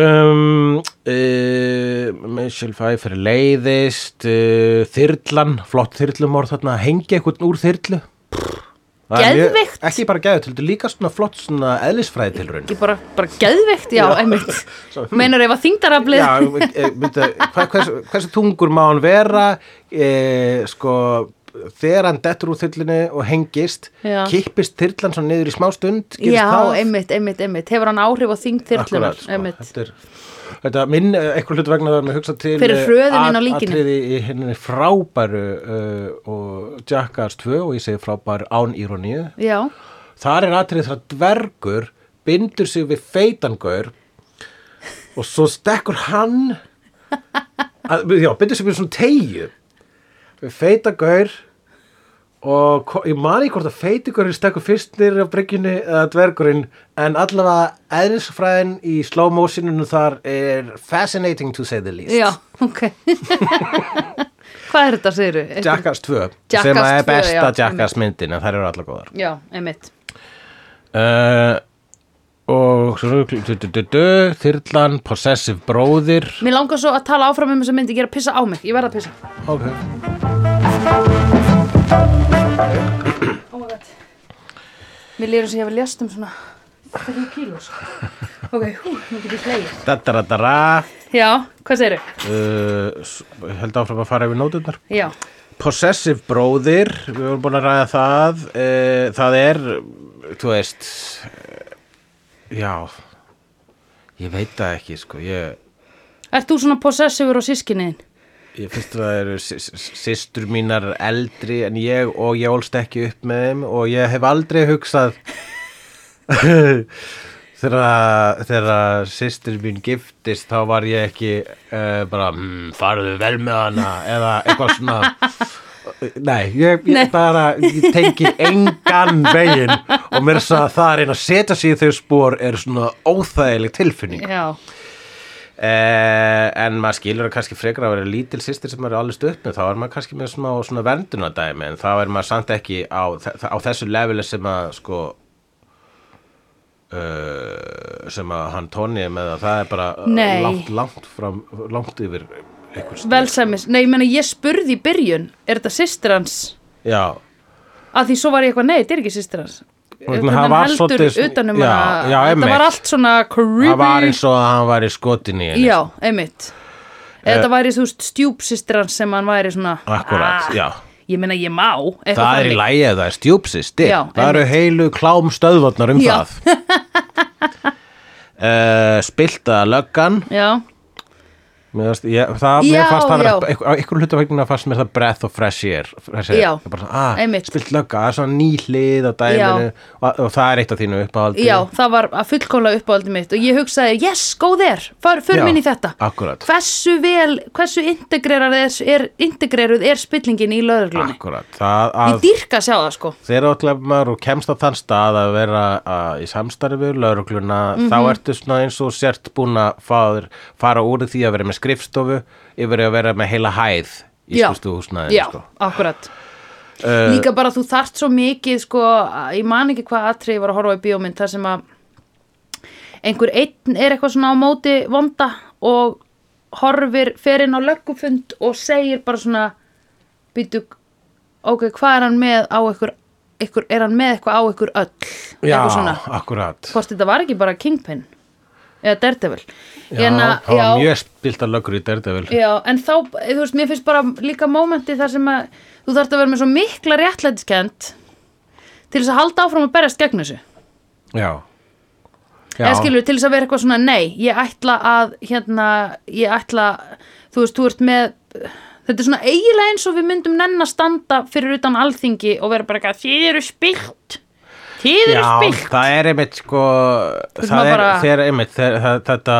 [SPEAKER 1] um, uh, Michelle Pfeiffer leiðist uh, þyrlan, flott þyrlumor þarna, hengja einhvern úr þyrlu Það er mjög-
[SPEAKER 2] Geðveikt.
[SPEAKER 1] ekki bara geðvikt, heldur líka svona flott svona eðlisfræði tilraun
[SPEAKER 2] Ekki bara, bara geðveikt, já, einmitt. Meinar ef að þingdaraflið,
[SPEAKER 1] Já, e, mynda, hva, hversu, hversu tungur má hann vera e, sko þegar hann dettur úr þyrlunni og hengist
[SPEAKER 2] Já.
[SPEAKER 1] kippist þyrlan svo niður í smá stund gerist
[SPEAKER 2] já,
[SPEAKER 1] það?
[SPEAKER 2] einmitt, einmitt, einmitt. Hefur hann áhrif á þingþyrlunar,
[SPEAKER 1] Akkúrat,
[SPEAKER 2] einmitt.
[SPEAKER 1] sko. Þetta er, þetta minn eitthvað hlut vegna var með hugsa til
[SPEAKER 2] Fyrir
[SPEAKER 1] eh,
[SPEAKER 2] hröðunin á
[SPEAKER 1] at-
[SPEAKER 2] líkinu.
[SPEAKER 1] atriði í henni frábæru uh, og Jackass 2 og ég segi frábæru án íroníu
[SPEAKER 2] já,
[SPEAKER 1] þar er atrið þar að dvergur bindur sig við feitangur og svo stekkur hann að, já, bindur sig við svona tegju við feitangur og ko- ég mani hvort að feitingurinn stekkur fyrst nýrri á bryggjunni eða dvergurinn en allavega eðlisfræðin í slow motioninu þar er fascinating to say the least
[SPEAKER 2] já, ok Hvað er þetta, segir
[SPEAKER 1] Jackass 2 sem
[SPEAKER 2] Jackass 2,
[SPEAKER 1] er besta
[SPEAKER 2] já.
[SPEAKER 1] Jackass myndin en þær eru allar góðar
[SPEAKER 2] Já, einmitt
[SPEAKER 1] uh, og svo- du- du- du- du, þyrlan, possessive bróðir
[SPEAKER 2] Mér langar svo að tala áfram um þessa myndi, ég er að pissa á mig Ég verð að pissa
[SPEAKER 1] ok
[SPEAKER 2] Oh my god Mér lýður eins og ég hefur lést um svona 3 kílós Ok, hú, nú getur ég hlegið
[SPEAKER 1] Dadadadara,
[SPEAKER 2] Já, hvað segir
[SPEAKER 1] uh, s- held áfram að fara yfir nóturnar
[SPEAKER 2] Já,
[SPEAKER 1] possessive bróðir, við vorum búin að ræða það uh, það er þú veist eh, já ég veit það ekki sko ég,
[SPEAKER 2] ert þú svona possessivur á sískinniðin?
[SPEAKER 1] ég finnst að það eru sy- sy- systur mínar eldri en ég og ég ólst ekki upp með þeim og ég hef aldrei hugsað þegar þegar systur mín giftist þá var ég ekki uh, bara mm, farðu vel með hana eða eitthvað svona Nei, ég, ég
[SPEAKER 2] Nei.
[SPEAKER 1] bara ég tengi engan veginn og mér svo að það að reyna að setja sig í þau spór er svona óþægileg tilfinning
[SPEAKER 2] Já,
[SPEAKER 1] Eh, en maður skilur að kannski frekar að vera lítil sýstir sem maður er alveg stuð upp með þá er maður kannski með smá svona verndunadæmi en þá er maður samt ekki á, þe- á þessu leveli sem að sko uh, sem að hann tóni með að það er bara eh,
[SPEAKER 2] Nei.
[SPEAKER 1] langt, langt, fram, langt yfir einhver stig.
[SPEAKER 2] velsæmis Nei, ég meina, ég spurði í byrjun Er þetta systir hans?
[SPEAKER 1] Já,
[SPEAKER 2] Að því svo var ég eitthvað, nei, þetta er ekki systir hans um
[SPEAKER 1] Vegna það var svolítið-
[SPEAKER 2] utanum
[SPEAKER 1] já,
[SPEAKER 2] um hana,
[SPEAKER 1] já,
[SPEAKER 2] þetta
[SPEAKER 1] einmitt.
[SPEAKER 2] var allt svona creepy
[SPEAKER 1] það var eins og að hann var í skotin í henni
[SPEAKER 2] Já, einmitt
[SPEAKER 1] Eh,
[SPEAKER 2] Eða þetta væri, þú veist, stjúpsystir hans sem hann væri svona "Ah,
[SPEAKER 1] Akkúrat, já.
[SPEAKER 2] Ég meina, ég má eitthvað
[SPEAKER 1] Það er í
[SPEAKER 2] þannig.
[SPEAKER 1] lægi að það er stjúpsisti
[SPEAKER 2] Já,
[SPEAKER 1] Það eru
[SPEAKER 2] einmitt.
[SPEAKER 1] heilu klám stöðvarnar um
[SPEAKER 2] Já.
[SPEAKER 1] það uh, Spilta löggan
[SPEAKER 2] Já,
[SPEAKER 1] Mér fannst, ég, það, mér
[SPEAKER 2] Já,
[SPEAKER 1] fannst
[SPEAKER 2] já.
[SPEAKER 1] það vera- eitthvað- á einhverju hlutu vegna fannst mér það breath of fresh air, fresh air.
[SPEAKER 2] Já,
[SPEAKER 1] Ég bara, svona, ah,
[SPEAKER 2] einmitt.
[SPEAKER 1] spilt lögga, það er svona ný hlið á dæminu og, og það er eitt af þínu uppáhaldi
[SPEAKER 2] já, það var að fullkomlega uppáhaldi mitt og ég hugsaði, yes, go there, far, förum
[SPEAKER 1] Já, Ah.
[SPEAKER 2] inn í þetta
[SPEAKER 1] akkúrat.
[SPEAKER 2] Hversu vel, hversu integrerað er, er, integreruð er spillingin í löðurglunni
[SPEAKER 1] Akkurat, það
[SPEAKER 2] Ég
[SPEAKER 1] að
[SPEAKER 2] dýrka að sjá það, sko
[SPEAKER 1] þegar átlefmar og kemst á þann stað að vera að, í samstarfi við laurugluna
[SPEAKER 2] Mhm.
[SPEAKER 1] þá ertu svona eins og sért búin að fara, fara úr því að vera með skrifstofu yfir í að vera með heila hæð í sko.
[SPEAKER 2] Já.
[SPEAKER 1] skustu húsnaði
[SPEAKER 2] Já, akkurat
[SPEAKER 1] Eh,
[SPEAKER 2] Líka bara þú þarft svo mikið sko, að- ég man ekki hvað atrið ég var að horfa á í bíómynd þar sem að einhver einn er eitthvað svona á móti vonda og horfir fer inn á löggufund og segir bara svona býtu, ok, hvað er hann með á ykkur, ykkur er hann með eitthvað á ykkur öll
[SPEAKER 1] Já,
[SPEAKER 2] eitthvað svona,
[SPEAKER 1] akkurat
[SPEAKER 2] hvort þetta var ekki bara Kingpin eða Daredevil Hérna,
[SPEAKER 1] Já, það var mjög spilt að lögur í Daredevil
[SPEAKER 2] Já, en þá, eh, þú veist, mér finnst bara líka mómenti þar sem að þú þarft að vera með svo mikla réttlætiskend til þess að halda áfram að berjast gegn þessu.
[SPEAKER 1] Já, já.
[SPEAKER 2] Eða skilur, til þess að vera eitthvað svona, nei, ég ætla að, hérna, ég ætla, þú veist, þú ert með, þetta er svona eiginlega eins og við myndum nenn að standa fyrir utan alþingi og vera bara eitthvað, þið eru spilt, þið eru
[SPEAKER 1] Já,
[SPEAKER 2] spilt.
[SPEAKER 1] það er einmitt sko
[SPEAKER 2] veist,
[SPEAKER 1] það
[SPEAKER 2] maður
[SPEAKER 1] er,
[SPEAKER 2] bara-
[SPEAKER 1] þegar einmitt þegar, það, þetta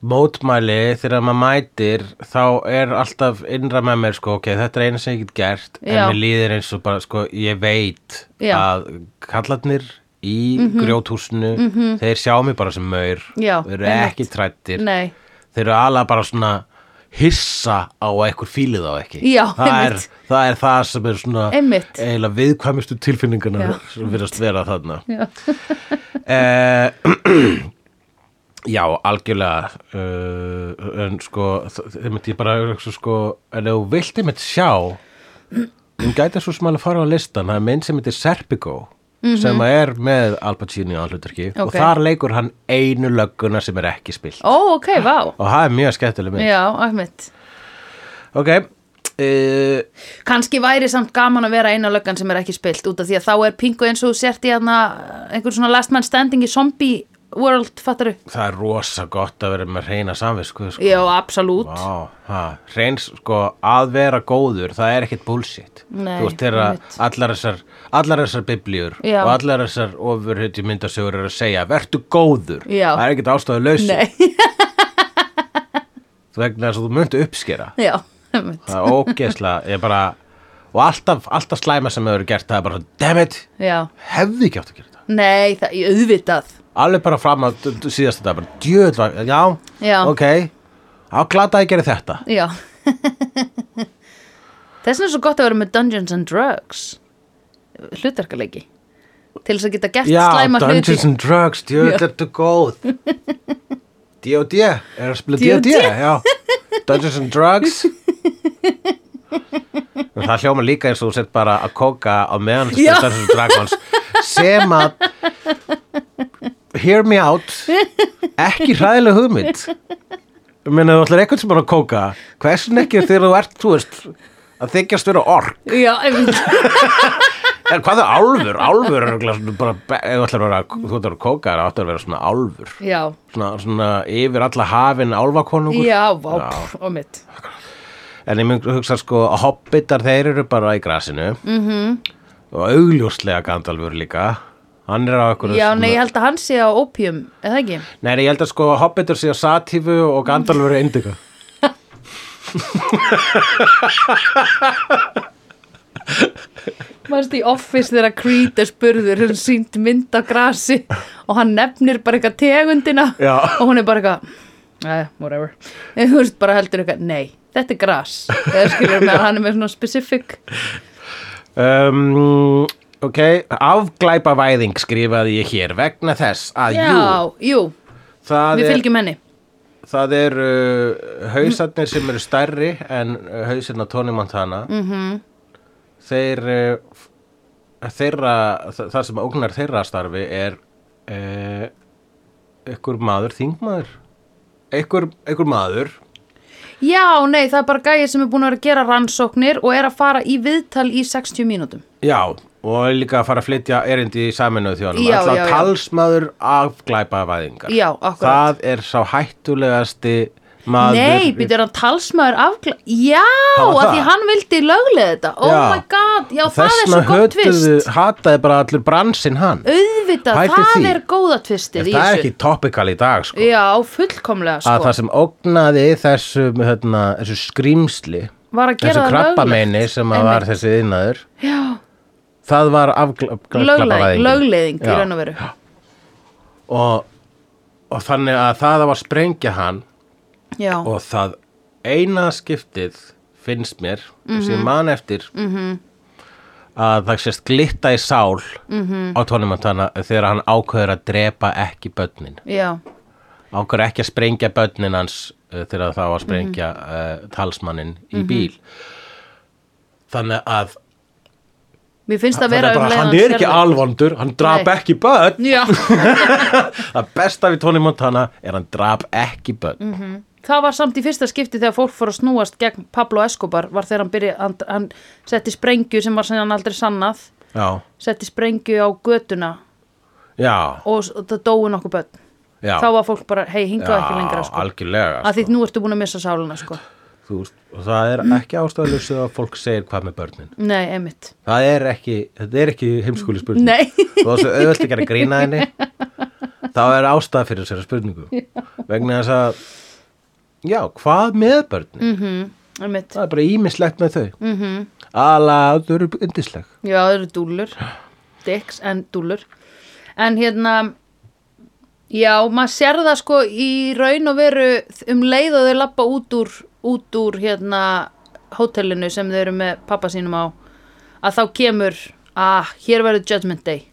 [SPEAKER 1] mótmæli þegar maður mætir þá er alltaf innra með mér sko ok, þetta er eina sem ég get gert en
[SPEAKER 2] Já.
[SPEAKER 1] mér líður eins og bara sko ég veit
[SPEAKER 2] Já. Mhm.
[SPEAKER 1] að kallarnir í grjóthúsinu þeir sjá mig bara sem maur
[SPEAKER 2] Já,
[SPEAKER 1] þeir eru
[SPEAKER 2] einmitt.
[SPEAKER 1] ekki trættir
[SPEAKER 2] Nei,
[SPEAKER 1] þeir eru alveg bara svona hissa á að einhver fílið á ekki
[SPEAKER 2] Já,
[SPEAKER 1] það, er,
[SPEAKER 2] einmitt.
[SPEAKER 1] það er það sem er svona
[SPEAKER 2] Einmitt.
[SPEAKER 1] eiginlega viðkvæmustu tilfinningarna
[SPEAKER 2] Já.
[SPEAKER 1] sem virðast vera þarna
[SPEAKER 2] Já.
[SPEAKER 1] eh, já, algjörlega uh, en sko þeim myndi ég bara hugsa, sko, en ef þú vilt einmitt sjá hún gæti svo sem alveg fara á listan það er mynd sem heitir Serpico sem er með Al Pacino á hlutverki og
[SPEAKER 2] Mhm. Ok.
[SPEAKER 1] þar leikur hann einu lögguna sem er ekki spilt
[SPEAKER 2] ó, ok, vá,
[SPEAKER 1] og það er mjög skemmtileg mynd
[SPEAKER 2] já, æmitt.
[SPEAKER 1] Ok uh,
[SPEAKER 2] Kanski væri samt gaman að vera eina eh, löggan sem er ekki spilt út af því að þá er pingu eins og þú sért í hana, einhver svona last man standing í zombie world, fattaru?
[SPEAKER 1] það er rosa gott að vera með reyna samvisku sko.
[SPEAKER 2] Já, absolutt.
[SPEAKER 1] Vá, ha, hreins sko að vera góður, það er ekkit bullshit
[SPEAKER 2] Nei,
[SPEAKER 1] þú veist þeirra
[SPEAKER 2] einmitt.
[SPEAKER 1] allar þessar, allar þessar biblíur
[SPEAKER 2] Já.
[SPEAKER 1] og allar þessar ofurhutti myndasögur er að segja, vertu góður
[SPEAKER 2] Já.
[SPEAKER 1] það er ekkit ástæðu lausu
[SPEAKER 2] Nei,
[SPEAKER 1] vegna þess að þú myndu uppskera
[SPEAKER 2] já, einmitt.
[SPEAKER 1] það er ógeðslega, ég bara og alltaf, alltaf slæma sem hefur gert það er bara, damn it,
[SPEAKER 2] já.
[SPEAKER 1] hefði ekki átt að gera þetta
[SPEAKER 2] Nei, það, ég auðvitað.
[SPEAKER 1] alveg bara fram að síðast þetta bara, djöð, var- já,
[SPEAKER 2] Já.
[SPEAKER 1] ok á glata að ég gera þetta
[SPEAKER 2] Já. Þess vegna er svo gott að vera með Dungeons and Drugs. Hlutverkaleiki. Til þess að geta gert
[SPEAKER 1] Já,
[SPEAKER 2] slæma hluti.
[SPEAKER 1] Dungeons and Drugs, djöðl
[SPEAKER 2] Já.
[SPEAKER 1] ertu góð D.O.D. Er að spila D.O.D.
[SPEAKER 2] D.O.D.,
[SPEAKER 1] Já, Dungeons and Drugs En Það hljóma líka eins og þú sett bara að kóka á meðan þú
[SPEAKER 2] Já.
[SPEAKER 1] spila Dungeons and Dragons sem að hear me out ekki hræðileg hugmynd Ég meina þú ætlar eitthvað sem bara að kóka hversin ekki þegar þú ert, þú veist að þykjast vera ork
[SPEAKER 2] Já, einmitt.
[SPEAKER 1] En hvað er álfur? Álfur er örugglega svona bara, be- ef þú ætlar að vera, þú ætlar að kóka það áttu að vera svona álfur.
[SPEAKER 2] já.
[SPEAKER 1] Svona, svona yfir alla hafin álfakonungur.
[SPEAKER 2] Já, vá, pff, og mitt.
[SPEAKER 1] En ég mynd hugsa sko að hobbitar þeir eru bara í grasinu. Mm
[SPEAKER 2] Mhm.
[SPEAKER 1] -hmm. Og augljóslega Gandalfur líka. Hann er á einhverju
[SPEAKER 2] Já,
[SPEAKER 1] svona-
[SPEAKER 2] nei, ég held að hann sé á opium, eða ekki?
[SPEAKER 1] Nei, nei, ég held að sko hobbitar séu satífu og Gandalfur er indika.
[SPEAKER 2] Mannst í office þegar Creed er spurður, hún sínt mynd á grasi og hann nefnir bara eitthvað tegundina
[SPEAKER 1] Já.
[SPEAKER 2] og hún er bara eitthvað, eh, whatever. En þú veist bara heldur eitthvað, nei, þetta er gras. Eða skilur með að hann er með svona specific.
[SPEAKER 1] Um, ok, afglæpavæðing skrifaði ég hér vegna þess að jú,
[SPEAKER 2] Já, jú,
[SPEAKER 1] það
[SPEAKER 2] við
[SPEAKER 1] er...
[SPEAKER 2] fylgjum henni.
[SPEAKER 1] Það eru uh, hausarnir sem eru stærri en uh, hausinn á Tony Montana.
[SPEAKER 2] Mm.
[SPEAKER 1] -hmm.
[SPEAKER 2] Mhm.
[SPEAKER 1] Þeir, uh, f- þeirra, þa- það sem ógnar þeirra starfi er uh, ykkur maður, þingmaður. Ykkur, ykkur maður.
[SPEAKER 2] Já, nei, það er bara gæið sem er búin að vera að gera rannsóknir og er að fara í viðtal í 60 mínútum.
[SPEAKER 1] Já, og er líka að fara að flytja erindi í saminuð þjónum.
[SPEAKER 2] Já, já,
[SPEAKER 1] Alltaf
[SPEAKER 2] já.
[SPEAKER 1] talsmaður af glæpavæðingar.
[SPEAKER 2] Já, akkurat.
[SPEAKER 1] Það er sá hættulegasti maður.
[SPEAKER 2] Nei, býtur hann talsmaður afgla... Já,
[SPEAKER 1] Það var
[SPEAKER 2] að
[SPEAKER 1] það.
[SPEAKER 2] því hann vildi löglega þetta. Oh
[SPEAKER 1] Já.
[SPEAKER 2] my god, já, það er svo
[SPEAKER 1] Þessna
[SPEAKER 2] gott tvist.
[SPEAKER 1] hataði bara allur bransinn hann.
[SPEAKER 2] Auðvitað,
[SPEAKER 1] Pældu
[SPEAKER 2] það
[SPEAKER 1] því.
[SPEAKER 2] er góða tvistið í
[SPEAKER 1] Það er
[SPEAKER 2] þessu.
[SPEAKER 1] ekki topical í dag sko.
[SPEAKER 2] Já, fullkomlega,
[SPEAKER 1] að
[SPEAKER 2] sko.
[SPEAKER 1] það sem ógnaði þessu, hérna, þessu skrýmsli
[SPEAKER 2] Var að gera
[SPEAKER 1] þessu
[SPEAKER 2] það
[SPEAKER 1] krabbameini
[SPEAKER 2] löglegt.
[SPEAKER 1] sem að var þessi yðnaður
[SPEAKER 2] Já,
[SPEAKER 1] það var afglapparæðing
[SPEAKER 2] lögleðing, lögleðing í raun og veru.
[SPEAKER 1] og, og þannig að það var sprengja hann
[SPEAKER 2] Já,
[SPEAKER 1] og það eina skiptið finnst mér sem
[SPEAKER 2] Mhm.
[SPEAKER 1] ég man eftir -hmm. að það sést glitta í sál
[SPEAKER 2] Mhm.
[SPEAKER 1] -hmm. á tónumantana þegar hann ákveður að drepa ekki börnin
[SPEAKER 2] já,
[SPEAKER 1] ákveður ekki að sprengja börnin hans uh, þegar það var að sprengja uh, talsmannin
[SPEAKER 2] Mhm.
[SPEAKER 1] í bíl þannig að
[SPEAKER 2] mér finnst það
[SPEAKER 1] þannig
[SPEAKER 2] vera um
[SPEAKER 1] að bara,
[SPEAKER 2] leið
[SPEAKER 1] hann er
[SPEAKER 2] sér
[SPEAKER 1] ekki
[SPEAKER 2] það.
[SPEAKER 1] alvondur hann drap
[SPEAKER 2] Nei.
[SPEAKER 1] ekki börn
[SPEAKER 2] Já,
[SPEAKER 1] það besta við Tony Montana er hann drap ekki börn
[SPEAKER 2] Mhm. það var samt í fyrsta skipti þegar fólk fór að snúast gegn Pablo Escobar var þegar hann byrja, hann, hann setti sprengju sem var sem hann aldrei sannað
[SPEAKER 1] já,
[SPEAKER 2] setti sprengju á götuna
[SPEAKER 1] já,
[SPEAKER 2] og s- og það dói nokkuð börn
[SPEAKER 1] já
[SPEAKER 2] þá var fólk bara, hei, hingað ekki lengra sko.
[SPEAKER 1] algjörlega
[SPEAKER 2] að því nú ertu búin að missa sáluna sko.
[SPEAKER 1] Þú veist, og það er ekki ástæðlösu að fólk segir hvað með börnin
[SPEAKER 2] nei, einmitt
[SPEAKER 1] það er ekki, þetta er ekki heimskúli spurning
[SPEAKER 2] Nei.
[SPEAKER 1] og það er svo auðvöld ekki að grína henni þá er ástæða fyrir þessari spurningu vegna þess að já, hvað með börnin
[SPEAKER 2] einmitt,
[SPEAKER 1] það er bara ímislegt með þau mm -hmm. ala, þau eru yndisleg
[SPEAKER 2] já, það eru dúllur dicks en dúllur en hérna já, maður sér það sko í raun og veru um leið og þau lappa út úr út úr hérna hótelinu sem þau eru með pappa sínum á að þá kemur að hér verður judgment day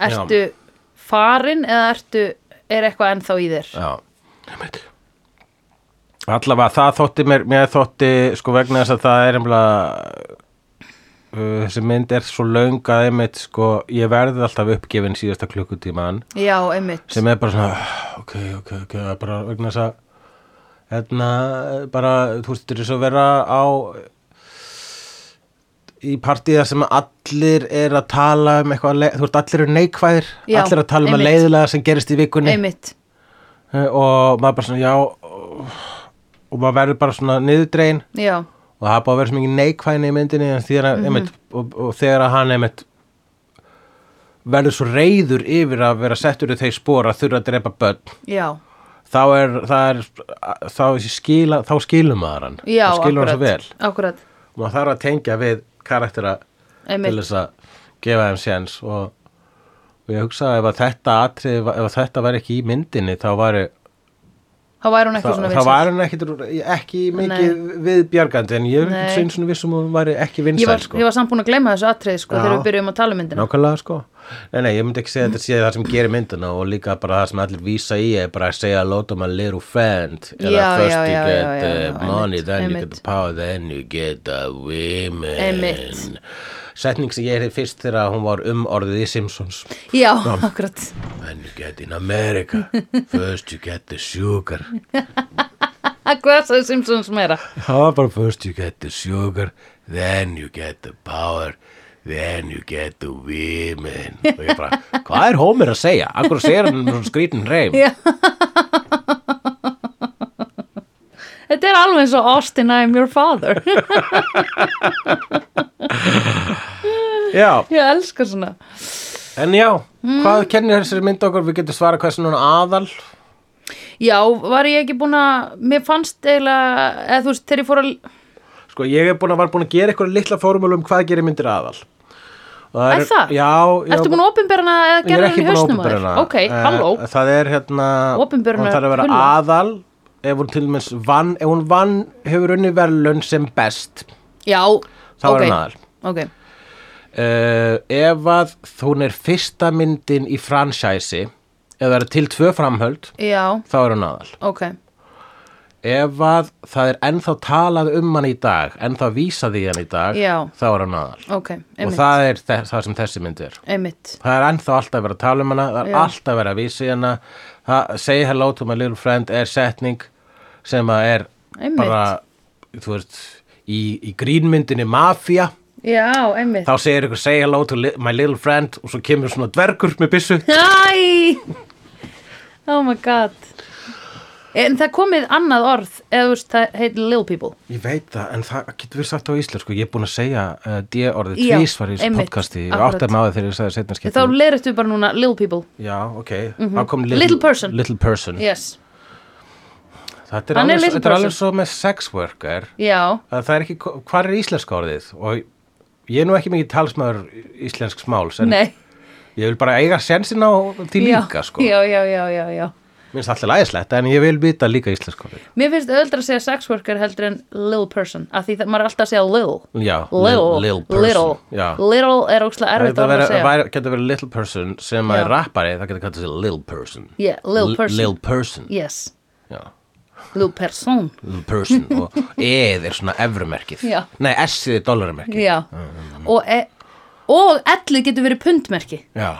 [SPEAKER 2] ertu farin eða ertu er eitthvað ennþá í þér
[SPEAKER 1] já, allavega það þótti mér, mér þótti sko vegna þess að það er einhverja uh, þessi mynd er svo löng að einmitt sko, ég verði alltaf uppgefin síðasta klukkutíman
[SPEAKER 2] já, einmitt
[SPEAKER 1] sem er bara svona ok, ok, ok, það er bara vegna þess að hérna, bara, þú veist, þetta er svo að vera á í partíða sem allir er að tala um eitthvað, le- þú veist, allir eru neikvæðir
[SPEAKER 2] Já,
[SPEAKER 1] allir að tala um að
[SPEAKER 2] einmitt.
[SPEAKER 1] leiðilega sem gerist í vikunni
[SPEAKER 2] einmitt
[SPEAKER 1] Eh, og maður bara svona, já og maður verður bara svona niðurdregin
[SPEAKER 2] já,
[SPEAKER 1] og það er bara að vera svo mikið neikvæðin í myndinni en þegar,
[SPEAKER 2] Mhm.
[SPEAKER 1] mm einmitt, og, og þegar að hann einmitt verður svo reyður yfir að vera settur í þeir spor að þurfa að drepa börn
[SPEAKER 2] já,
[SPEAKER 1] þá er, það er þá, skila, þá skilum maður hann
[SPEAKER 2] já
[SPEAKER 1] þá skilur hann svo vel
[SPEAKER 2] akkurat,
[SPEAKER 1] maður þarf að tengja við karaktera til
[SPEAKER 2] einmitt
[SPEAKER 1] þess að gefa þeim séns og, og ég hugsa að ef að þetta atrið, ef að þetta væri ekki í myndinni þá væri
[SPEAKER 2] þá væri hún ekki
[SPEAKER 1] Þa,
[SPEAKER 2] svona
[SPEAKER 1] það
[SPEAKER 2] vinsæl.
[SPEAKER 1] var hann ekkit, ekki mikið viðbjargandi en ég
[SPEAKER 2] Nei.
[SPEAKER 1] er eins og vissum að hún væri ekki vinsæl
[SPEAKER 2] ég var,
[SPEAKER 1] sko.
[SPEAKER 2] ég var samt búin að gleyma þessu atrið sko,
[SPEAKER 1] Já.
[SPEAKER 2] þegar við byrjum að tala um myndina
[SPEAKER 1] Nákvæmlega sko Nei, nei, ég myndi ekki segja að þetta sé það sem gerir myndina og líka bara það sem allir vísa í er bara að segja að láta maður little friend eða
[SPEAKER 2] Já,
[SPEAKER 1] first
[SPEAKER 2] já,
[SPEAKER 1] you
[SPEAKER 2] já,
[SPEAKER 1] get
[SPEAKER 2] já, já,
[SPEAKER 1] uh,
[SPEAKER 2] já,
[SPEAKER 1] money,
[SPEAKER 2] einmitt,
[SPEAKER 1] then you
[SPEAKER 2] einmitt.
[SPEAKER 1] get the power then you get the women
[SPEAKER 2] Einmitt.
[SPEAKER 1] Setning sem ég heyrði fyrst þegar hún var um orðið í Simpsons
[SPEAKER 2] já, akkurat
[SPEAKER 1] Then you get in America First you get the sugar
[SPEAKER 2] hvað sagði Simpsons meira
[SPEAKER 1] Það var bara first you get the sugar Then you get the power Then you get the women Og ég bara, hvað er Homer að segja? Akkur segir hann með svona skrítin reym
[SPEAKER 2] Já. þetta er alveg eins og Austin I'm your father
[SPEAKER 1] Já,
[SPEAKER 2] ég elska svona
[SPEAKER 1] en já Hvað kennir þessari mynd okkur? Við getum svarað hvað er svona aðal
[SPEAKER 2] já, var ég ekki búin að mér fannst eiginlega, eða þú veist, þegar ég fór að
[SPEAKER 1] Sko, ég er búin að, var búin að gera eitthvað litla formúlu um hvað gerir myndir aðal Og
[SPEAKER 2] Er það?
[SPEAKER 1] Já, já
[SPEAKER 2] Ertu búin að opinberana eða
[SPEAKER 1] Ég er
[SPEAKER 2] gerður
[SPEAKER 1] ekki
[SPEAKER 2] hann í
[SPEAKER 1] búin að
[SPEAKER 2] hausnum á
[SPEAKER 1] opinbera
[SPEAKER 2] þér?
[SPEAKER 1] hana.
[SPEAKER 2] Ok,
[SPEAKER 1] Eh,
[SPEAKER 2] halló.
[SPEAKER 1] Það er hérna,
[SPEAKER 2] Opinbera
[SPEAKER 1] hún
[SPEAKER 2] hana
[SPEAKER 1] þarf að vera
[SPEAKER 2] hullu.
[SPEAKER 1] aðal ef hún til minns vann, ef hún vann hefur unni verðlun sem best
[SPEAKER 2] Já,
[SPEAKER 1] þá
[SPEAKER 2] ok.
[SPEAKER 1] er hún aðal.
[SPEAKER 2] Ok,
[SPEAKER 1] Uh, ef að hún er fyrsta myndin í fransæsi, ef það er til tvö framhöld,
[SPEAKER 2] já,
[SPEAKER 1] þá er hún aðal.
[SPEAKER 2] ok.
[SPEAKER 1] Ef að það er ennþá talað um hann í dag, ennþá vísað í hann í dag,
[SPEAKER 2] Já.
[SPEAKER 1] þá er hún aðal.
[SPEAKER 2] Ok,
[SPEAKER 1] Og
[SPEAKER 2] einmitt,
[SPEAKER 1] það er þe- það sem þessi mynd er.
[SPEAKER 2] einmitt.
[SPEAKER 1] Það er ennþá alltaf verið að tala um hana, það er
[SPEAKER 2] Já.
[SPEAKER 1] alltaf verið að vísa í hana. Það, say hello to my little friend er setning sem að er
[SPEAKER 2] Einmitt.
[SPEAKER 1] bara, þú veist, í, í grínmyndinni Mafia.
[SPEAKER 2] Já, einmitt.
[SPEAKER 1] Þá segir ykkur say hello to li my little friend og svo kemur svona dvergur með byssu.
[SPEAKER 2] Æ! Oh my god. En það komið annað orð, eða þú veist, það heitir little people.
[SPEAKER 1] Ég veit það, en það getur verið sagt á íslensku. Ég er búin að segja uh, D-orðið
[SPEAKER 2] Já,
[SPEAKER 1] tvísvar í þessu
[SPEAKER 2] einmitt,
[SPEAKER 1] podcasti. Ég
[SPEAKER 2] akkurat.
[SPEAKER 1] átti að maður þegar ég sagði setna
[SPEAKER 2] Þá
[SPEAKER 1] skiptum.
[SPEAKER 2] leirðtu bara núna little people.
[SPEAKER 1] Já, ok. Þá kom
[SPEAKER 2] Little person.
[SPEAKER 1] Little person.
[SPEAKER 2] Yes.
[SPEAKER 1] Þetta er
[SPEAKER 2] Hann er
[SPEAKER 1] alveg svo-
[SPEAKER 2] little
[SPEAKER 1] þetta
[SPEAKER 2] person.
[SPEAKER 1] er alveg svo með sex worker.
[SPEAKER 2] Já,
[SPEAKER 1] að það er ekki, hvað er íslenska orðið og ég er nú ekki mikið talsmaður íslensks máls en
[SPEAKER 2] nei.
[SPEAKER 1] ég vil bara eiga sensin á því
[SPEAKER 2] Já,
[SPEAKER 1] líka sko.
[SPEAKER 2] Já, já, já, já, já.
[SPEAKER 1] minnst alltaf lægislegt en ég vil vita líka íslenska orðið
[SPEAKER 2] Mér finnst öðuldra að segja sex worker heldur en little person, af því það, maður er alltaf að segja little.
[SPEAKER 1] Já,
[SPEAKER 2] little,
[SPEAKER 1] lil-
[SPEAKER 2] little,
[SPEAKER 1] lil person, já.
[SPEAKER 2] little er ókslega erfitt
[SPEAKER 1] það
[SPEAKER 2] orð að
[SPEAKER 1] vera-
[SPEAKER 2] segja
[SPEAKER 1] væri- getur verið little person sem að
[SPEAKER 2] Já.
[SPEAKER 1] er rappari það getur kallað sér little person
[SPEAKER 2] yeah, little
[SPEAKER 1] L-
[SPEAKER 2] person,
[SPEAKER 1] Lil person,
[SPEAKER 2] yes,
[SPEAKER 1] já,
[SPEAKER 2] little person
[SPEAKER 1] little person. og eð er svona evrumerkið
[SPEAKER 2] Já.
[SPEAKER 1] nei, s-ið er dollaramerkið
[SPEAKER 2] já,
[SPEAKER 1] Mm.
[SPEAKER 2] og, e og ellið getur verið pundmerki,
[SPEAKER 1] já,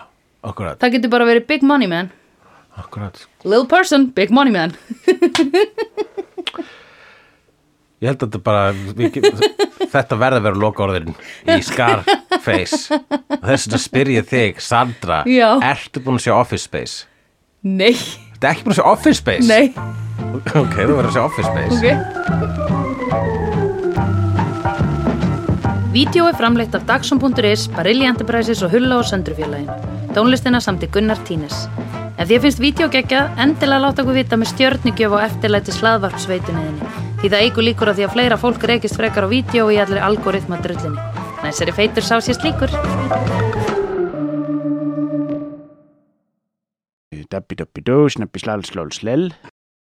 [SPEAKER 1] akkurat,
[SPEAKER 2] það getur bara verið big money man,
[SPEAKER 1] akkurat
[SPEAKER 2] little person, big money man
[SPEAKER 1] Ég held að þetta bara, við, ge- þetta verða að vera lokaorðin í Scarface. Þess vegna spyr ég þig, Sandra,
[SPEAKER 2] Já.
[SPEAKER 1] ertu búin að sjá Office Space?
[SPEAKER 2] nei,
[SPEAKER 1] Þetta er ekki búin að sjá Office Space?
[SPEAKER 2] nei,
[SPEAKER 1] Ok, þú verður að sjá Office Space.
[SPEAKER 2] ok Vídeó er framleitt af Dagsum.is, Barilli Enterprises og Hulla og Söndrufjörlægin. Tónlistina samt í Gunnar Tínes. Ef því finnst vídeo geggja, endilega láta okkur vita með stjörnigjöf og eftirlæti slaðvarpsveituninni. Því það eigur líkur á því að fleira fólk reykist frekar á vídeo í allri algoritma drullinni. Næsari feitur sá sér slíkur.
[SPEAKER 3] Dabbi dabbi dó, snabbi slal slól slell.